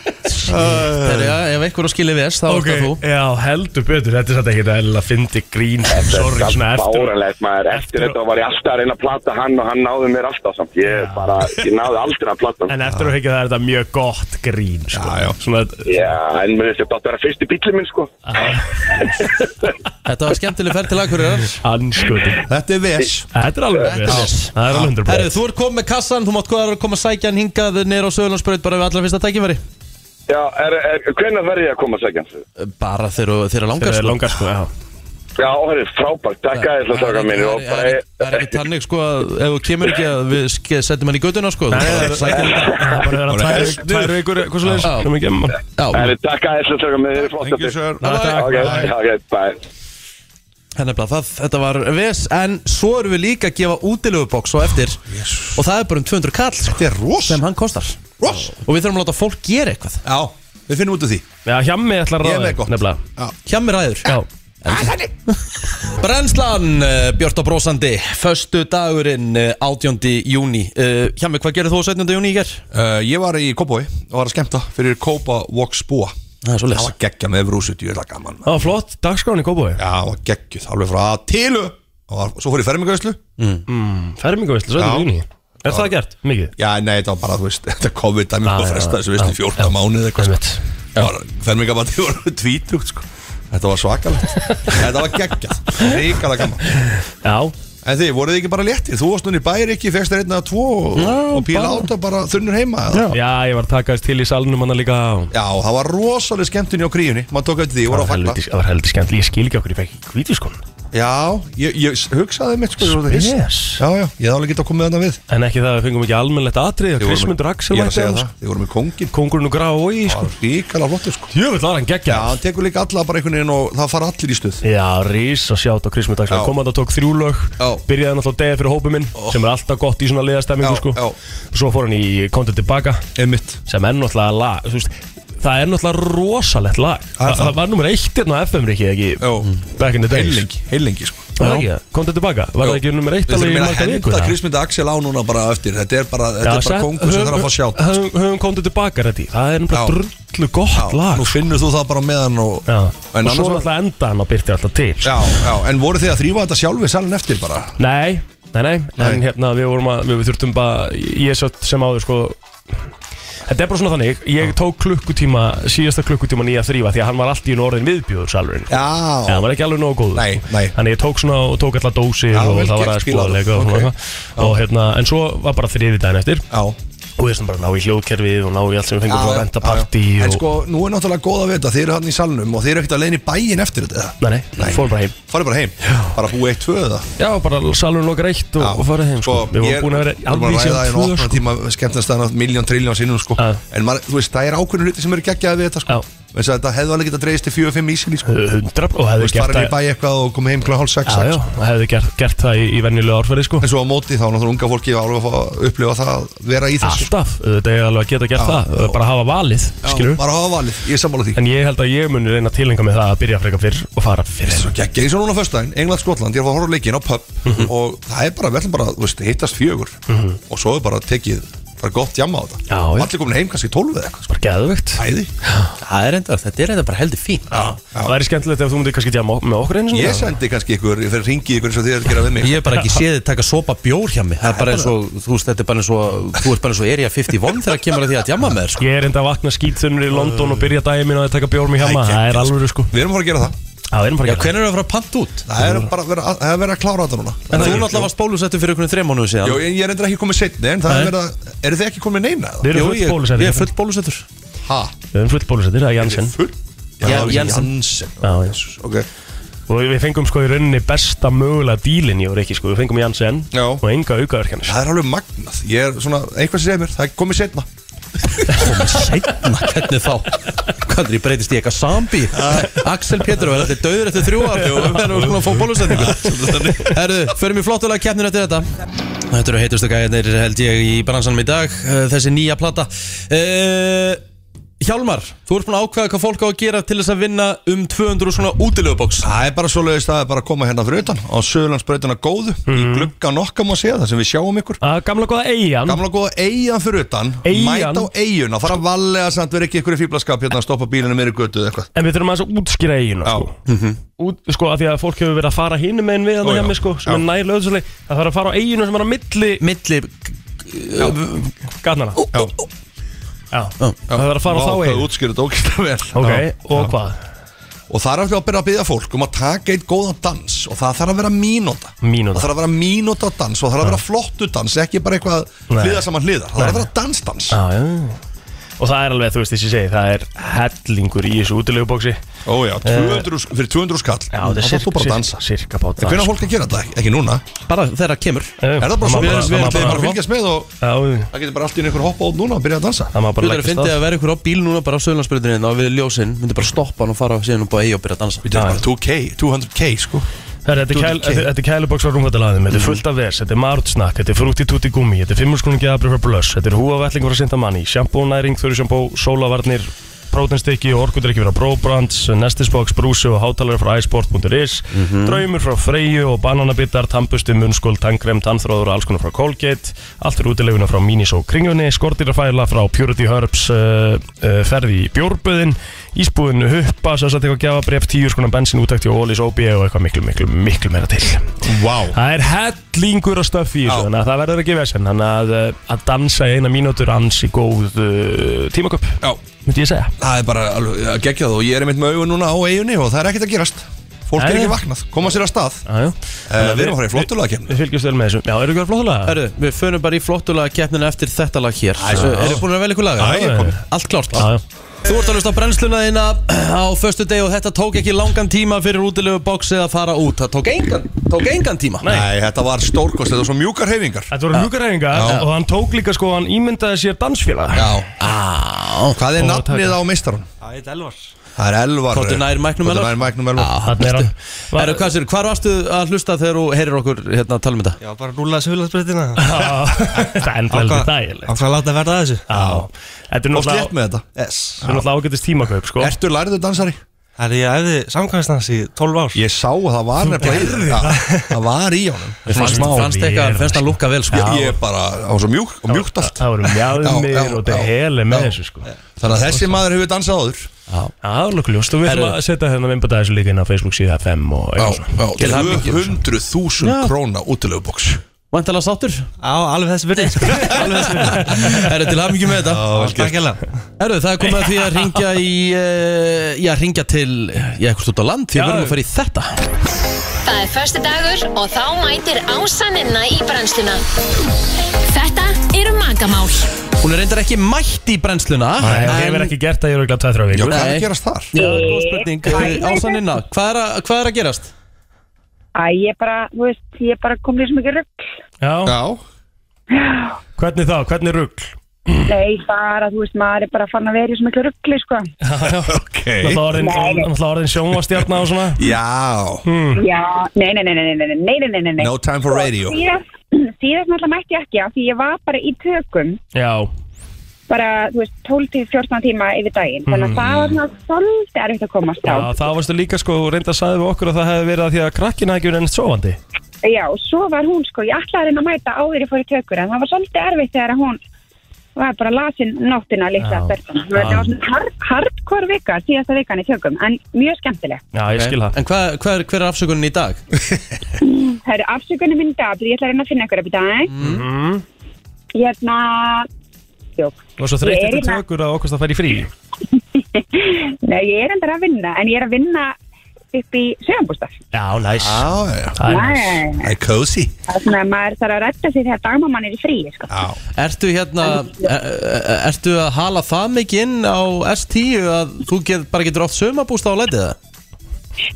[SPEAKER 1] Þegar ég- ef einhver á skilið VS þá
[SPEAKER 2] ok,
[SPEAKER 1] okay. þú
[SPEAKER 2] já, heldur betur Þetta er satt ekki það að fyndi grín sko. Sorry,
[SPEAKER 9] Þetta
[SPEAKER 2] svona
[SPEAKER 9] er
[SPEAKER 2] eftir
[SPEAKER 9] fáralegt maður, eftir
[SPEAKER 2] eftir-
[SPEAKER 9] þetta var ég alltaf að reyna að plata hann og hann náði mér alltaf samt Ég bara, ég náði aldrei að plata hann
[SPEAKER 2] En eftir að hekja það er þetta mjög gott grín sko.
[SPEAKER 4] Já, já.
[SPEAKER 2] Svona,
[SPEAKER 9] Já, en mér finnst þetta að vera fyrsti bílið minn sko
[SPEAKER 1] Þetta var skemmtileg ferð til Akurur
[SPEAKER 2] anskutin
[SPEAKER 4] Þetta er VS
[SPEAKER 2] Þetta er alveg
[SPEAKER 1] Þetta er
[SPEAKER 2] vel.
[SPEAKER 1] vel.
[SPEAKER 2] Það er alveg 100
[SPEAKER 1] Herru, þú ert komið með kassan Þú mátt góðar að koma að sækja hann hingað Nýr á Söðlandsbraut bara við allra fyrsta tækifæri
[SPEAKER 9] Já, er, er, hvenær verð ég að koma að segja hans?
[SPEAKER 1] Bara þegar þú- þegar langar
[SPEAKER 2] Þetta er
[SPEAKER 1] sko.
[SPEAKER 2] langar sko, já
[SPEAKER 9] Já, það er frábært, takk að þess að taka minni og
[SPEAKER 1] Það er
[SPEAKER 9] bara,
[SPEAKER 1] ekki- það er ekki tannig sko að ef þú kemur ekki að við ske- setjum hann í göttuna sko
[SPEAKER 2] Nei,
[SPEAKER 1] það er sækjum
[SPEAKER 2] Það er bara að vera tvær-
[SPEAKER 1] Hestur.
[SPEAKER 2] tvær vikur, hvað svo leiðis,
[SPEAKER 1] Já.
[SPEAKER 2] sem ekki um emma.
[SPEAKER 1] Já,
[SPEAKER 9] það er takk að þess að taka minni, þið er flott
[SPEAKER 4] Thank
[SPEAKER 9] að
[SPEAKER 4] you
[SPEAKER 9] þið.
[SPEAKER 4] sir
[SPEAKER 1] það er
[SPEAKER 9] Ok, ok, bye.
[SPEAKER 1] Það er nefnilega það, þetta var ves En svo erum við líka að gefa útilegubóks og eftir Og það er bara um 200 kall sko,
[SPEAKER 4] Þetta er rosa
[SPEAKER 1] Sem hann kostar
[SPEAKER 4] Ross
[SPEAKER 1] Og við þurfum að láta fólk gera eitthvað
[SPEAKER 4] Já, við finnum út af því
[SPEAKER 2] Já, hjammi ætlar að
[SPEAKER 4] Ég er
[SPEAKER 2] ráða
[SPEAKER 4] með gott.
[SPEAKER 2] þig, nefnilega.
[SPEAKER 1] Hjá mér ræður
[SPEAKER 2] Já.
[SPEAKER 1] Brennslan, uh, Björn og Brósandi Föstu dagurinn uh, 18. júni uh, Hjá mér, hvað gerir þú 17. júni í ger?
[SPEAKER 4] uh, Ég var í Kópói og var að skemmta fyrir Kópa Vox Búa
[SPEAKER 1] Það er svo
[SPEAKER 4] Það var geggja með vrúsut, ég er það gaman maður.
[SPEAKER 2] Það var flott dagskráin í Kópói.
[SPEAKER 4] Já, það var geggjuð, alveg frá að tilu og var- svo fór ég fermingauslu
[SPEAKER 2] Fermingavislu, svo
[SPEAKER 4] Já.
[SPEAKER 2] er júni. Er það gert? Mikið?
[SPEAKER 4] Já, nei, þetta var bara, þú veist, þetta COVID-dæmi
[SPEAKER 2] Já,
[SPEAKER 4] og
[SPEAKER 2] já,
[SPEAKER 4] fresta þessu,
[SPEAKER 2] já,
[SPEAKER 4] veist, í
[SPEAKER 2] já.
[SPEAKER 4] 14 mánuð eitthvað
[SPEAKER 2] Einmitt.
[SPEAKER 4] Fermingabandi voru tvítugt, sko Þetta var svakalegt Þetta var geggjað, ríkala gaman
[SPEAKER 2] Já.
[SPEAKER 4] En þið, voruð þið ekki bara léttir? Þú varst núna í bæri ekki, fegst þér einn eða tvo og, og píla átta bara þunnur heima eða?
[SPEAKER 2] Já, ég var að taka þess til í salnum hann líka.
[SPEAKER 4] Já, það var rosalega skemmtunni á kríunni Maður tók eftir því, ég
[SPEAKER 2] Það
[SPEAKER 4] voru
[SPEAKER 2] var
[SPEAKER 4] að fagna
[SPEAKER 2] helviti- það var heldur skemmt, ég skil ekki okkur, ég fekk ekki hvítið sko
[SPEAKER 4] Já, ég, ég hugsaði mitt sko ég var það hissa.
[SPEAKER 2] Spes.
[SPEAKER 4] Já, já, ég hefði alveg getað komið þarna við
[SPEAKER 2] En ekki það að við fengum ekki almennlegt atrið
[SPEAKER 4] Þið voru með-
[SPEAKER 2] Krismundur Axel
[SPEAKER 4] Ég er að
[SPEAKER 2] mætti
[SPEAKER 4] segja
[SPEAKER 2] þarna,
[SPEAKER 4] það, þið voru með kongin
[SPEAKER 2] sko. Kóngurinn og gráa og í
[SPEAKER 4] Það
[SPEAKER 2] sko
[SPEAKER 4] var ríkala flottur sko
[SPEAKER 2] Jöfnveld var
[SPEAKER 4] Já,
[SPEAKER 2] hann geggja
[SPEAKER 4] hann tekur líka alla bara einhvern veginn og það fara allir í stuð
[SPEAKER 2] Já, rís að sjáta á Krismund Axel
[SPEAKER 4] Já.
[SPEAKER 2] Kom hann og tók þrjú lög
[SPEAKER 4] Já. Oh.
[SPEAKER 2] Byrjaði náttúrulega degi fyrir hópum minn Sem er alltaf gott í svona liðastemmingu
[SPEAKER 4] Já,
[SPEAKER 2] sko
[SPEAKER 4] já.
[SPEAKER 2] Og svo fór hann í Kondur tilbaka
[SPEAKER 4] Emmitt
[SPEAKER 2] Sem er náttúrulega lag þú veist, Það er náttúrulega rosalegt lag
[SPEAKER 4] Það
[SPEAKER 2] Þa,
[SPEAKER 4] er það.
[SPEAKER 2] Það var nummer eitt hérna á FM rikið ekki
[SPEAKER 4] Já.
[SPEAKER 2] Back in the days
[SPEAKER 4] Heilengi, heilengi sko
[SPEAKER 2] Kondur tilbaka Var það
[SPEAKER 4] Já.
[SPEAKER 2] ekki nummer eitt
[SPEAKER 4] Við
[SPEAKER 2] alveg
[SPEAKER 4] þurfum
[SPEAKER 2] í
[SPEAKER 4] meira að
[SPEAKER 2] marga vikur
[SPEAKER 4] henda Krismyndi Axel á núna bara eftir Þetta er bara, þetta er bara kongur sem þarf að fá sjátt
[SPEAKER 2] Höfum, höfum Kondur tilbaka þetta Það er
[SPEAKER 4] Já.
[SPEAKER 2] náttúrulega drullu gott lag sko.
[SPEAKER 4] Nú finnur þú það bara meðan og
[SPEAKER 2] Já,
[SPEAKER 4] En
[SPEAKER 2] og svo
[SPEAKER 4] annars var
[SPEAKER 2] náttúrulega enda hann á byrti alltaf til
[SPEAKER 4] Já, já, en voru þið að þrýfa þetta sjálfi salin eftir bara?
[SPEAKER 2] Nei, nei, nei, en hérna við vorum að, við, við þurftum bara, ég satt sem áður sko Þetta er bara svona þannig, ég tók klukkutíma, síðasta klukkutíma nýja þrýfa Því að hann var allt í einu orðin viðbjóður salurinn Já,
[SPEAKER 4] Já,
[SPEAKER 2] hann var ekki alveg nógu góður
[SPEAKER 4] Nei, nei.
[SPEAKER 2] Þannig ég tók svona og tók alltaf dósir
[SPEAKER 4] Já,
[SPEAKER 2] og
[SPEAKER 4] vel
[SPEAKER 2] það var
[SPEAKER 4] gert,
[SPEAKER 2] aðeins
[SPEAKER 4] Pílar.
[SPEAKER 2] búðalega og,
[SPEAKER 4] Ok.
[SPEAKER 2] okay. og hérna, en svo var bara þriði daginn eftir
[SPEAKER 4] já
[SPEAKER 2] Og ég sem bara ná í hljóðkerfið og ná í allt sem við fengum frá
[SPEAKER 4] Já,
[SPEAKER 2] rentapartí
[SPEAKER 4] já, já. En
[SPEAKER 2] og...
[SPEAKER 4] sko, nú er náttúrulega góð að vita Þið eru hann í salnum og þið eru ekkert að leiðin í bæin eftir þetta eða?
[SPEAKER 2] Nei, nei, fórum bara heim
[SPEAKER 4] Farið bara heim, bara búið eitt, tvö eða
[SPEAKER 2] Já, bara salurinn lokar eitt og, og farið heim sko. Við vorum búin að vera alveg
[SPEAKER 4] síðan
[SPEAKER 2] síðan
[SPEAKER 4] Við vorum að ræða
[SPEAKER 2] tvö sko.
[SPEAKER 4] einu tíma skemmtast þannig miljón, trilljón sinnum sko
[SPEAKER 2] Já.
[SPEAKER 4] En maður, þú veist, það er ákveðinu hluti sem eru geggjaði við þetta sko
[SPEAKER 2] Já.
[SPEAKER 4] Þess að þetta hefði alveg getað dreigist til 4-5 ísili sko Þú
[SPEAKER 2] 100 og hefði
[SPEAKER 4] veist,
[SPEAKER 2] gert
[SPEAKER 4] farið í
[SPEAKER 2] það
[SPEAKER 4] bæ eitthvað og komið heim kl. hálf 6
[SPEAKER 2] Já, já, það hefði gert, gert það í, í venjulegu árferði sko
[SPEAKER 4] En svo á móti þá er náttúrulega unga fólki alveg að fá að upplifa það að vera í þessu
[SPEAKER 2] Alltaf, þetta er alveg að geta gert
[SPEAKER 4] Já,
[SPEAKER 2] það
[SPEAKER 4] já.
[SPEAKER 2] Bara hafa valið, skilur
[SPEAKER 4] Bara hafa valið, ég er sammála því
[SPEAKER 2] En ég held að ég muni reyna að tilhenga mig það að byrja frekar fyrr og fara fyrr
[SPEAKER 4] Svo geggja eins og núna föstudaginn, England-Skotland, ég er að fara að horfa á leikinn á pub og það er bara, við ætlum bara, þú veist, hittast fjögur og svo er bara tekið, það er gott jamma á þetta
[SPEAKER 2] Já, já.
[SPEAKER 4] Allir komin heim kannski 12 eða eitthvað, sko.
[SPEAKER 2] Bara geðvögt
[SPEAKER 4] æði
[SPEAKER 1] Það er enda, þetta er enda bara heldur fín
[SPEAKER 2] Það væri skemmtilegt ef þú myndir kannski djama með okkur einu sinni.
[SPEAKER 4] Ég sendi kannski ykkur, ég fer að ringi ykkur eins og þið er að gera við mig
[SPEAKER 1] Ég hef bara ekki séð þið taka sopa bjór hjá mig Það er bara eins og, þú veist, þetta er bara eins og Þú ert bara eins og Area 51 þegar kemur að því að djamma með þér sko.
[SPEAKER 2] Ég er enda að vakna skítþunnur í London og byrja daginn minn og taka bjór mig hjá maður Það er alveg sko
[SPEAKER 4] Við erum að fara að gera það
[SPEAKER 2] Já, við erum
[SPEAKER 1] Já,
[SPEAKER 2] bara að gera
[SPEAKER 1] hvernig er það að fara að panta út?
[SPEAKER 4] Það er bara að vera, að, að, vera að klára þetta núna
[SPEAKER 1] En þú náttúrulega varst bólusettur fyrir okkur þreim mánuðu síðan
[SPEAKER 4] Jó, ég, ég er endur ekki komið setni, en það er verið að, eru þið ekki komið með neina
[SPEAKER 2] Við
[SPEAKER 4] eða?
[SPEAKER 2] erum hérna.
[SPEAKER 1] Jú,
[SPEAKER 2] full bólusettir
[SPEAKER 1] ég, ég er full bólusettur
[SPEAKER 4] Ha?
[SPEAKER 2] Við erum full bólusettir, það er Janssen
[SPEAKER 4] Full?
[SPEAKER 1] Já, Janssen.
[SPEAKER 4] Janssen
[SPEAKER 2] Já, já.
[SPEAKER 4] Ok,
[SPEAKER 2] Og við fengum sko í rauninni besta mögulega dílin ég og Rikki sko Við fengum Janssen
[SPEAKER 4] Já.
[SPEAKER 2] og enga aukaverkjanir
[SPEAKER 4] það er alveg magnað Ég er svona, eitthvað sem segir mér, það er komið setna
[SPEAKER 1] Seinna, hvernig þá? Hvernig breytist ég eitthvað sambi? Axel Pétur var eftir döður eftir þrjú ár og við erum svona að fá bólusetningu Herðu, förum í flottulega keppnir eftir þetta Þetta eru heitustu gæðinir held ég í bransanum í dag eh, Þessi nýja plata uh, Hjálmar, þú ert búin að ákveða hvað fólk á að gera til þess að vinna um 200 svona útilegubóks
[SPEAKER 4] Það er bara svoleiðist að það er bara að koma hérna fyrir utan á Söðurlandsbreytuna góðu í
[SPEAKER 2] Mhm.
[SPEAKER 4] glugga nokka má segja það sem við sjáum ykkur
[SPEAKER 2] Að Gamla góða Eyjan
[SPEAKER 4] Gamla góða eigan fyrir utan
[SPEAKER 2] Eyjan?
[SPEAKER 4] mæta á eiguna, fara að valega samt vera ekki ykkur í fýblaskap hérna að stoppa bílinu meiri götu eða eitthvað
[SPEAKER 2] En við þurfum aðeins að útskýra eiginu
[SPEAKER 4] Já.
[SPEAKER 2] sko. Út, sko, af því að fólk hefur verið að fara hinn meginn við hann
[SPEAKER 4] Ó, já.
[SPEAKER 2] hjá mig sko, sem
[SPEAKER 4] Já.
[SPEAKER 2] er nær löðsvöli Það þarf að fara á eiginu sem er á milli
[SPEAKER 1] Milli,
[SPEAKER 2] gatnana
[SPEAKER 4] Já.
[SPEAKER 2] Já. Það þarf að fara á þá
[SPEAKER 4] Vá,
[SPEAKER 2] eiginu
[SPEAKER 4] útskýrðu þetta ógeðslega vel.
[SPEAKER 2] Ok,
[SPEAKER 4] Já.
[SPEAKER 2] og hvað?
[SPEAKER 4] Og það er alltaf að byrja að byggja fólk um að taka eitt góðan dans og það þarf að vera mínóta
[SPEAKER 2] Mínúta.
[SPEAKER 4] Það þarf að vera mínóta dans og það þarf að vera flottu dans ekki bara eitthvað
[SPEAKER 2] Nei.
[SPEAKER 4] hliða saman hliðar Það þarf að vera dansdans
[SPEAKER 2] Já, já og það er alveg, þú veist, þessi segi, það er hellingur í þessu útilegubóksi Já,
[SPEAKER 4] Ó já, 200, fyrir 200 skall
[SPEAKER 2] það Eh. er
[SPEAKER 4] Þá þarf þú bara að dansa
[SPEAKER 2] Sirka bát
[SPEAKER 4] En hvernig á fólk að gera þetta? Ekki- Ekki núna
[SPEAKER 1] Bara þegar það kemur
[SPEAKER 4] Er það bara svo? Við
[SPEAKER 2] bara,
[SPEAKER 4] ætlum
[SPEAKER 2] það má
[SPEAKER 4] bara
[SPEAKER 2] bara,
[SPEAKER 4] að fylgjast með og
[SPEAKER 2] já,
[SPEAKER 4] það getur bara allt í einu einhver hoppa út núna og byrja að dansa
[SPEAKER 2] það má
[SPEAKER 1] Þú
[SPEAKER 2] bara
[SPEAKER 1] verður að
[SPEAKER 2] leggja
[SPEAKER 1] fyndi
[SPEAKER 2] stað
[SPEAKER 1] að vera ykkur á bíl núna bara á söðlandsbyrðinni og við ljósinn myndi bara stoppa hann og fara síðan upp á eigi og byrja að dansa
[SPEAKER 4] Þetta er bara 2K, 200K sko
[SPEAKER 2] Herra, Þetta er kæl-
[SPEAKER 4] Duty King.
[SPEAKER 2] þetta- þetta er kælubóks frá rúmfattalaðum Þetta er fullt af vers, þetta er marutsnakk Þetta er frútti túti gummi, þetta er fimmurskonum geðabri frá blöss Þetta er húavellingur frá sindamanni, sjampó næring Þurru sjampó, sólavarnir, prótenstykki og orkudrykki frá Brobrands, Nestisbox brúsi og hátalari frá isport.is Draumur frá Freyju og bananabitar Tampusti, munnskól, tangrem, tannþróður og alls konar frá Colgate, allt fyrir útileguna frá Minisó kringunni, skortirafæla frá Purity Herbs uh, uh, ferði í bjórböðin, ísbúðinu huppa sem sagt eitthvað gjafabref, tíu skonar bensin útækti og ólís OB og eitthvað miklu, miklu, miklu meira til.
[SPEAKER 4] Vá
[SPEAKER 2] Það er hellingur að stöffi í þessu, þannig að það verður ekki vesen, þannig að, uh, að dansa í eina mínútur ansi góð uh, tímaköp,
[SPEAKER 4] Já,
[SPEAKER 2] myndi ég segja.
[SPEAKER 4] það er bara alveg að gegja það og ég er einmitt með augun núna á eigunni og það er ekkert að gerast Fólk er
[SPEAKER 2] Nei,
[SPEAKER 4] ekki
[SPEAKER 2] nei.
[SPEAKER 4] vaknað, koma sér að stað uh,
[SPEAKER 2] Aðjó.
[SPEAKER 4] Við erum að fara í hérna. flottulega kemni
[SPEAKER 2] Við fylgjumst vel með þessu. Já, eru ekki að vera flottulega?
[SPEAKER 1] Herru, við fönum bara í flottulega keppnina eftir þetta lag hér Svo Eru búin að velja ykkur lag?
[SPEAKER 4] Æ, ég er kominn.
[SPEAKER 1] Allt klárt
[SPEAKER 2] Já, já.
[SPEAKER 1] Þú ert að hlusta á brennsluna þína á föstu deg og þetta tók ekki langan tíma fyrir útilegu bóksi að fara út Það tók engan, tók engan tíma
[SPEAKER 2] Nei.
[SPEAKER 4] Nei, þetta var stórkost, þetta var svo mjúkar hefingar
[SPEAKER 2] Þetta voru hlugaræðingar og hann tók líka sko, hann ímyndaði sér dansfélag
[SPEAKER 4] Já Hvað er nafnið á meistarun? Það er Elvar
[SPEAKER 1] Komdu nær mæknum,
[SPEAKER 4] Komdu
[SPEAKER 1] Elvar.
[SPEAKER 4] nær mæknum Elvar
[SPEAKER 2] Þannig er hann
[SPEAKER 1] Herru, hvað sér, hvar varstu að hlusta þegar þú heyrir okkur hérna að tala um þetta?
[SPEAKER 10] Já, bara rúla sögulagsbreytina
[SPEAKER 2] Já, Það er enda heldur dægilegt
[SPEAKER 10] Ákvað að láta verða að þessu
[SPEAKER 2] Þetta er
[SPEAKER 4] Og
[SPEAKER 2] náttúrulega
[SPEAKER 4] slétt með þetta
[SPEAKER 10] Yes
[SPEAKER 2] Þetta er náttúrulega ágættist tímakaup sko
[SPEAKER 4] Ertu lærðu dansari?
[SPEAKER 10] Það er ég æfði samkvæmstans í 12 ár
[SPEAKER 4] Ég sá að það var nefnilega í þér. Já, Það var í honum
[SPEAKER 1] Fannst, fannst eitthvað,
[SPEAKER 2] Ég-
[SPEAKER 1] fannst það lukka vel sko
[SPEAKER 4] Ég- Ég bara, það var svo mjúk og mjúkt allt
[SPEAKER 2] Það voru
[SPEAKER 4] Já,
[SPEAKER 2] mjáðumir
[SPEAKER 4] já,
[SPEAKER 2] og
[SPEAKER 4] já,
[SPEAKER 2] þetta er heli með
[SPEAKER 4] já.
[SPEAKER 2] þessu sko Já,
[SPEAKER 4] Þannig að þessi maður hefur dansað áður
[SPEAKER 2] það er nokkuð ljóst og við ætlum
[SPEAKER 1] Herru.
[SPEAKER 2] að setja hérna vimbata þessu líka inn á Facebook síða FM og
[SPEAKER 4] Já,
[SPEAKER 2] eitthvað svona
[SPEAKER 1] Til
[SPEAKER 4] já,
[SPEAKER 1] hamingju.
[SPEAKER 4] 200.000 króna útilegubóks
[SPEAKER 1] Vantala sáttur
[SPEAKER 10] Á, alveg þessi byrði sko. Alveg þessi byrði
[SPEAKER 1] Herru, til hafingjum með þetta
[SPEAKER 10] Takk hérlega
[SPEAKER 1] Herru, það er komið að því að ringja í uh, Já, ringja til, já, eitthvað út á land Því
[SPEAKER 2] Já.
[SPEAKER 1] við verðum að fara í þetta
[SPEAKER 7] Það er förstu dagur og þá mætir ásaninna í brennsluna. Þetta eru magamál.
[SPEAKER 1] Hún er reyndar ekki mætt í brennsluna
[SPEAKER 2] Það
[SPEAKER 1] en-
[SPEAKER 2] hefur ekki gert það í örgulega tveitra
[SPEAKER 4] Já,
[SPEAKER 2] vikur
[SPEAKER 4] hvað er
[SPEAKER 1] Nei.
[SPEAKER 4] að gerast þar?
[SPEAKER 1] Já, góð spurning Eh, Ása Ninna, hvað er, að, hvað er að gerast?
[SPEAKER 11] Æ, ég bara, þú veist, ég bara kom í svo mikið rugg.
[SPEAKER 2] Já,
[SPEAKER 4] Já,
[SPEAKER 2] hvernig þá, hvernig rugl? Mhm.
[SPEAKER 11] Nei, bara, þú veist, maður er bara fann að vera í svo mikið ruggli, sko.
[SPEAKER 4] ok
[SPEAKER 2] Náttúrulega orðin- náttúrulega orðin sjónvastjarna og svona
[SPEAKER 4] Já,
[SPEAKER 2] Mhm.
[SPEAKER 11] Já, nei, nei, nei, nei, nei, nei, nei, nei, nei, nei, nei.
[SPEAKER 4] no time for radio
[SPEAKER 11] Síðast, síðast náttúrulega mætti ég ekki á því ég var bara í tökum,
[SPEAKER 2] Já,
[SPEAKER 11] bara, þú veist, 12-14 tíma yfir daginn. Þannig að það var svona svolítið erfitt að komast á.
[SPEAKER 2] Mhm. Já, það varstu líka sko, reynda að sagði við okkur að það hefði verið að því að krakkin hafði ekki verið ennst sofandi.
[SPEAKER 11] Já, og svo var hún, sko, ég ætlaði að reyna að mæta áður ég fór í tökur, en það var svolítið erfitt þegar hún var bara lasin nóttina litla
[SPEAKER 2] Já.
[SPEAKER 11] að berðan. Það var svona hard, hardcore vika, síðasta vikan í tökum, en mjög skemmtileg.
[SPEAKER 2] Já, ég skil það.
[SPEAKER 1] En hvað, hvað er, hver er afsökunin í dag?
[SPEAKER 11] Það eru afsökunum minn í dag, því ég ætla að reyna að finna ykkur upp í dag. Mm. Hérna, jók.
[SPEAKER 2] Og svo
[SPEAKER 11] Ég
[SPEAKER 2] þreytið
[SPEAKER 11] er
[SPEAKER 2] til
[SPEAKER 11] hérna.
[SPEAKER 2] tökur að okkur það færi frí.
[SPEAKER 11] Nei, ég er endur að vinna, en ég er að vinna upp í sögambústaf.
[SPEAKER 2] Já, næs.
[SPEAKER 4] Já, já,
[SPEAKER 2] Það er næs.
[SPEAKER 11] Það
[SPEAKER 4] það er cozy
[SPEAKER 11] er svona að maður þarf að rætta sig þegar dagmamann er í frí, sko.
[SPEAKER 4] Já,
[SPEAKER 1] Ertu hérna, er, ertu að hala það mikið inn á S10 að þú get, bara getur átt sömabústa á lætið það?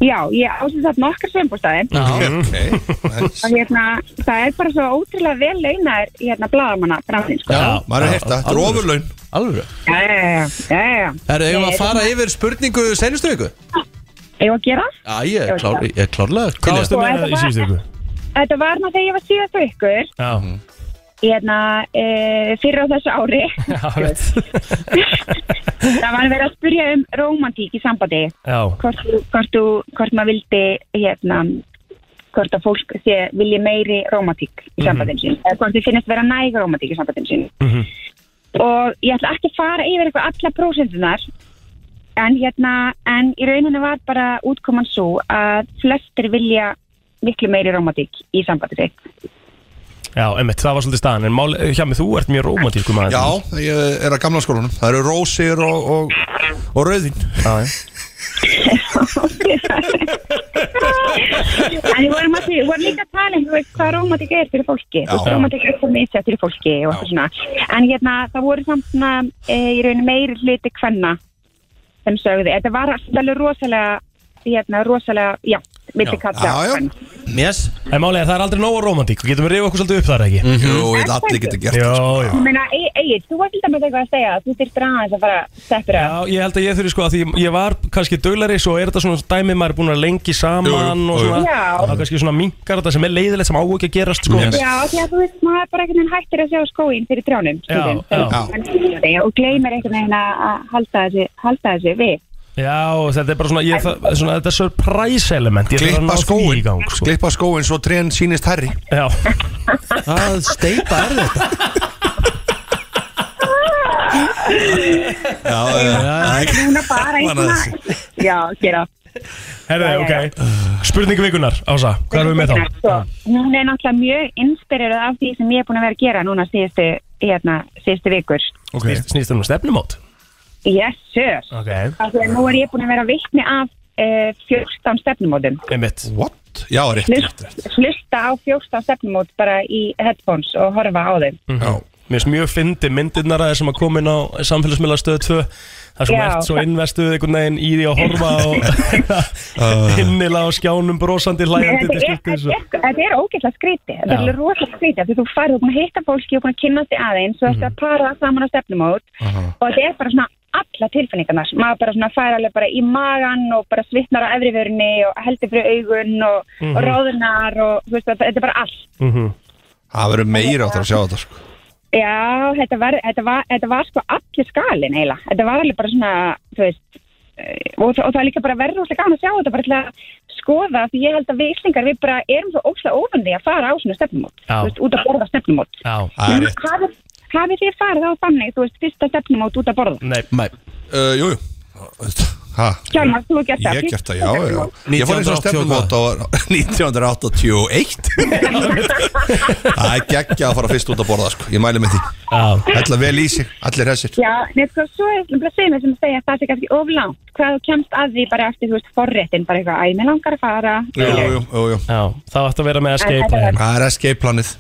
[SPEAKER 11] Já, ég ásins að nokkar sögambústafi.
[SPEAKER 4] ok nice.
[SPEAKER 11] Og hérna, það er bara svo ótrúlega vel launar hérna bladamanna framtíð, sko.
[SPEAKER 1] Já,
[SPEAKER 4] Maður er hérta, þetta er
[SPEAKER 1] alveg.
[SPEAKER 4] ofurlaun
[SPEAKER 1] Alveg
[SPEAKER 11] Já, já, já, já, já.
[SPEAKER 1] Herru, eigum við
[SPEAKER 11] Nei,
[SPEAKER 1] að fara yfir spurningu senustu viku?
[SPEAKER 11] Ég var að gera.
[SPEAKER 1] Já, ég er, klár, ég er klárlega til í
[SPEAKER 2] Hvað
[SPEAKER 1] það.
[SPEAKER 2] varstu
[SPEAKER 11] Og
[SPEAKER 2] með
[SPEAKER 11] Sko, þetta
[SPEAKER 2] í
[SPEAKER 11] var-
[SPEAKER 2] síðustu ykkur?
[SPEAKER 11] Þetta var maður þegar ég var síðast á ykkur,
[SPEAKER 2] Já,
[SPEAKER 11] hérna, e, fyrir á þessu ári.
[SPEAKER 2] já, veit.
[SPEAKER 11] Það var að vera að spurja um romantík í sambandi
[SPEAKER 2] Já,
[SPEAKER 11] hvort, þú- hvort, þú- hvort maður vildi hérna, hvort að fólk sé, vilji meiri romantík í sambandin sín eða hvort þið finnist vera næg romantík í sambandin sín
[SPEAKER 2] Mhm.
[SPEAKER 11] og ég ætla ekki að fara yfir eitthvað alla prósendunar en hérna en í rauninu var bara útkoman svo að flestir vilja miklu meiri romantík í sambandi sitt
[SPEAKER 2] já, emmitt, það var svolítið staðan. En mál, hjá mig, þú ert mjög rómantísku maður.
[SPEAKER 4] Já, ég er að gamla skólanum Það eru rósir og, og, og rauðin
[SPEAKER 2] Já, já.
[SPEAKER 11] En við vorum, að því, við vorum líka að tala um þú veist, hvað romantik er fyrir fólki
[SPEAKER 12] Já.
[SPEAKER 11] þú veist, romantik er svo misjætt fyrir fólki og eitthvað svona en hérna, það voru samt svona e, í raun meiri hluti kvenna sem sögðu, þetta var alltaf alveg rosalega hérna, rosalega, já, milli kalla og kvenna.
[SPEAKER 1] Yes
[SPEAKER 2] En málega það er aldrei nóg á romantík Getum við reyfa okkur svolítið upp þar ekki mm
[SPEAKER 4] Jú, ég veit allir geta gert
[SPEAKER 2] Jó,
[SPEAKER 4] það, sko.
[SPEAKER 2] jó
[SPEAKER 11] Ég meina, e, Egil, þú var til dæmis eitthvað að segja að þú þyrftir aðeins að fara að steppur
[SPEAKER 2] Já, ég held að ég þurfi sko að því ég var kannski döglari svo er þetta svona dæmi maður er búin að lengi saman
[SPEAKER 11] jú,
[SPEAKER 2] og svona
[SPEAKER 11] jú. Já.
[SPEAKER 2] það er kannski svona minkar þetta sem er leiðilegt sem á ekki að gerast sko
[SPEAKER 11] Já, því að þú veist, maður er bara einhvern veginn hættir að sjá skóin fyrir trjánum, skilum,
[SPEAKER 2] já.
[SPEAKER 11] og gleymir einhvern veginn að að halda þessi, halda þessi við.
[SPEAKER 2] Já, og þetta er bara svona, ég, það, svona þetta er surprise element ég þarf að ná
[SPEAKER 4] Klippa
[SPEAKER 2] því í
[SPEAKER 4] skóin,
[SPEAKER 2] gang, sko.
[SPEAKER 4] klippa skóin svo trén sýnist herri
[SPEAKER 2] Já
[SPEAKER 1] Það steipa er þetta
[SPEAKER 4] Já, já, já
[SPEAKER 11] Núna bara einhvern veginn, já, gera.
[SPEAKER 2] Herði, ok Spurning vikunar, Ása, hvað erum við með þá?
[SPEAKER 11] Svo, sko, Hún er náttúrulega mjög inspirerað af því sem ég er búin að vera að gera núna síðustu, hérna, síðustu vikur.
[SPEAKER 2] Okay. Snýst, snýst um stefnumót
[SPEAKER 11] Yes, sir.
[SPEAKER 2] Ok
[SPEAKER 11] Af því að nú er ég búin að vera vittni af uh, 14 stefnumótum.
[SPEAKER 2] Einmitt
[SPEAKER 4] What? Já, rétt
[SPEAKER 11] Hlust- Hlusta á 14 stefnumót bara í headphones og horfa á þeim.
[SPEAKER 2] Mér finnst mjög fyndi myndirnar að sem að koma inn á samfélagsmiðla stöð 2 Það er
[SPEAKER 11] Já.
[SPEAKER 2] svona eftir svo innvestuð einhvern veginn í því að horfa og innila á skjánum brosandi hlæjandi til
[SPEAKER 11] Þetta er-
[SPEAKER 2] skiptið svo.
[SPEAKER 11] þetta er- þetta er ógeðslega skrítið þetta er
[SPEAKER 2] Já.
[SPEAKER 11] alveg rosalega skrítið af því þú farið og búin að hitta fólki og búin að kynna þig aðeins og þetta
[SPEAKER 2] Mhm.
[SPEAKER 11] er að para það saman á stefnumót og þetta er bara svona alla tilfinningarnar maður bara svona fær alveg bara í magan og bara svitnar á efrivörunni og heldur fyrir augun og,
[SPEAKER 4] Mhm.
[SPEAKER 11] og ráðunar og þú veist, þetta þetta er bara allt
[SPEAKER 4] Það verður meira áttur að sjá þetta sko
[SPEAKER 11] Já, þetta var, þetta var, þetta var sko allir skalin eiginlega. Þetta var alveg bara svona, þú veist, eh, og, þa- og það er líka bara verður óslega gaman að sjá þetta bara til að skoða því ég held að við Íslingar við bara erum svo óslega óvandi að fara á svona stefnumót,
[SPEAKER 2] Já.
[SPEAKER 11] þú veist, út að borða stefnumót.
[SPEAKER 2] Já,
[SPEAKER 4] það er rétt
[SPEAKER 11] Hafið hafið þið farið á þannig, þú veist, fyrsta stefnumót út að
[SPEAKER 4] Mm.
[SPEAKER 11] borða?
[SPEAKER 2] Nei,
[SPEAKER 1] Nei.
[SPEAKER 4] Uh, Jú, jú Ha,
[SPEAKER 11] Hjálmar, þú hefur gert það.
[SPEAKER 4] ég hef gert það, já, já Ég fór eins og
[SPEAKER 1] 1988.
[SPEAKER 4] stefnumót á 1981 Það er geggja að fara fyrst út að borða sko Ég mæli með
[SPEAKER 2] því
[SPEAKER 4] Ætla vel í sig, allir hessir
[SPEAKER 11] Já, nefnir sko, svo er það sem að segja að það sé kannski oflangt, hvað þú kemst að því bara eftir, þú veist, forréttin, bara eitthvað, æ, mér langar að fara,
[SPEAKER 4] Jú, jú, jú, jú.
[SPEAKER 2] Já, þá ætti að vera með
[SPEAKER 11] escape plan.
[SPEAKER 4] Það er escape planið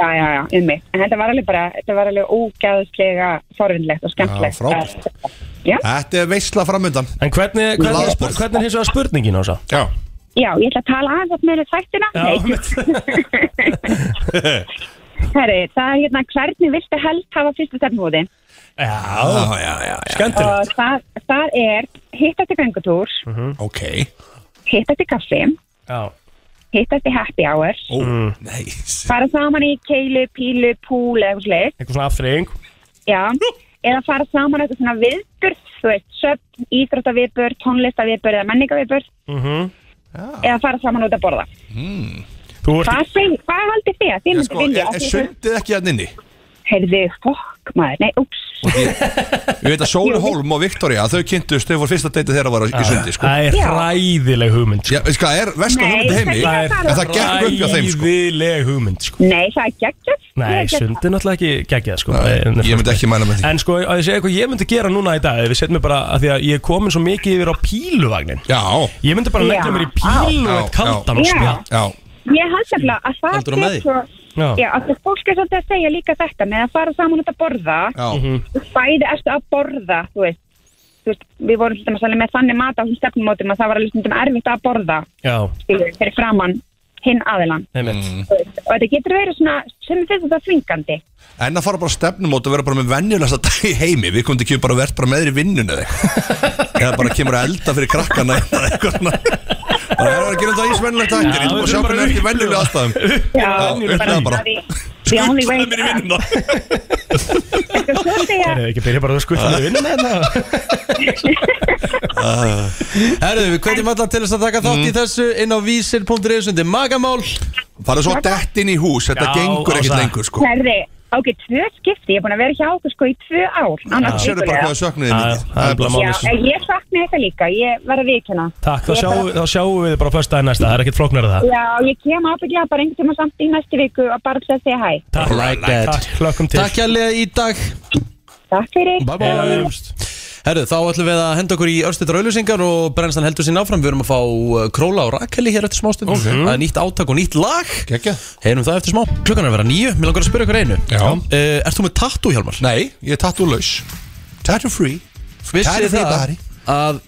[SPEAKER 11] Já, já, já, um mig. En þetta var alveg bara, þetta var alveg ógæðslega forvinnlegt og skemmtilegt.
[SPEAKER 4] Já, frábært.
[SPEAKER 11] Já.
[SPEAKER 4] Þetta er veisla framöndan
[SPEAKER 2] En hvernig, hvernig, hvernig, hvernig er hins vegar spurningin á svo?
[SPEAKER 4] Já
[SPEAKER 11] Já, ég ætla að tala aðeins með þættina.
[SPEAKER 2] Já,
[SPEAKER 11] Herri, það er hérna, hvernig viltu helst hafa fyrstu stefnúði?
[SPEAKER 2] Já,
[SPEAKER 4] Ah, já, já
[SPEAKER 2] Skemmtilegt
[SPEAKER 11] Og það, það er hittast í göngutúr,
[SPEAKER 4] Ok
[SPEAKER 11] hittast í kaffi,
[SPEAKER 2] Mhm. Já
[SPEAKER 11] hittast í happy hour,
[SPEAKER 4] Ó,
[SPEAKER 2] Mm.
[SPEAKER 11] fara saman í keilu, pílu, púl eða eitthvað slikt.
[SPEAKER 2] Eitthvað svona aftreying
[SPEAKER 11] Já, eða fara saman eitthvað svona viðburð, þú veist, söpn, íþróttaviðburð, tónlistaviðburð eða menningaviðburð,
[SPEAKER 2] Mhm.
[SPEAKER 11] eða fara saman út að borða.
[SPEAKER 2] Hmm.
[SPEAKER 4] Mm.
[SPEAKER 11] Hvað, seg, hvað haldi þið að þið
[SPEAKER 4] En
[SPEAKER 11] myndi
[SPEAKER 4] sko,
[SPEAKER 11] vilja?
[SPEAKER 4] er, er sundið ekki hann inni?
[SPEAKER 11] Heyrðu, fokk maður, nei, úps.
[SPEAKER 4] Ég veit að Sóli Holm og Viktoria, þau kynntust, þau voru fyrsta deyta þeirra var í sundi sko.
[SPEAKER 2] Það er hræðileg hugmynd sko.
[SPEAKER 4] Já, veist hvað, er versta
[SPEAKER 11] Nei,
[SPEAKER 4] hugmynd í heimi
[SPEAKER 11] það er-
[SPEAKER 4] En það gekk upp hjá þeim sko
[SPEAKER 2] Hræðileg hugmynd sko.
[SPEAKER 11] Nei, það er geggjast.
[SPEAKER 2] Nei, sundi er náttúrulega ekki geggjað sko. Nei,
[SPEAKER 4] Ég myndi ekki mæla með því
[SPEAKER 2] En sko, að ég segja eitthvað ég myndi gera núna í dag Við setjum mig bara að því að ég er komin svo mikið yfir á píluvagnin
[SPEAKER 4] Já
[SPEAKER 2] Ég myndi bara leggja
[SPEAKER 11] Já.
[SPEAKER 2] mér í pílu og eitt kaldan og
[SPEAKER 11] Já.
[SPEAKER 2] spjall
[SPEAKER 4] Já
[SPEAKER 11] Ég held nefnilega að það
[SPEAKER 2] Heldur þú með
[SPEAKER 11] sé
[SPEAKER 2] því?
[SPEAKER 11] svo...
[SPEAKER 2] Já.
[SPEAKER 11] Já, af því að fólk er svolítið að segja líka þetta með að fara saman út að borða. Bæði ertu að borða, þú veist. Þú veist, við vorum til dæmis alveg með þannig mat á þessum stefnumótum að það var alveg stundum erfitt að borða,
[SPEAKER 2] Já,
[SPEAKER 11] skilur, fyrir framann hinn aðilan.
[SPEAKER 2] einmitt
[SPEAKER 11] Þú veist, Og þetta getur verið svona, sem finnst þetta svingandi.
[SPEAKER 4] En að fara bara á stefnumót og vera bara með venjulegsta dag í heimi Við komum ekki bara að vera bara með þér í vinnunni eða eitthvað. Eða bara kemur að elda fyrir krakkana eða eitthvað svona Bara erum við að gera þetta eins venjulegt dag Ég ætlum að sjá hvernig er ekki venjuleg aðstæðum Já, upp með það bara
[SPEAKER 11] The only way mér í
[SPEAKER 4] vinnuna
[SPEAKER 11] Svo segja,
[SPEAKER 2] Það er ekki byrja bara að skutta mig í vinnuna þetta
[SPEAKER 1] Herðu, við hvetjum alla til þess að taka
[SPEAKER 2] Mm.
[SPEAKER 1] þátt í þessu inn á vísir.is undir magamál
[SPEAKER 4] Farðu svo dett inn í hús, þetta
[SPEAKER 1] Já,
[SPEAKER 4] gengur ekkert
[SPEAKER 1] Ása.
[SPEAKER 4] lengur sko
[SPEAKER 11] herði, ok, tvö skipti, ég er búin að vera hjá okkur sko í tvö ár. annars
[SPEAKER 4] Sérðu bara
[SPEAKER 11] vikulega.
[SPEAKER 4] hvað þau söknuðu þín mikið.
[SPEAKER 2] Það er bara
[SPEAKER 11] Já,
[SPEAKER 2] mális
[SPEAKER 11] en ég sakna þetta líka, ég verð að viðkjöna
[SPEAKER 2] Takk, þá sjáum, við- þá sjáum við bara fyrst aðeins næsta Það er ekkert flóknar að það
[SPEAKER 11] Já, ég kem ábygglega bara einhvern tíma samt í næstu viku og bara til að segja hæ
[SPEAKER 2] Takk,
[SPEAKER 1] like that.
[SPEAKER 2] Takk, hlökkum til
[SPEAKER 1] Takk hérlega í dag
[SPEAKER 11] Takk fyrir
[SPEAKER 1] Bye bye Herru, þá ætlum við að henda okkur í örstættar auðlýsingar og brennstan heldur sín áfram. Við erum að fá uh, Króla og Rakeli hér eftir smástund.
[SPEAKER 2] Ok.
[SPEAKER 1] Það er nýtt átak og nýtt lag. Gekja. Heyrum það eftir smá. Klukkan er að vera nýju. Mér langar að spyrja ykkur einu. Já. ert þú með tattoo, Hjalmar?
[SPEAKER 4] Nei, ég er tattoo laus. Tattoo free. Tattoo
[SPEAKER 1] Vissið
[SPEAKER 4] free
[SPEAKER 1] það
[SPEAKER 4] body.
[SPEAKER 1] að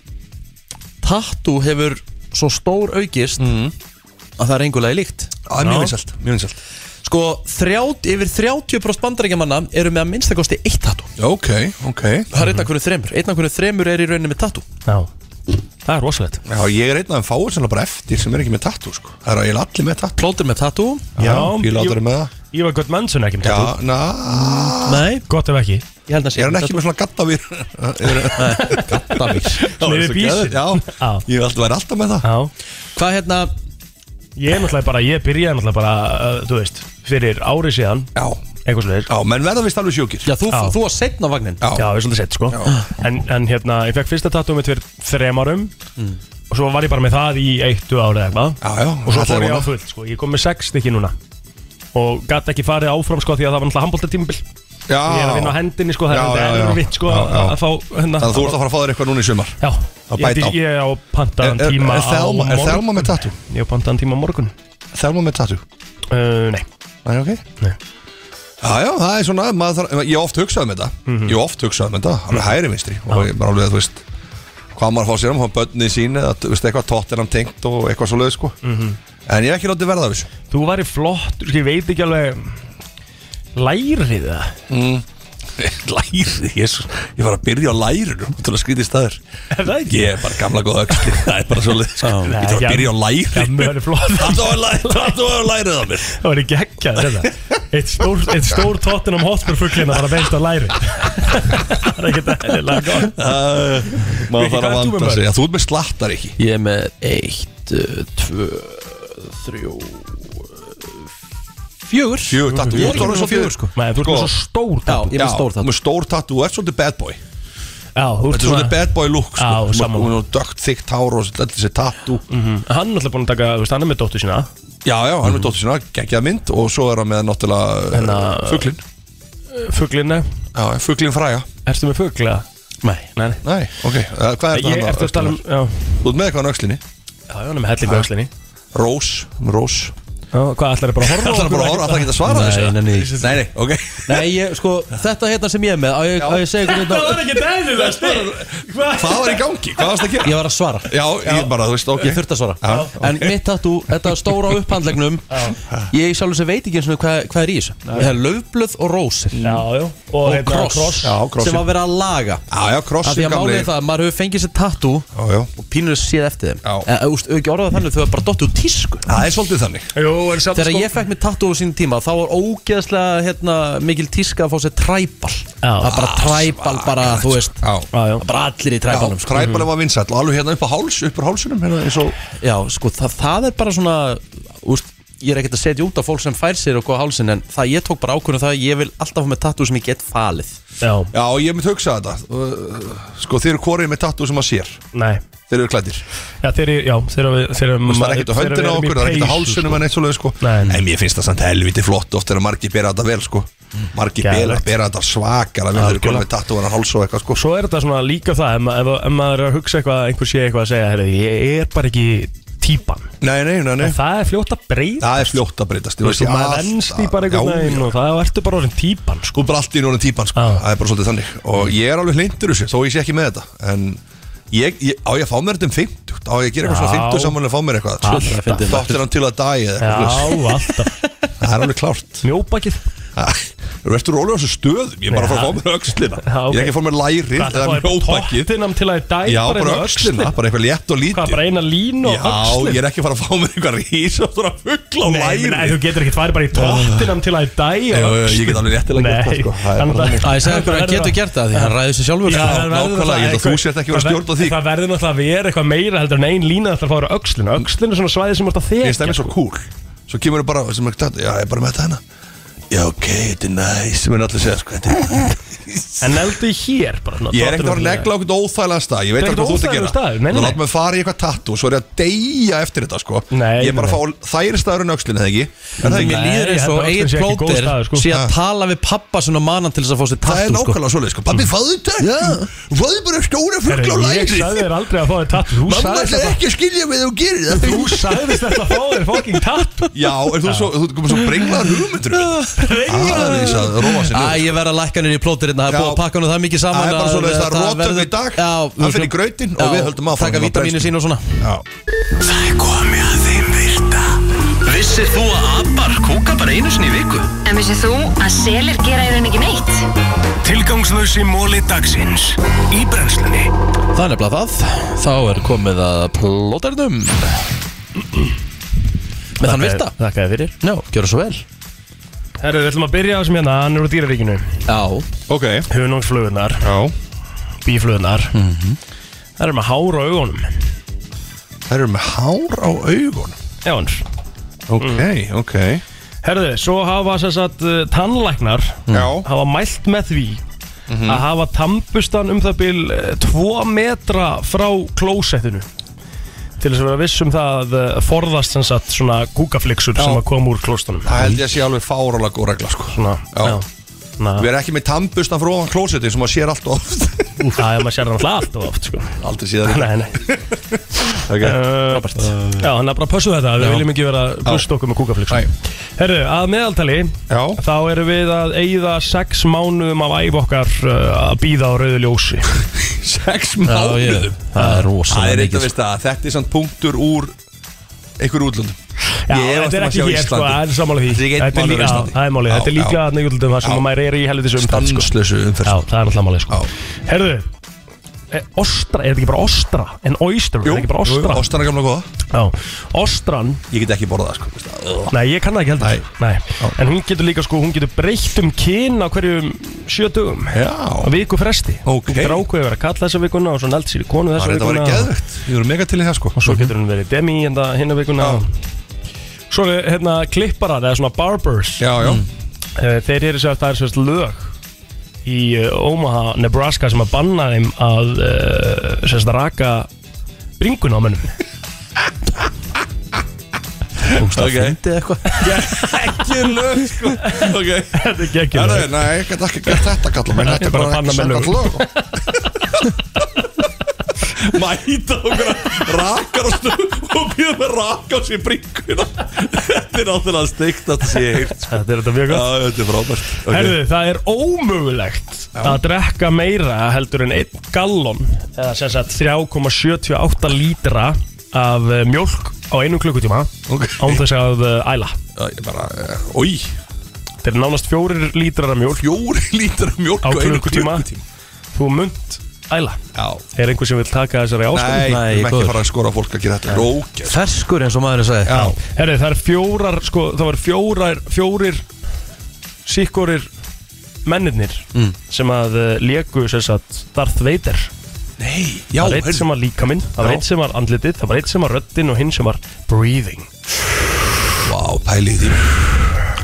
[SPEAKER 1] tattoo hefur svo stór aukist
[SPEAKER 4] Mm.
[SPEAKER 1] að það er einhverlega líkt.
[SPEAKER 4] Já, það er mjög vinsælt,
[SPEAKER 1] Mjög vinsælt. Sko, 30, yfir 30% bandarækjamanna eru með að minnstakosti eitt tattoo.
[SPEAKER 4] Ok, ok.
[SPEAKER 1] Það er
[SPEAKER 4] Mhm.
[SPEAKER 1] einn af hverju þremur. Einn af hverju þremur er í rauninni með tattoo.
[SPEAKER 2] Já, það er rosalegt
[SPEAKER 4] Já, ég er einn af þeim fáur sem er bara eftir sem er ekki með tattoo sko. Það er að ég er allir með tattoo
[SPEAKER 1] Plótir með tattoo
[SPEAKER 2] Já,
[SPEAKER 4] Fílátur
[SPEAKER 2] ég-
[SPEAKER 4] með það
[SPEAKER 2] Ég var gott mannsson ekki með tattoo.
[SPEAKER 4] um- Já, na
[SPEAKER 1] Nei
[SPEAKER 2] Gott ef ekki
[SPEAKER 1] Ég held að
[SPEAKER 4] Er hann ekki með svona gattavýr?
[SPEAKER 1] gattavýr
[SPEAKER 2] Nei, við bísir
[SPEAKER 4] Já, ég hef alltaf væri alltaf með það
[SPEAKER 2] Já
[SPEAKER 1] Hvað hérna
[SPEAKER 2] Ég er náttúrulega bara, ég byrjaði náttúrulega bara, uh, þú veist, fyrir ári síðan
[SPEAKER 4] Já
[SPEAKER 2] Eitthvað slegir
[SPEAKER 4] Já, menn verða vist alveg sjúkir
[SPEAKER 1] Já, þú, þú var setn á vagnin
[SPEAKER 2] Já, ég er svolítið sett, sko en, en hérna, ég fekk fyrsta tattoo mitt fyrir þrem árum Og svo var ég bara með það í eittu ári eða eitthvað
[SPEAKER 4] Já, já
[SPEAKER 2] Og svo
[SPEAKER 4] allir
[SPEAKER 2] fór ég á
[SPEAKER 4] vona.
[SPEAKER 2] fullt, sko Ég kom með sex stykki núna Og gat ekki farið áfram, sko, því að það var náttúrulega handbóltartímabil
[SPEAKER 4] Já
[SPEAKER 2] Ég er að vinna á hendinni, sko, það
[SPEAKER 4] Já,
[SPEAKER 2] er
[SPEAKER 4] já,
[SPEAKER 2] þetta
[SPEAKER 4] já.
[SPEAKER 2] erfitt, sko,
[SPEAKER 4] Já, já.
[SPEAKER 2] að fá, hérna-
[SPEAKER 4] Þannig að þú ert að fara að fá þér eitthvað núna í sumar
[SPEAKER 2] Já
[SPEAKER 4] Að
[SPEAKER 2] Ég-
[SPEAKER 4] bæta á
[SPEAKER 2] Ég er á pantaðan
[SPEAKER 4] Er- er-
[SPEAKER 2] tíma
[SPEAKER 4] er Thelma- er
[SPEAKER 2] á morgun.
[SPEAKER 4] Thelma með tattoo?
[SPEAKER 2] Ég er á pantaðan tíma á morgun
[SPEAKER 4] Þelma með tattoo
[SPEAKER 2] uh, Nei
[SPEAKER 4] Það er ok?
[SPEAKER 2] Nei
[SPEAKER 4] Já, já, það er svona maður, þarf- Ég oft hugsaði með þetta Ég oft hugsaði með þetta Alveg hægri vinstri Og ég bara alveg að þú veist Hvað maður fá sér um Hvað börnið sín Eða þú veist eitthvað tóttir hann tengt Og eitthvað svo sko
[SPEAKER 2] Mhm.
[SPEAKER 4] En ég hef ekki látið verða af þessu
[SPEAKER 2] Þú væri flott, sko, ég veit ekki alveg Lærið það
[SPEAKER 4] mm. Lærið, ég, ég var að byrja á lærinu Til að skrýti staður
[SPEAKER 2] Er það ekki?
[SPEAKER 4] Ég er bara gamla góða öxli Það er bara svo leið sko. Ég þarf að byrja á
[SPEAKER 2] Já,
[SPEAKER 4] lærinu
[SPEAKER 2] mjög er flott
[SPEAKER 4] Þetta var lærið Þetta var lærið af mér
[SPEAKER 2] Það var ekki ekki að þetta Eitt stór, eitt stór tóttin um hotspurfuglina var að veist að læri Það er ekki þetta eðlilega gott
[SPEAKER 4] Uh,
[SPEAKER 2] Viki,
[SPEAKER 4] Maður þarf að
[SPEAKER 2] hvað ert þú með
[SPEAKER 4] vanda sig
[SPEAKER 2] mörg?
[SPEAKER 4] Já, Þú ert með slattar ekki
[SPEAKER 1] Ég er með eitt, uh, tvö, þrjú, fjögur
[SPEAKER 4] Fjögur tattoo Þú
[SPEAKER 1] Ég er
[SPEAKER 4] ert
[SPEAKER 1] ekki
[SPEAKER 4] orðinn
[SPEAKER 1] með
[SPEAKER 4] svo
[SPEAKER 1] fjögur, sko.
[SPEAKER 2] Nei, þú ert með svo stór
[SPEAKER 1] Já, ég er með
[SPEAKER 4] Já,
[SPEAKER 1] stór tattoo.
[SPEAKER 4] Með stór tattoo Þú ert svolítið bad boy
[SPEAKER 2] Já, þú
[SPEAKER 4] Þetta
[SPEAKER 2] ert
[SPEAKER 4] er
[SPEAKER 2] svona
[SPEAKER 4] svolítið bad boy look sko.
[SPEAKER 2] Já,
[SPEAKER 4] Þú ert-
[SPEAKER 2] sammála.
[SPEAKER 4] Hún er dögt þykkt hár og allir þessi tattoo
[SPEAKER 1] Mm.
[SPEAKER 2] Mhm. Hann er alltaf búin að taka, þú veist, hann er með dóttu sína
[SPEAKER 4] Já, já, hann er með dóttur sína Gengjað mynd Og svo er hann með náttúrulega uh,
[SPEAKER 2] Hérna-
[SPEAKER 4] Fuglin
[SPEAKER 2] Fuglinni,
[SPEAKER 4] Já, fuglin fræga
[SPEAKER 2] ertu með fugla?
[SPEAKER 1] Nei
[SPEAKER 2] Nei, nei
[SPEAKER 4] Nei, ok Eh, Hvað er
[SPEAKER 2] Ég
[SPEAKER 4] þetta
[SPEAKER 2] ertu að tala um, já,
[SPEAKER 4] Þú ert með eitthvað á nöxlinni
[SPEAKER 2] já, hann er með hellingu öxlinni
[SPEAKER 4] Rós, rós
[SPEAKER 2] Já, hvað, ætlar bara að horfa á
[SPEAKER 4] Ætlar
[SPEAKER 2] okkur
[SPEAKER 4] bara að
[SPEAKER 2] og
[SPEAKER 4] horfa,
[SPEAKER 2] ekkert
[SPEAKER 4] ætlar ekki að svara
[SPEAKER 1] Nei,
[SPEAKER 4] þessu
[SPEAKER 1] nei, nei.
[SPEAKER 4] nei, nei, ok
[SPEAKER 1] Nei, ég, sko, þetta hérna sem ég er með Á ég, á ég segja ykkur
[SPEAKER 2] Það
[SPEAKER 1] hérna
[SPEAKER 2] var ekki dæðilega stið
[SPEAKER 4] Hvað var í gangi? Hvað varst að gera?
[SPEAKER 1] Ég var að svara
[SPEAKER 4] Já, ég bara, þú veist, ok
[SPEAKER 1] Ég þurfti að svara
[SPEAKER 4] Já, ok.
[SPEAKER 1] En mitt tattoo, þetta stóra á upphandlegnum Ég sjálf þess að veit ekki eins og hvað, hvað er í þessu Það er löfblöð og rósir
[SPEAKER 2] Já, já, og
[SPEAKER 1] Og
[SPEAKER 2] hérna
[SPEAKER 1] kross,
[SPEAKER 4] Já, krossi.
[SPEAKER 1] Sem að vera að laga
[SPEAKER 4] Já, já,
[SPEAKER 1] Af
[SPEAKER 4] krossi
[SPEAKER 1] því að málið er það að maður hefur fengið sér tattoo
[SPEAKER 4] Já, já
[SPEAKER 1] Og pínur séð eftir þeim
[SPEAKER 4] Já.
[SPEAKER 1] En þú veist, ekki orðað þannig Þau er bara dottið úr tísku
[SPEAKER 4] Það er svolítið þannig
[SPEAKER 2] Jú, en samt
[SPEAKER 1] Þegar ég fekk mér tattoo á sín tíma þá var ógeðslega hérna, mikil tíska að fá sér træbal Það er bara træbal bara, þú veist
[SPEAKER 4] Já,
[SPEAKER 2] Já, já
[SPEAKER 1] það er bara allir í
[SPEAKER 4] já,
[SPEAKER 1] træbalum sko.
[SPEAKER 2] Mhm.
[SPEAKER 4] træpaleg var vinsæll Og alveg hérna upp á háls, upp á hálsunum Hérna eins og
[SPEAKER 1] Já, sko, það, það er bara svona úst, Ég er ekkert að setja út á fólk sem fær sér og góða hálsin En það ég tók bara ákvörðum það að Ég vil alltaf fá með tattoo sem ég get falið
[SPEAKER 2] Já,
[SPEAKER 4] Já, ég myndi hugsa þetta Uh, Sko, þeir eru korið með tattoo sem maður sér
[SPEAKER 2] nei
[SPEAKER 4] Þeir eru klættir
[SPEAKER 2] Já, þeir eru, já, þeir eru Þeir eru
[SPEAKER 4] Það er ekkert á höndinu á okkur, það er ekkert á hálsunum En eitt svolítið, sko
[SPEAKER 2] Nei, nei.
[SPEAKER 4] En mér finnst það samt helviti flott Oft er að margir bera þetta vel, sko Margir bera,
[SPEAKER 2] Geðvegt.
[SPEAKER 4] bera þetta svakar Þeir eru
[SPEAKER 2] Mm, Algjörlega.
[SPEAKER 4] korið með tattoo en háls og eitthvað, sko
[SPEAKER 2] Svo er þetta svona líka það Ef, ma- ef, ef maður er að hugsa eitthvað Einhver sé eitthvað að segja Herri, ég er bara ekki típan
[SPEAKER 4] Nei, nei, nei, nei
[SPEAKER 2] En það er fljótt að breyta
[SPEAKER 4] Það er fljótt að breytast ég
[SPEAKER 2] Þú
[SPEAKER 4] veist, ég
[SPEAKER 2] veist, maður
[SPEAKER 4] alltaf-
[SPEAKER 2] venst í bara
[SPEAKER 4] Já,
[SPEAKER 2] einhvern veginn Og það ertu bara orðin típan, sko
[SPEAKER 4] Þú er bara allt í núna típan sko.
[SPEAKER 2] Já.
[SPEAKER 4] Það er bara svolítið þannig Og ég er alveg hlindur þessu Þó ég sé ekki með þetta En ég, ég, á ég að fá mér þetta um 50 Á ég að gera eitthvað svona
[SPEAKER 2] Já.
[SPEAKER 4] 50 saman að fá mér
[SPEAKER 2] Alltaf.
[SPEAKER 4] eitthvað Dóttir hann til að dæi eða
[SPEAKER 2] Já,
[SPEAKER 4] eitthvað svoleiðis.
[SPEAKER 2] alltaf
[SPEAKER 4] Það er alveg klárt
[SPEAKER 2] Mjóbakið
[SPEAKER 4] Þú ertu rólega á þessu stöðum Ég er bara að fá að fá mér öxlina
[SPEAKER 2] Já, ok.
[SPEAKER 4] Ég er ekki að fá mér læri
[SPEAKER 2] Það
[SPEAKER 4] Eða
[SPEAKER 2] er bara
[SPEAKER 4] mjóbakið
[SPEAKER 2] tóttinam til að ég dæ
[SPEAKER 4] Já, bara
[SPEAKER 2] inn á
[SPEAKER 4] öxlina Bara eitthvað létt og
[SPEAKER 2] Hvað,
[SPEAKER 4] lítið
[SPEAKER 2] bara eina lín og
[SPEAKER 4] Já,
[SPEAKER 2] öxlin?
[SPEAKER 4] ég er ekki að fara að fá mér eitthvað rísa og þurra fuggla á
[SPEAKER 2] Nei,
[SPEAKER 4] læri
[SPEAKER 2] nei, þú getur ekkert farið bara í tóttinam til að dæ
[SPEAKER 4] Jú, jú, ég get alveg réttilega gert það,
[SPEAKER 2] Nei,
[SPEAKER 4] sko. Það er bara
[SPEAKER 2] hann-
[SPEAKER 4] þannig.
[SPEAKER 1] Æ, ég segja okkur að
[SPEAKER 2] verður
[SPEAKER 1] getur gert það Því hann ræður sér sjálfur
[SPEAKER 2] Já,
[SPEAKER 1] sko.
[SPEAKER 2] það verður
[SPEAKER 4] nákvæmlega,
[SPEAKER 2] náttúrulega
[SPEAKER 4] ég held að þú sért
[SPEAKER 2] eitthvað-
[SPEAKER 4] ekki að vera stjórn á því.
[SPEAKER 2] það ver- Það verður náttúrulega að vera eitthvað meira heldur en ein lína Það fara á öxlinu, öxlinu er svona svæði sem þú ert að
[SPEAKER 4] Ég finnst það
[SPEAKER 2] þekja
[SPEAKER 4] mér svo cool Svo kemur það bara sem, er- Já, ég er bara með þetta hérna Já, ok, þetta er næs Sem er allir að segja sko, Þetta er næs
[SPEAKER 2] En eldu hér bara svona
[SPEAKER 4] Ég er ekkert að fara að negla okkur óþægilega stað Ég veit
[SPEAKER 2] Þetta er
[SPEAKER 4] alveg hvað þú ert að
[SPEAKER 2] ekkert
[SPEAKER 4] gera
[SPEAKER 2] óþægilegur staður, nei, nei,
[SPEAKER 4] Nú
[SPEAKER 2] nei.
[SPEAKER 4] látum við fara í eitthvað tattu Svo er ég að deyja eftir þetta sko Ég er bara að fá þær staður en öxlin, eða ekki Er það ekki?
[SPEAKER 1] Mér líður eins og eigin plóter sé að tala við pappa svona manan til þess að fá sér tattu
[SPEAKER 4] Það er nákvæmlega svoleið sko Pappi, fáðu þetta Fáðu bara stóra fugla á
[SPEAKER 2] Herru, ég
[SPEAKER 4] læri
[SPEAKER 2] sagði þér aldrei að fá þér tattu Þú
[SPEAKER 4] Mamma
[SPEAKER 2] sagðist
[SPEAKER 4] ætlar
[SPEAKER 2] þetta-
[SPEAKER 4] ekki að skilja mig þegar þú gerir það
[SPEAKER 2] Þú sagðist þetta að fá þér fucking tattu
[SPEAKER 4] Já, er þú svo, þú komið svo um brenglaðar hugmyndur Brenglaðar Aðeins að Ah, róa sér
[SPEAKER 1] Æ, ég verð að lækka niður í plóterinn Það er
[SPEAKER 4] Já.
[SPEAKER 1] búið að pakka hann það mikið saman
[SPEAKER 4] Það er bara
[SPEAKER 1] að-
[SPEAKER 4] svoleiðis, það er rótum í
[SPEAKER 1] verður-
[SPEAKER 4] dag.
[SPEAKER 1] Já,
[SPEAKER 4] Hann fer í grautinn og
[SPEAKER 1] Já,
[SPEAKER 4] við höldum áfram
[SPEAKER 1] Taka
[SPEAKER 4] með
[SPEAKER 1] vítamínu
[SPEAKER 4] brennslu.
[SPEAKER 1] sín og svona
[SPEAKER 5] Það er komið að þeim virta Vissir þú að abar kúka bara einu sinni í viku?
[SPEAKER 7] En vissið þú að selir gera í raun ekki neitt?
[SPEAKER 5] Tilgangslösi móli dagsins Í brennslunni
[SPEAKER 1] Það er nefnilega það Þá er komið að plóternum Með þann virta
[SPEAKER 2] Þakka þér fyrir
[SPEAKER 1] Já, gjör það svo vel
[SPEAKER 2] Herru, við ætlum að byrja á þessum hérna, hann er úr dýraríkinu
[SPEAKER 1] Já
[SPEAKER 4] Ok
[SPEAKER 2] Hunungsflugurnar
[SPEAKER 4] Já
[SPEAKER 2] Bíflugurnar
[SPEAKER 1] Mhm.
[SPEAKER 2] Það eru með hár á augunum
[SPEAKER 4] Það eru með hár á augunum?
[SPEAKER 2] Já, hans
[SPEAKER 4] Ok,
[SPEAKER 2] Mm.
[SPEAKER 4] ok
[SPEAKER 2] Herðu, svo hafa sér satt uh, tannlæknar
[SPEAKER 4] Já.
[SPEAKER 2] Hafa mælt með því
[SPEAKER 1] Mhm.
[SPEAKER 2] Að hafa tampustan um það bil uh, Tvo metra frá klósettinu Til þess að vera viss um það að uh, Forðast sem sagt svona kúkaflixur
[SPEAKER 4] Já.
[SPEAKER 2] Sem að koma úr klóstunum
[SPEAKER 4] Það held ég að sé alveg fárálega góð regla sko
[SPEAKER 2] Svona, já. Ná.
[SPEAKER 4] Við erum ekki með tannbustan frá ofan klósetin sem maður sér allt of oft
[SPEAKER 2] Það er maður sér náttúrulega allt og oft sko.
[SPEAKER 4] Aldrei síðan
[SPEAKER 2] Nei, nei
[SPEAKER 4] Ok,
[SPEAKER 2] Robert Já, hann er bara að pössu þetta Við
[SPEAKER 4] Já.
[SPEAKER 2] viljum ekki vera blust okkur með kúkaflixum Herru, að meðaltali
[SPEAKER 4] Já.
[SPEAKER 2] Þá erum við að eyða sex mánuðum af æf okkar uh, Að býða á rauðu ljósi
[SPEAKER 4] Sex
[SPEAKER 1] Já, ég-
[SPEAKER 4] mánuðum
[SPEAKER 1] Það er rosalega
[SPEAKER 4] Það er
[SPEAKER 2] sko.
[SPEAKER 1] mikið,
[SPEAKER 4] eitthvað veist það, þetta er samt punktur úr einhver útlöndum um
[SPEAKER 2] Já, þetta er ekki hér sko, það er sammála því
[SPEAKER 4] Þetta er ekki
[SPEAKER 2] Þetta
[SPEAKER 4] einn málur á Íslandi
[SPEAKER 2] er líka, já, það er málið, þetta er
[SPEAKER 4] Já,
[SPEAKER 2] líka að neikultum það sem
[SPEAKER 4] Já.
[SPEAKER 2] maður er í helvitis umferð sko.
[SPEAKER 4] Stanslösu umferð
[SPEAKER 2] Já, það er alltaf málið sko Herðu, eh, ostra, er þetta ekki bara ostra? En oyster, er
[SPEAKER 4] Jú,
[SPEAKER 2] þetta ekki bara
[SPEAKER 4] jú,
[SPEAKER 2] ostra?
[SPEAKER 4] ostan er gamla góða
[SPEAKER 2] Já, ostran,
[SPEAKER 4] Ég get ekki borðað sko veist það.
[SPEAKER 2] nei ég kann það ekki heldur Nei, en hún getur líka sko, hún getur breytt um kyn á hverjum sjö dögum
[SPEAKER 4] Já.
[SPEAKER 2] Á viku fresti
[SPEAKER 4] Ok.
[SPEAKER 2] Hún getur ákveðið að vera kall þessa vikuna og svo nelt sér í konu
[SPEAKER 4] Það
[SPEAKER 2] þessa
[SPEAKER 4] er þetta að vera
[SPEAKER 2] vikuna og-
[SPEAKER 4] geðvögt Ég er mega til í það sko
[SPEAKER 2] og svo getur hún verið demi hérna hérna vikuna svo eru hérna klipparar eða svona barbers
[SPEAKER 4] Já, já
[SPEAKER 2] Eh, þeir eru sér að það er sérst lög í eh, Omaha, Nebraska sem að banna þeim að uh, sérst raka bringun á mönnum
[SPEAKER 1] Það fyndi eitthvað
[SPEAKER 4] Ekki lög sko Ok
[SPEAKER 2] þetta er ekki ekki
[SPEAKER 4] Nei, nei,
[SPEAKER 2] lög
[SPEAKER 4] nei, ég get ekki gert þetta kallum En
[SPEAKER 2] Nei,
[SPEAKER 4] þetta er
[SPEAKER 2] bara
[SPEAKER 4] bara
[SPEAKER 2] banna
[SPEAKER 4] ekki
[SPEAKER 2] með
[SPEAKER 4] samkvæmt lög Mæta okkur að rakar og snú Og býðum við raka á sér bringuna Þetta er náttúrulega steikt að það sé hýrt Já,
[SPEAKER 2] þetta er þetta mjög gott
[SPEAKER 4] þetta er frábært Ok.
[SPEAKER 2] Herðu, það er ómögulegt að drekka meira heldur en 1 gallon eða sem sagt 3,78 lítra af eh, mjólk á einum klukkutíma
[SPEAKER 4] Ok.
[SPEAKER 2] án þess að eh, æla
[SPEAKER 4] Já, Ég bara, eh, oi
[SPEAKER 2] Þetta er nánast fjórir lítrar af mjólk
[SPEAKER 4] Fjóri lítur mjólk
[SPEAKER 2] á
[SPEAKER 4] og einu
[SPEAKER 2] klukkutíma Þú munt æla
[SPEAKER 4] Já
[SPEAKER 2] Er einhver sem vil taka þessari
[SPEAKER 4] Nei,
[SPEAKER 2] ástæðu?
[SPEAKER 4] við erum ekki
[SPEAKER 1] góður.
[SPEAKER 4] að fara að skora á fólk að gera þetta Rókjast
[SPEAKER 1] Ferskur eins og maðurinn sagði
[SPEAKER 4] Já,
[SPEAKER 2] Herri, það er fjórar, sko, það var fjórar, fjórir síkkorir mennirnir sem að uh, leku sem sagt Darth Vader
[SPEAKER 4] nei, já,
[SPEAKER 2] Það var eitt
[SPEAKER 4] heyrðu.
[SPEAKER 2] sem var líkaminn, það var
[SPEAKER 4] Já.
[SPEAKER 2] eitt sem var andlitið, það var eitt sem var röddinn og hinn sem var breathing
[SPEAKER 4] Vá, pælið því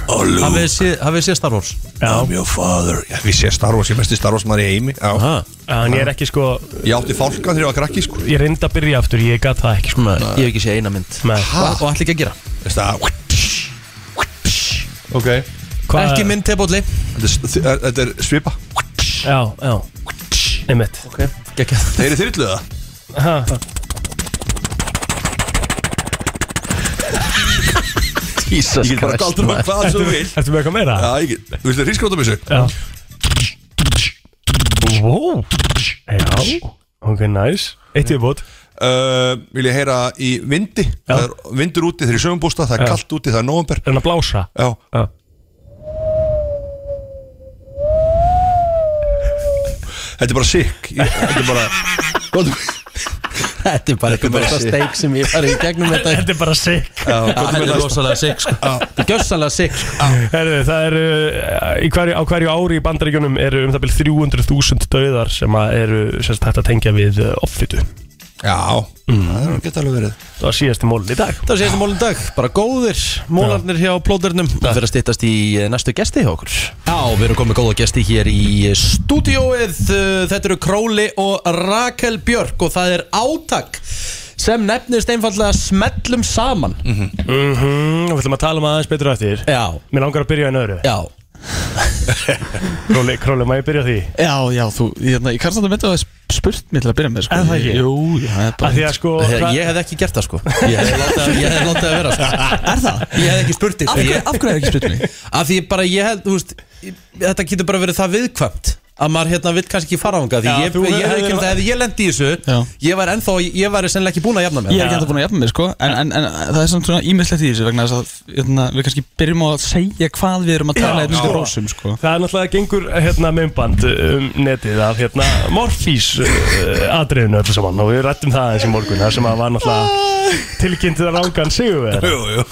[SPEAKER 4] Allu
[SPEAKER 1] Hafið þið séð- hafið þið séð Star Wars?
[SPEAKER 4] I'm your father Já, við sé Star Wars, ég er mesti Star Wars maður í heimi Já
[SPEAKER 1] Ha?
[SPEAKER 2] En ég er ekki sko,
[SPEAKER 4] Ég átti fálkan þegar ég var krakki sko
[SPEAKER 2] ég reyndi að byrja aftur, ég gat það ekki sko
[SPEAKER 1] Nei, ég hef ekki séð eina mynd
[SPEAKER 2] Nei.
[SPEAKER 1] Og og ætla ekki að gera
[SPEAKER 4] Veist það Ok
[SPEAKER 2] Hvað-
[SPEAKER 1] Ekki mynd tebóli
[SPEAKER 4] Þetta er, s- þi- er- þetta er svipa
[SPEAKER 2] Já, já, einmitt
[SPEAKER 1] Gekkjað
[SPEAKER 4] Þeir eru þyrluða
[SPEAKER 2] Ha.
[SPEAKER 1] Jesus
[SPEAKER 4] Ég get bara galdur um hvað sem þú vil
[SPEAKER 2] Ertu með eitthvað meira?
[SPEAKER 4] Já, ég get Þú veist það, hrískrótabissu
[SPEAKER 2] Já Wow Já Ok, nice Eitt í bót
[SPEAKER 4] uh, Vil ég heyra í vindi Það er vindur úti þegar ég sögumbústa Það er
[SPEAKER 2] Já.
[SPEAKER 4] kallt úti, það er november
[SPEAKER 2] Reyna að blása
[SPEAKER 4] Já
[SPEAKER 2] Já
[SPEAKER 4] Þetta er bara sick Ég- Þetta er bara Góðum
[SPEAKER 1] Þetta er bara eitthvað
[SPEAKER 4] bara
[SPEAKER 1] besta
[SPEAKER 4] shit.
[SPEAKER 1] steik sem ég farið í gegnum þetta
[SPEAKER 2] Þetta er bara sick
[SPEAKER 1] Þetta er rosalega sick sko. Þetta er gjössalega sick sko.
[SPEAKER 2] Herðu, það eru eh, í hverju, Á hverju ári í bandaríkjunum eru um það byrjum 300.000 döðar sem að eru sérst hægt að tengja við eh, offitu
[SPEAKER 4] Já, það geta alveg verið
[SPEAKER 12] Það var síðasti mólun í dag
[SPEAKER 9] Það var síðast mólun í dag, bara góðir Mólarnir hjá plóðurnum Það fyrir að stýttast í eh, næstu gesti hjá okkur Já, við erum komið góða gesti hér í eh, stúdíóið Eh, Þetta eru Króli og Rakel Björk Og það er átak sem nefnist einfallega smellum saman
[SPEAKER 12] Mhm,
[SPEAKER 2] Mm,
[SPEAKER 12] -hmm. Við ætlum að tala um það aðeins betur á eftir
[SPEAKER 9] Já
[SPEAKER 12] Mér langar að byrja einu öðru
[SPEAKER 9] Já
[SPEAKER 12] Króli, króli, má ég byrja á því?
[SPEAKER 1] Já, já, þú, ég, ég kannast að það myndi að hafa spurt mér til að byrja með sko.
[SPEAKER 12] En það ekki?
[SPEAKER 1] Jú, já, það er bara
[SPEAKER 12] Af því að sko
[SPEAKER 1] það-
[SPEAKER 9] Ég hef ekki gert það sko Ég hef látið, ég hef látið að vera sko. Er það? Ég hef ekki spurt þig
[SPEAKER 1] Af hverju- af hverju hefur ekki spurt
[SPEAKER 9] mig? Af því bara ég hef, þú veist Þetta getur bara verið það viðkvæmt Að maður hérna vill kannski ekki fara ánga Því
[SPEAKER 1] Já,
[SPEAKER 9] ég,
[SPEAKER 1] þú
[SPEAKER 9] ég, ég,
[SPEAKER 1] hefðir-
[SPEAKER 9] ég, ég, ég, ég lendi í þessu
[SPEAKER 1] Já.
[SPEAKER 9] Ég var ennþá, ég var sennilega ekki búin að jafna mig
[SPEAKER 1] Ég er ekki hægt að búin að jafna mig sko en, en, en það er samt svona ímislegt í þessu vegna þess að hérna, við kannski byrjum á að segja hvað við erum að tala um þessu rósum sko
[SPEAKER 12] Það er náttúrulega gengur hérna meimband um netið af hérna Morfís uh, atriðinu öllu saman og við rættum það eins í morgun þar sem að var náttúrulega tilkynnt það rángan sigurverð
[SPEAKER 4] Jú, jú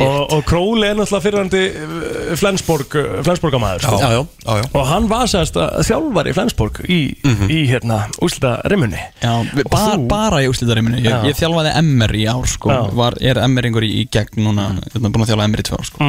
[SPEAKER 12] Og, og Króli er náttúrulega fyrirhandi Flensborg, Flensborgamæður sko.
[SPEAKER 4] Já, já, já, já.
[SPEAKER 12] Og hann var sérst að þjálfari Flensborg í,
[SPEAKER 9] Mhm.
[SPEAKER 12] í hérna úslita rimmunni
[SPEAKER 1] Já, við- ba bara í úslítariminu ég,
[SPEAKER 12] Já.
[SPEAKER 1] ég þjálfaði MR í ár sko
[SPEAKER 12] Já.
[SPEAKER 1] var, er MR-ingur í, í gegn núna hérna, búin að þjálfa MR í tvö ár sko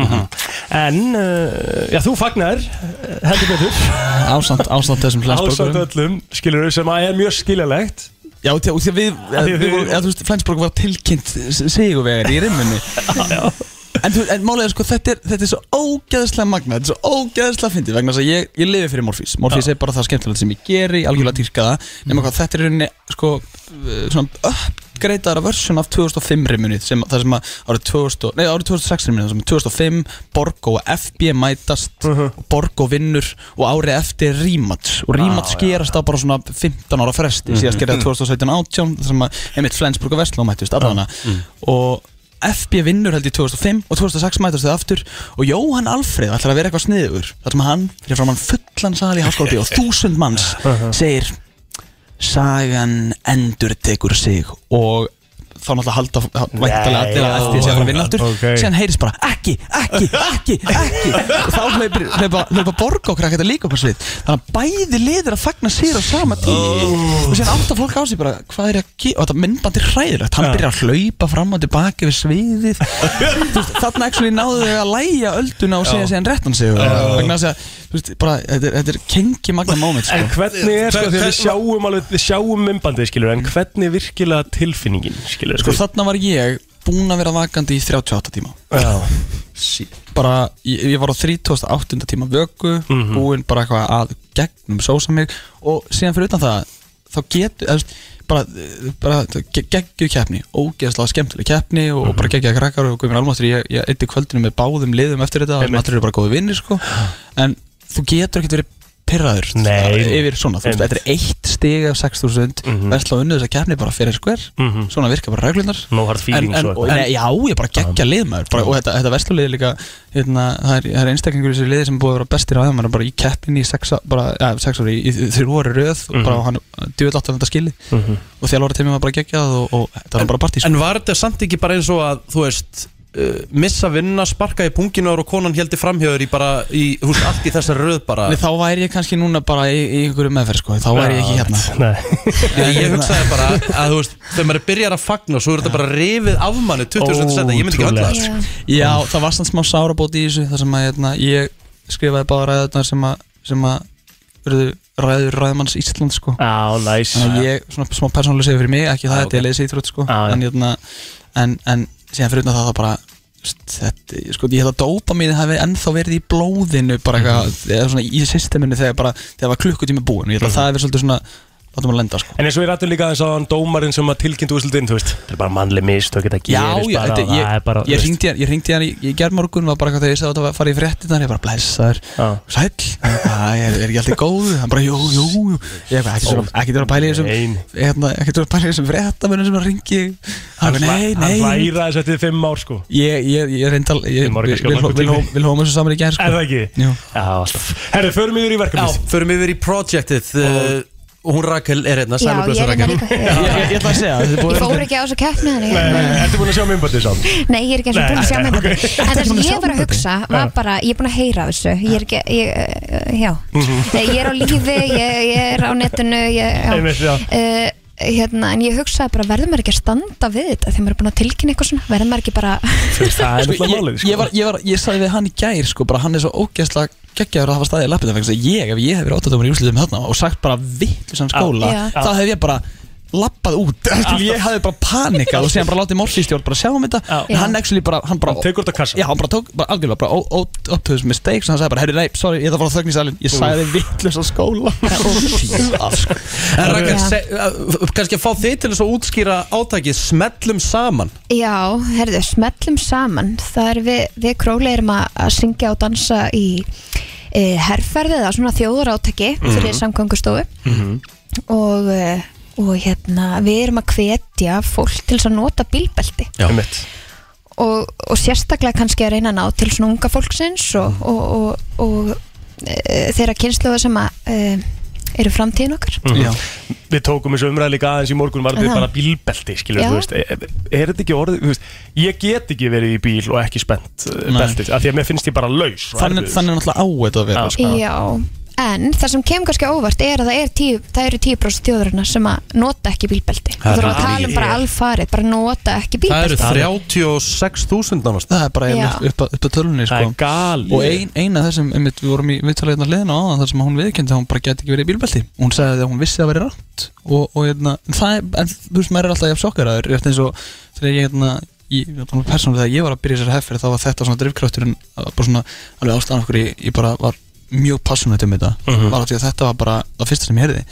[SPEAKER 12] En, uh, já þú fagnar eh, heldur betur
[SPEAKER 1] ásamt, ásamt þessum
[SPEAKER 12] Ásamt
[SPEAKER 1] Flensborgurum
[SPEAKER 12] öllum, skilur sem að er mjög skiljalegt
[SPEAKER 1] Já, því að- því að við,
[SPEAKER 12] Af því að
[SPEAKER 1] við,
[SPEAKER 12] þið-
[SPEAKER 1] vorum- eða, þú veist, Flensborg var tilkynnt sigurvegar í rimmunni En, þú- en málega sko, þetta er, þetta er svo ógæðslega magna, þetta er svo ógæðslega fyndið vegna þess að ég, ég lifi fyrir Morfís Morfís er bara það skemmtilegt sem ég geri, algjörlega dýrka það nema hvað, þetta er í rauninni sko, eh, svona uppgreitaðara versjón af 2005 rimunni sem, það sem að árið 2000, nei, árið 2006 rimunni sem 2005, Borgo og FB mætast og Borgo vinnur og árið eftir Rímats og Rímats gerast á bara svona 15 ára fresti
[SPEAKER 13] Mhm.
[SPEAKER 1] síðast gerði það
[SPEAKER 13] Mhm.
[SPEAKER 1] 2017-18 þar sem að einmitt Flensburg og Vestló mættust allavega og FB vinnur held í 2005 og 2006 mætast þau aftur og Jóhann Alfreð ætlar að vera eitthvað sniður þar sem hann fyrir fram hann fullan sal í háskólabi og þúsund manns segir sagan endur tekur sig og þá náttúrulega halda væntalega
[SPEAKER 13] Nei,
[SPEAKER 1] allir að
[SPEAKER 13] já,
[SPEAKER 1] FB sé að fara að vinna
[SPEAKER 13] já,
[SPEAKER 1] aftur
[SPEAKER 13] ok.
[SPEAKER 1] síðan heyrist bara ekki, ekki, ekki, ekki og þá hleypir, hleypa, hleypa borg okkur ekkert líka upp á svið þannig að bæði liðir að fagna sér á sama tími
[SPEAKER 13] Oh.
[SPEAKER 1] og síðan átta fólk á sig bara hvað er að gera og þetta myndband er hræðilegt hann
[SPEAKER 13] Já.
[SPEAKER 1] byrjar að hlaupa fram og tilbaka við sviðið Þú veist, þarna actually náðu þau að læja ölduna og segja sér en réttan sig vegna þess að þú veist, bara, þetta er, þetta er kengi magna moment sko.
[SPEAKER 12] En hvernig er sko, þegar við sjáum alveg, við sjáum mymbandið skilur,
[SPEAKER 9] Mhm.
[SPEAKER 12] en hvernig er virkilega tilfinningin skilur
[SPEAKER 1] sko þarna var ég búinn að vera vakandi í 38 tíma
[SPEAKER 12] Já.
[SPEAKER 1] bara, ég, ég var á 38. tíma vöku
[SPEAKER 12] Mhm.
[SPEAKER 1] búinn bara eitthvað að gegnum sósa mig og síðan fyrir utan það þá getur, eða, þú veist, bara, bara ge- geggjuð keppni, ógeðslega skemmtileg keppni og,
[SPEAKER 12] Mhm.
[SPEAKER 1] og bara geggjuð krakkar og guðmur almáttur, ég, ég eitthi kvöldinu með báðum liðum eftir þetta, þar sem
[SPEAKER 12] Einmitt.
[SPEAKER 1] allir eru bara góði vinnir sko. en þú getur ekkert verið pyrraður
[SPEAKER 12] Nei.
[SPEAKER 1] yfir svona, þú veist,
[SPEAKER 12] Einmitt.
[SPEAKER 1] þetta er eitt stig af 6000, mm -hmm. versla unnu þess að keppni bara fyrir skver,
[SPEAKER 12] Mhm.
[SPEAKER 1] svona virka bara reglunar
[SPEAKER 12] No hard feelings
[SPEAKER 1] en, en,
[SPEAKER 12] og-
[SPEAKER 1] og, nei, Já, ég bara geggja lið maður bara, og þetta, þetta verslulegið líka hérna, það, er, það er einstaklingur í þessu liði sem er búið að vera bestir á þeim hann er bara í keppinni í sex, á- bara, ja, sex ári í, í þrjú ári röð og bara
[SPEAKER 9] Mhm.
[SPEAKER 1] hann djúvill átt af þetta skili
[SPEAKER 9] Mhm.
[SPEAKER 1] og þjálfari tími var bara geggjað og, og þetta var bara sko. partís
[SPEAKER 9] En var þetta samt ekki bara eins og að, þú veist uh, missa vinna, sparka í punginu og konan heldur framhjöður í bara, í, þú veist, allt í þessar röð bara
[SPEAKER 1] Nei, þá væri ég kannski núna bara í, í einhverju meðferð sko. þá væri ég ekki hérna
[SPEAKER 9] Ég, ég hugsaði bara að þú veist þegar maður byrjar að fagna svo er þetta bara rifið af manni 20 cm senda, ég myndi ekki höndla það sko.
[SPEAKER 1] Já, það var samt smá sárabót í þessu þar sem að hérna, ég skrifaði bara ræðurnar sem að, sem að urðu ræður ræðmanns Ísland sko.
[SPEAKER 12] Já, næs
[SPEAKER 1] Þannig að ég, svona smá persónulega segja fyrir mig ekki það,
[SPEAKER 12] Já,
[SPEAKER 1] þetta er
[SPEAKER 12] Ah. ok. Ah,
[SPEAKER 1] leiðis íþrótt sko.
[SPEAKER 12] Já, já.
[SPEAKER 1] en, hérna, en, en síðan fyrir utan það þá bara st- þetta, sko, ég held að dópa mín hafi ennþá verið í blóðinu bara eitthvað,
[SPEAKER 12] Mhm.
[SPEAKER 1] eða svona í systeminu þegar bara, þegar var klukkutími búin og ég held að það hefur svolítið svona, látum að lenda sko.
[SPEAKER 12] En eins og við rættum líka þess að hann dómarinn sem að tilkynntu úrslutin, þú veist, það er bara mannleg mist og geta gerist
[SPEAKER 1] Já, já,
[SPEAKER 12] bara,
[SPEAKER 1] þetta,
[SPEAKER 12] og það er
[SPEAKER 1] ég,
[SPEAKER 12] bara,
[SPEAKER 1] ég
[SPEAKER 12] þú veist.
[SPEAKER 1] ringdi hann, ég ringdi hann í, í gerðmorgun var bara eitthvað þegar ég sagði að þetta farið í fréttinar ég bara blessaður, sæll "Æ, er, er ekki alltaf góð, hann bara jú, jú, jú ég eitthvað, ekki svona, ekki svona pæli þessum hérna, ekki svona pæli þessum fréttamönnum sem að ringi hann,
[SPEAKER 12] Hann
[SPEAKER 1] bara, nei,
[SPEAKER 12] hlæ-
[SPEAKER 1] nei
[SPEAKER 12] hann hlæra þess eftir fimm ár sko
[SPEAKER 1] ég, ég, ég reyndal, ég,
[SPEAKER 12] Fimm ára
[SPEAKER 1] við,
[SPEAKER 12] kannski á
[SPEAKER 1] við,
[SPEAKER 12] langur
[SPEAKER 1] við,
[SPEAKER 12] tími.
[SPEAKER 1] við hlóðum þessu saman í gerð sko.
[SPEAKER 12] Er það ekki?
[SPEAKER 1] Jú.
[SPEAKER 12] Já, alltaf Herri, förum yfir í verkefnið
[SPEAKER 9] Já, förum yfir í projectið uh, og hún Rakel er hérna,
[SPEAKER 14] Já,
[SPEAKER 9] sælu
[SPEAKER 14] ég
[SPEAKER 9] blessu
[SPEAKER 14] er hérna
[SPEAKER 9] Rakel
[SPEAKER 14] líka.
[SPEAKER 1] ég, ég ætla að segja, þetta er
[SPEAKER 14] Ég
[SPEAKER 1] búið
[SPEAKER 14] fór ekki á þessu keppni þannig
[SPEAKER 12] Nei, nei, ertu búin að sjá minnbandið samt?
[SPEAKER 14] Nei, ég er ekki eins og
[SPEAKER 12] Nei,
[SPEAKER 14] búin að sjá
[SPEAKER 12] nei,
[SPEAKER 14] með
[SPEAKER 12] ok.
[SPEAKER 14] þetta En það sem ég var að hugsa var bara, ég er búin að heyra af þessu Ég er ekki, ég,
[SPEAKER 12] Mhm.
[SPEAKER 14] eh, já Nei, Ég er á lífi, ég, ég er á netinu ég, já.
[SPEAKER 12] Einmitt, já.
[SPEAKER 14] Eh, hérna, en ég hugsaði bara verður maður ekki að standa við þetta þegar maður er búin að tilkynna eitthvað svona verður maður ekki bara
[SPEAKER 12] það er
[SPEAKER 1] Sko,
[SPEAKER 12] náttúrulega
[SPEAKER 1] ég-
[SPEAKER 12] málið, sko.
[SPEAKER 1] Ég, var, ég, var, ég sagði við hann í gær sko, bara hann er svo ógeðslega geggjaður að hafa staðið í lappinu vegna þess að ég, ef ég hef verið áttatómur í úrslitum þarna og sagt bara vittlisann skóla
[SPEAKER 12] Já.
[SPEAKER 1] þá hef ég bara lappað út Eftir, ég hafði bara panikað og síðan bara látið morfístjórn bara sjá um þetta en
[SPEAKER 14] Já.
[SPEAKER 1] hann actually bara hann bara
[SPEAKER 12] Hann tekur út af kassa
[SPEAKER 1] já hann bara tók bara algjörlega bara óttöðus mistakes og hann sagði bara herri nei sorry ég ætla að fara á þögnisælin ég sagði vittlisann skóla sko.
[SPEAKER 9] En Ragnar, se- uh, kannski að fá þið til þess að útskýra átakið smellum saman
[SPEAKER 14] já, herðu, smellum saman það er við, við króli erum að, að syngja og dansa í e, herrferði eða svona þjóðarátaki fyrir
[SPEAKER 15] Mhm.
[SPEAKER 14] samgangustofu
[SPEAKER 15] Mhm.
[SPEAKER 14] og, eh, og hérna við erum að hvetja fólk til þess að nota bílbelti
[SPEAKER 12] Já, mitt
[SPEAKER 14] og, og sérstaklega kannski að reyna að ná til svona unga fólksins og,
[SPEAKER 15] Mhm.
[SPEAKER 14] og, og, og e, þeirra kynsluða sem að e, eru framtíðin okkar
[SPEAKER 15] Mhm.
[SPEAKER 12] Já. Við tókum þessu umræð líka aðeins í morgun var þetta
[SPEAKER 14] Aha.
[SPEAKER 12] bara bílbelti, skilur
[SPEAKER 14] Já.
[SPEAKER 12] þú veist Er er þetta ekki orðið, þú veist Ég get ekki verið í bíl og ekki spennt uh,
[SPEAKER 1] Nei.
[SPEAKER 12] beltið, af því að mér finnst ég bara laus og
[SPEAKER 1] þannig,
[SPEAKER 12] erfiður.
[SPEAKER 1] þannig er náttúrulega á þetta að vera sko.
[SPEAKER 14] Já, en það sem kemur kannski á óvart er að það, er tíu, það eru 10% þjóðurina sem að nota ekki bílbelti
[SPEAKER 9] Það
[SPEAKER 14] Það þurfum
[SPEAKER 9] er
[SPEAKER 14] að tala um
[SPEAKER 9] mikið.
[SPEAKER 14] bara alfarið, bara nota ekki
[SPEAKER 9] Það eru
[SPEAKER 14] bílbelti
[SPEAKER 9] 36.000 nánast
[SPEAKER 1] Það er bara
[SPEAKER 14] Já.
[SPEAKER 1] einmitt upp, að- upp að tölunni sko.
[SPEAKER 12] Það er gali.
[SPEAKER 1] Og ein, eina þessum, einmitt, við vorum í viðtalegna hliðina á áðan þar sem hún viðkendi að hún bara geti ekki verið í bílbelti Hún sagði að hún vissi að það væri rátt og, og hérna, en það er, en þú veist, maður er alltaf jafn sjokkaraður Rétt eins og þegar ég hérna, ég, ég persónulega þegar ég var að byrja þessar hefferð þá var þetta svona drifkrafturinn að bara svona alveg ástæðan okkur ég, ég bara var mjög passionate um þetta
[SPEAKER 12] Mhm.
[SPEAKER 1] var af því að þetta var bara það fyrsta sem ég heyrði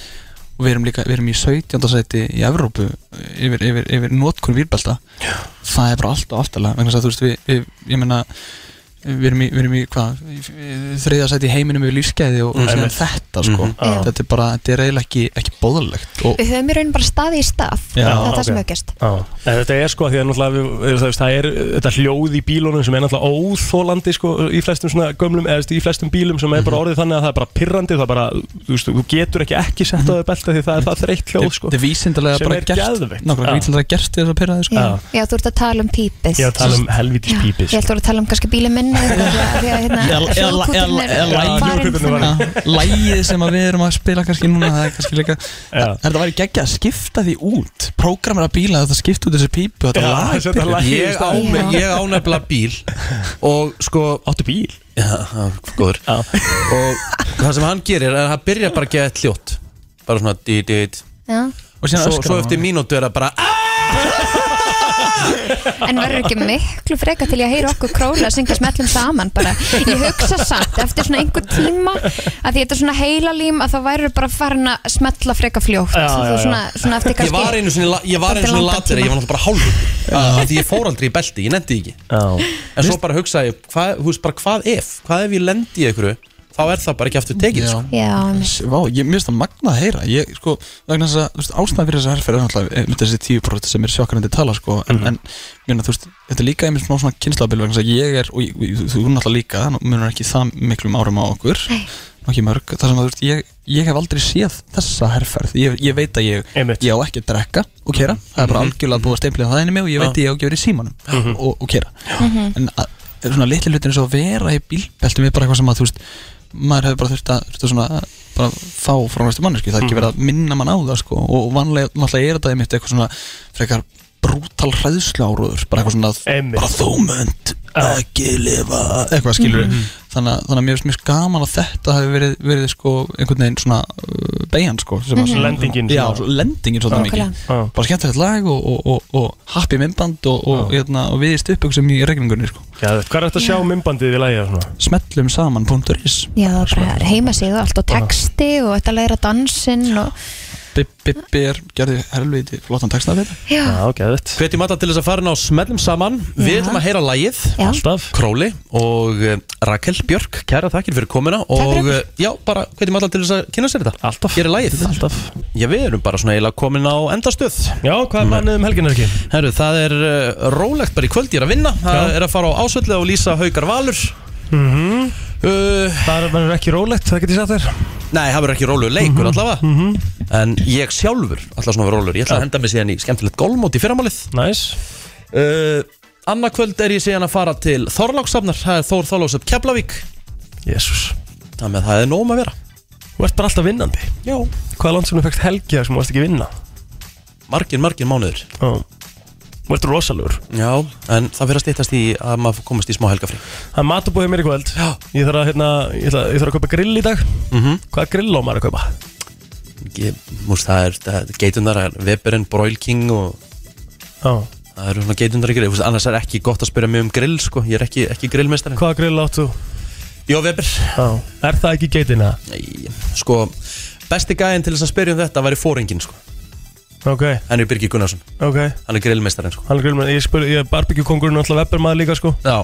[SPEAKER 1] og við erum líka, við erum í 17. sæti í Evrópu yfir, yfir, yfir notkun výrbelta það er bara allt og allt alveg vegna þess að þú veist, við, við ég meina við erum í, við erum í hvað þriðja sæti í heiminum við lífsgæði og,
[SPEAKER 12] Mm.
[SPEAKER 1] og síðan
[SPEAKER 12] Einmitt.
[SPEAKER 1] þetta sko
[SPEAKER 12] Mhm. Já.
[SPEAKER 1] þetta er bara, þetta er eiginlega ekki, ekki bóðalegt og
[SPEAKER 14] Við höfum í raun bara staði í stað
[SPEAKER 12] Já,
[SPEAKER 14] Það er það
[SPEAKER 12] ok.
[SPEAKER 14] sem hefur gerst
[SPEAKER 12] Já. En þetta er sko að því að náttúrulega við, það, það er þetta hljóð í bílunum sem er náttúrulega óþólandi sko í flestum svona gömlum eða þú veist, í flestum bílum sem er bara orðið þannig að það er bara pirrandi það er bara, þú veist, þú getur ekki ekki sett á þau belta því það er það þreytt hljóð sko
[SPEAKER 1] þetta er vísindalega
[SPEAKER 12] Sem
[SPEAKER 1] bara
[SPEAKER 12] er
[SPEAKER 1] gert
[SPEAKER 12] geðveikt. Já.
[SPEAKER 1] nákvæmlega vísindalega gert við þess að pyrra
[SPEAKER 14] Já,
[SPEAKER 1] sko.
[SPEAKER 14] já þú ert að tala um pípið
[SPEAKER 1] Ég er að tala um helvítis
[SPEAKER 14] Já,
[SPEAKER 12] sko.
[SPEAKER 1] pípið,
[SPEAKER 14] Ég held þú ert að tala um kannski bílið minni
[SPEAKER 1] Eða- eða- eða- eða
[SPEAKER 14] Hljóðkúturinn
[SPEAKER 1] lægið- Lægið sem að við erum að spila kannski núna Það er kannski líka Þetta væri geggja að skipta því út Prógramera bíla þetta skipta út þessu pípu Þetta
[SPEAKER 9] Já,
[SPEAKER 1] lag
[SPEAKER 9] setja lagið í
[SPEAKER 12] sko.
[SPEAKER 9] stað. Ég á mig- ég á nefnilega bíl Og sko
[SPEAKER 12] Áttu bíl?
[SPEAKER 9] Já, það var góður Og það sem hann gerir er að hann byrja bara að geða eitt hljótt Bara svona dít, dít
[SPEAKER 1] Og síðan
[SPEAKER 9] svo,
[SPEAKER 1] öskrar
[SPEAKER 9] svo
[SPEAKER 1] hann.
[SPEAKER 9] eftir mínútu er það bara "Ah!"
[SPEAKER 14] En verður ekki miklu freka til ég að heyra okkur króla að syngja smellum saman bara. Ég hugsa samt eftir svona einhver tíma að því þetta er svona heilalím að það væri bara farin að smella freka fljótt
[SPEAKER 9] Já,
[SPEAKER 14] Þú
[SPEAKER 9] já, já.
[SPEAKER 14] Svona, svona eftir
[SPEAKER 9] Ég
[SPEAKER 14] kannski
[SPEAKER 9] var einu sinni, la- ég var einu
[SPEAKER 14] Eftir
[SPEAKER 9] sinni
[SPEAKER 14] langan
[SPEAKER 9] latri
[SPEAKER 14] tíma.
[SPEAKER 9] Ég var náttúrulega bara hálfur Af Því ég fór aldrei í belti, ég nendi ekki En svo bara hugsaði, ég, hvað, þú veist bara hvað ef Hvað ef ég lendi í einhverju Þá er það bara ekki aftur tekið sko.
[SPEAKER 14] Já,
[SPEAKER 1] S- Vá, ég mér finnst það magnað að heyra Ég, sko, vegna þess að, þú veist, ástæðan fyrir þessa herrferð er náttúrulega einmitt þessi tíu prófið sem er sjokkarandi tala, sko En, mm -hmm. en mérna, þú veist, þetta er líka einmitt smá svona kynslabil vegna þess að ég er, og ég, þú- þú er náttúrulega líka Mjög ekki það miklum árum á okkur
[SPEAKER 14] Nei.
[SPEAKER 1] Nokkið mörg, þar sem að, þú veist, ég, ég hef aldrei séð þessa herrferð Ég, ég veit að ég, ég á ekki að drekka og kera Það er bara
[SPEAKER 12] Mhm.
[SPEAKER 1] algjörlega búið að steimlega það inn í mig Og ég veit að ég á ekki að vera í símanum og, og kera
[SPEAKER 12] Mhm.
[SPEAKER 1] en að, svona litli hlutin eins og að vera í bílbeltum er bara eitthvað sem að þú veist maður hefur bara þurft að, þurft að svona, bara fá frá næstu mannesku, það er ekki
[SPEAKER 12] Mhm.
[SPEAKER 1] verið að minna mann á það sko. og vanlega, náttúrulega er þetta einmitt eitthvað svona frekar brútal hræðsláruður, bara eitthvað svona bara þú mönd ekki lifa eitthvað skilur
[SPEAKER 12] Mhm.
[SPEAKER 1] þannig, að- þannig að mér finnst mjög gaman að þetta hafi verið, verið sko, einhvern veginn svona uh, beigjan sko, sem að-
[SPEAKER 12] Mhm. Lendingin,
[SPEAKER 1] já,
[SPEAKER 12] svona.
[SPEAKER 1] svo- lendingin svolítið
[SPEAKER 12] Já.
[SPEAKER 1] mikið bara skemmtilegt lag og, og, og, og happy myndband og, og, hérna, og við í stuðböksum í regningunni sko.
[SPEAKER 12] Já, hvað er þetta að sjá mymbandið í lagið og svona?
[SPEAKER 1] Smellum saman.is
[SPEAKER 14] Já, það er bara heimasíðu allt og texti og þetta læra dansinn og
[SPEAKER 1] Bibbi er gerði helviti flottan texta við þetta
[SPEAKER 14] já,
[SPEAKER 12] ok, þetta
[SPEAKER 9] Hvetjum alla til þess að fara inn á smellum saman Við
[SPEAKER 1] Já.
[SPEAKER 9] ætlum að heyra lagið
[SPEAKER 14] Já.
[SPEAKER 12] Alltaf
[SPEAKER 9] Króli og eh, Rakel Björk Kæra þakkir fyrir komina Og eh, já, bara hvetjum alla til þess að kynna sér þetta
[SPEAKER 12] Alltaf
[SPEAKER 9] Hér er lagið
[SPEAKER 12] Alltaf
[SPEAKER 9] Já, við erum bara svona eiginlega komin á endastöð
[SPEAKER 12] Já, hvað er mannið um helgin er ekki?
[SPEAKER 9] Herru, það er eh, rólegt bara í kvöld Ég er að vinna Það
[SPEAKER 12] Já.
[SPEAKER 9] er að fara á ásvöldlega og lýsa haugar valur
[SPEAKER 12] Mm -hmm.
[SPEAKER 9] uh,
[SPEAKER 12] Það verður ekki rólegt, það getur ég sagt þér
[SPEAKER 9] Nei, það verður ekki rólegur leikur allavega En ég sjálfur ætla svona að vera rólegur Ég ætla að henda mig síðan í skemmtilegt golfmót í fyrramálið nice.
[SPEAKER 12] Næs
[SPEAKER 9] Annarkvöld Eh, er ég síðan að fara til Þorláksafnar Það er Þór Þorláksöp Keflavík
[SPEAKER 12] Jésús
[SPEAKER 9] Það með það er nóg um að vera
[SPEAKER 12] Þú ert bara alltaf vinnandi
[SPEAKER 9] Já
[SPEAKER 12] Hvað er langt sem þú fækst helgi þar sem þú varst ekki að vinna? margir, margir mánuður
[SPEAKER 2] Þú ert rosalur
[SPEAKER 12] Já, en það verður að stýttast í að maður komast í smá helgafrí
[SPEAKER 2] Það er matabúið mér í kvöld Ég þarf að, hérna, ég ætla, ég þarf að kaupa grill í dag
[SPEAKER 9] Mhm.
[SPEAKER 2] Hvaða grill á maður að kaupa?
[SPEAKER 12] Ég, múst, það er, það er geitundar, Weberinn, Broil King og
[SPEAKER 2] Já
[SPEAKER 12] Það eru svona geitundar í grill, Þú veist, annars er ekki gott að spyrja mig um grill, sko, ég er ekki, ekki grillmestari
[SPEAKER 2] Hvaða grill áttu?
[SPEAKER 12] Jó, Weber
[SPEAKER 2] Já, er það ekki geitin eða?
[SPEAKER 12] Nei, sko, besti gæðin til þess að spyrja um þetta væri fóringin, sko
[SPEAKER 2] Ok,
[SPEAKER 12] Hann er Birgir Gunnarsson,
[SPEAKER 2] ok
[SPEAKER 12] hann er grillmestarinn, sko
[SPEAKER 2] Hann er grill með, ég spurði, ég er barbegjúkongurinn og alltaf vepper maður líka sko
[SPEAKER 12] Já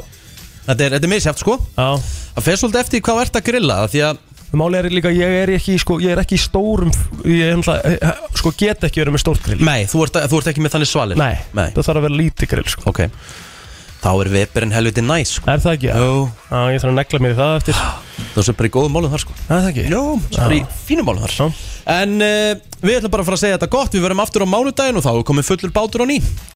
[SPEAKER 12] Þetta er, þetta er misjæft, sko
[SPEAKER 2] Já
[SPEAKER 12] Það fer svolítið eftir hvað ert að grilla, af því að
[SPEAKER 2] Máli er líka, ég er ekki, sko, ég er ekki í stórum Ég er náttúrulega, sko, get ekki verið með stórt grill
[SPEAKER 12] Nei, þú ert, þú ert ekki með þannig svalir
[SPEAKER 2] Nei,
[SPEAKER 12] Nei.
[SPEAKER 2] það þarf að vera lítið grill, sko
[SPEAKER 12] Ok Þá er Weberinn helviti næs, sko
[SPEAKER 2] Er það ekki?
[SPEAKER 12] Jó
[SPEAKER 2] Já, ég þarf að negla mér í það eftir
[SPEAKER 12] Það er sem bara í góðum málum þar, sko
[SPEAKER 2] Það er það ekki?
[SPEAKER 12] Jó, sem bara í fínum málum þar eh, En uh, við ætlum bara að fara að segja þetta gott Við verðum aftur á mánudaginn og þá er komið fullur bátur á ný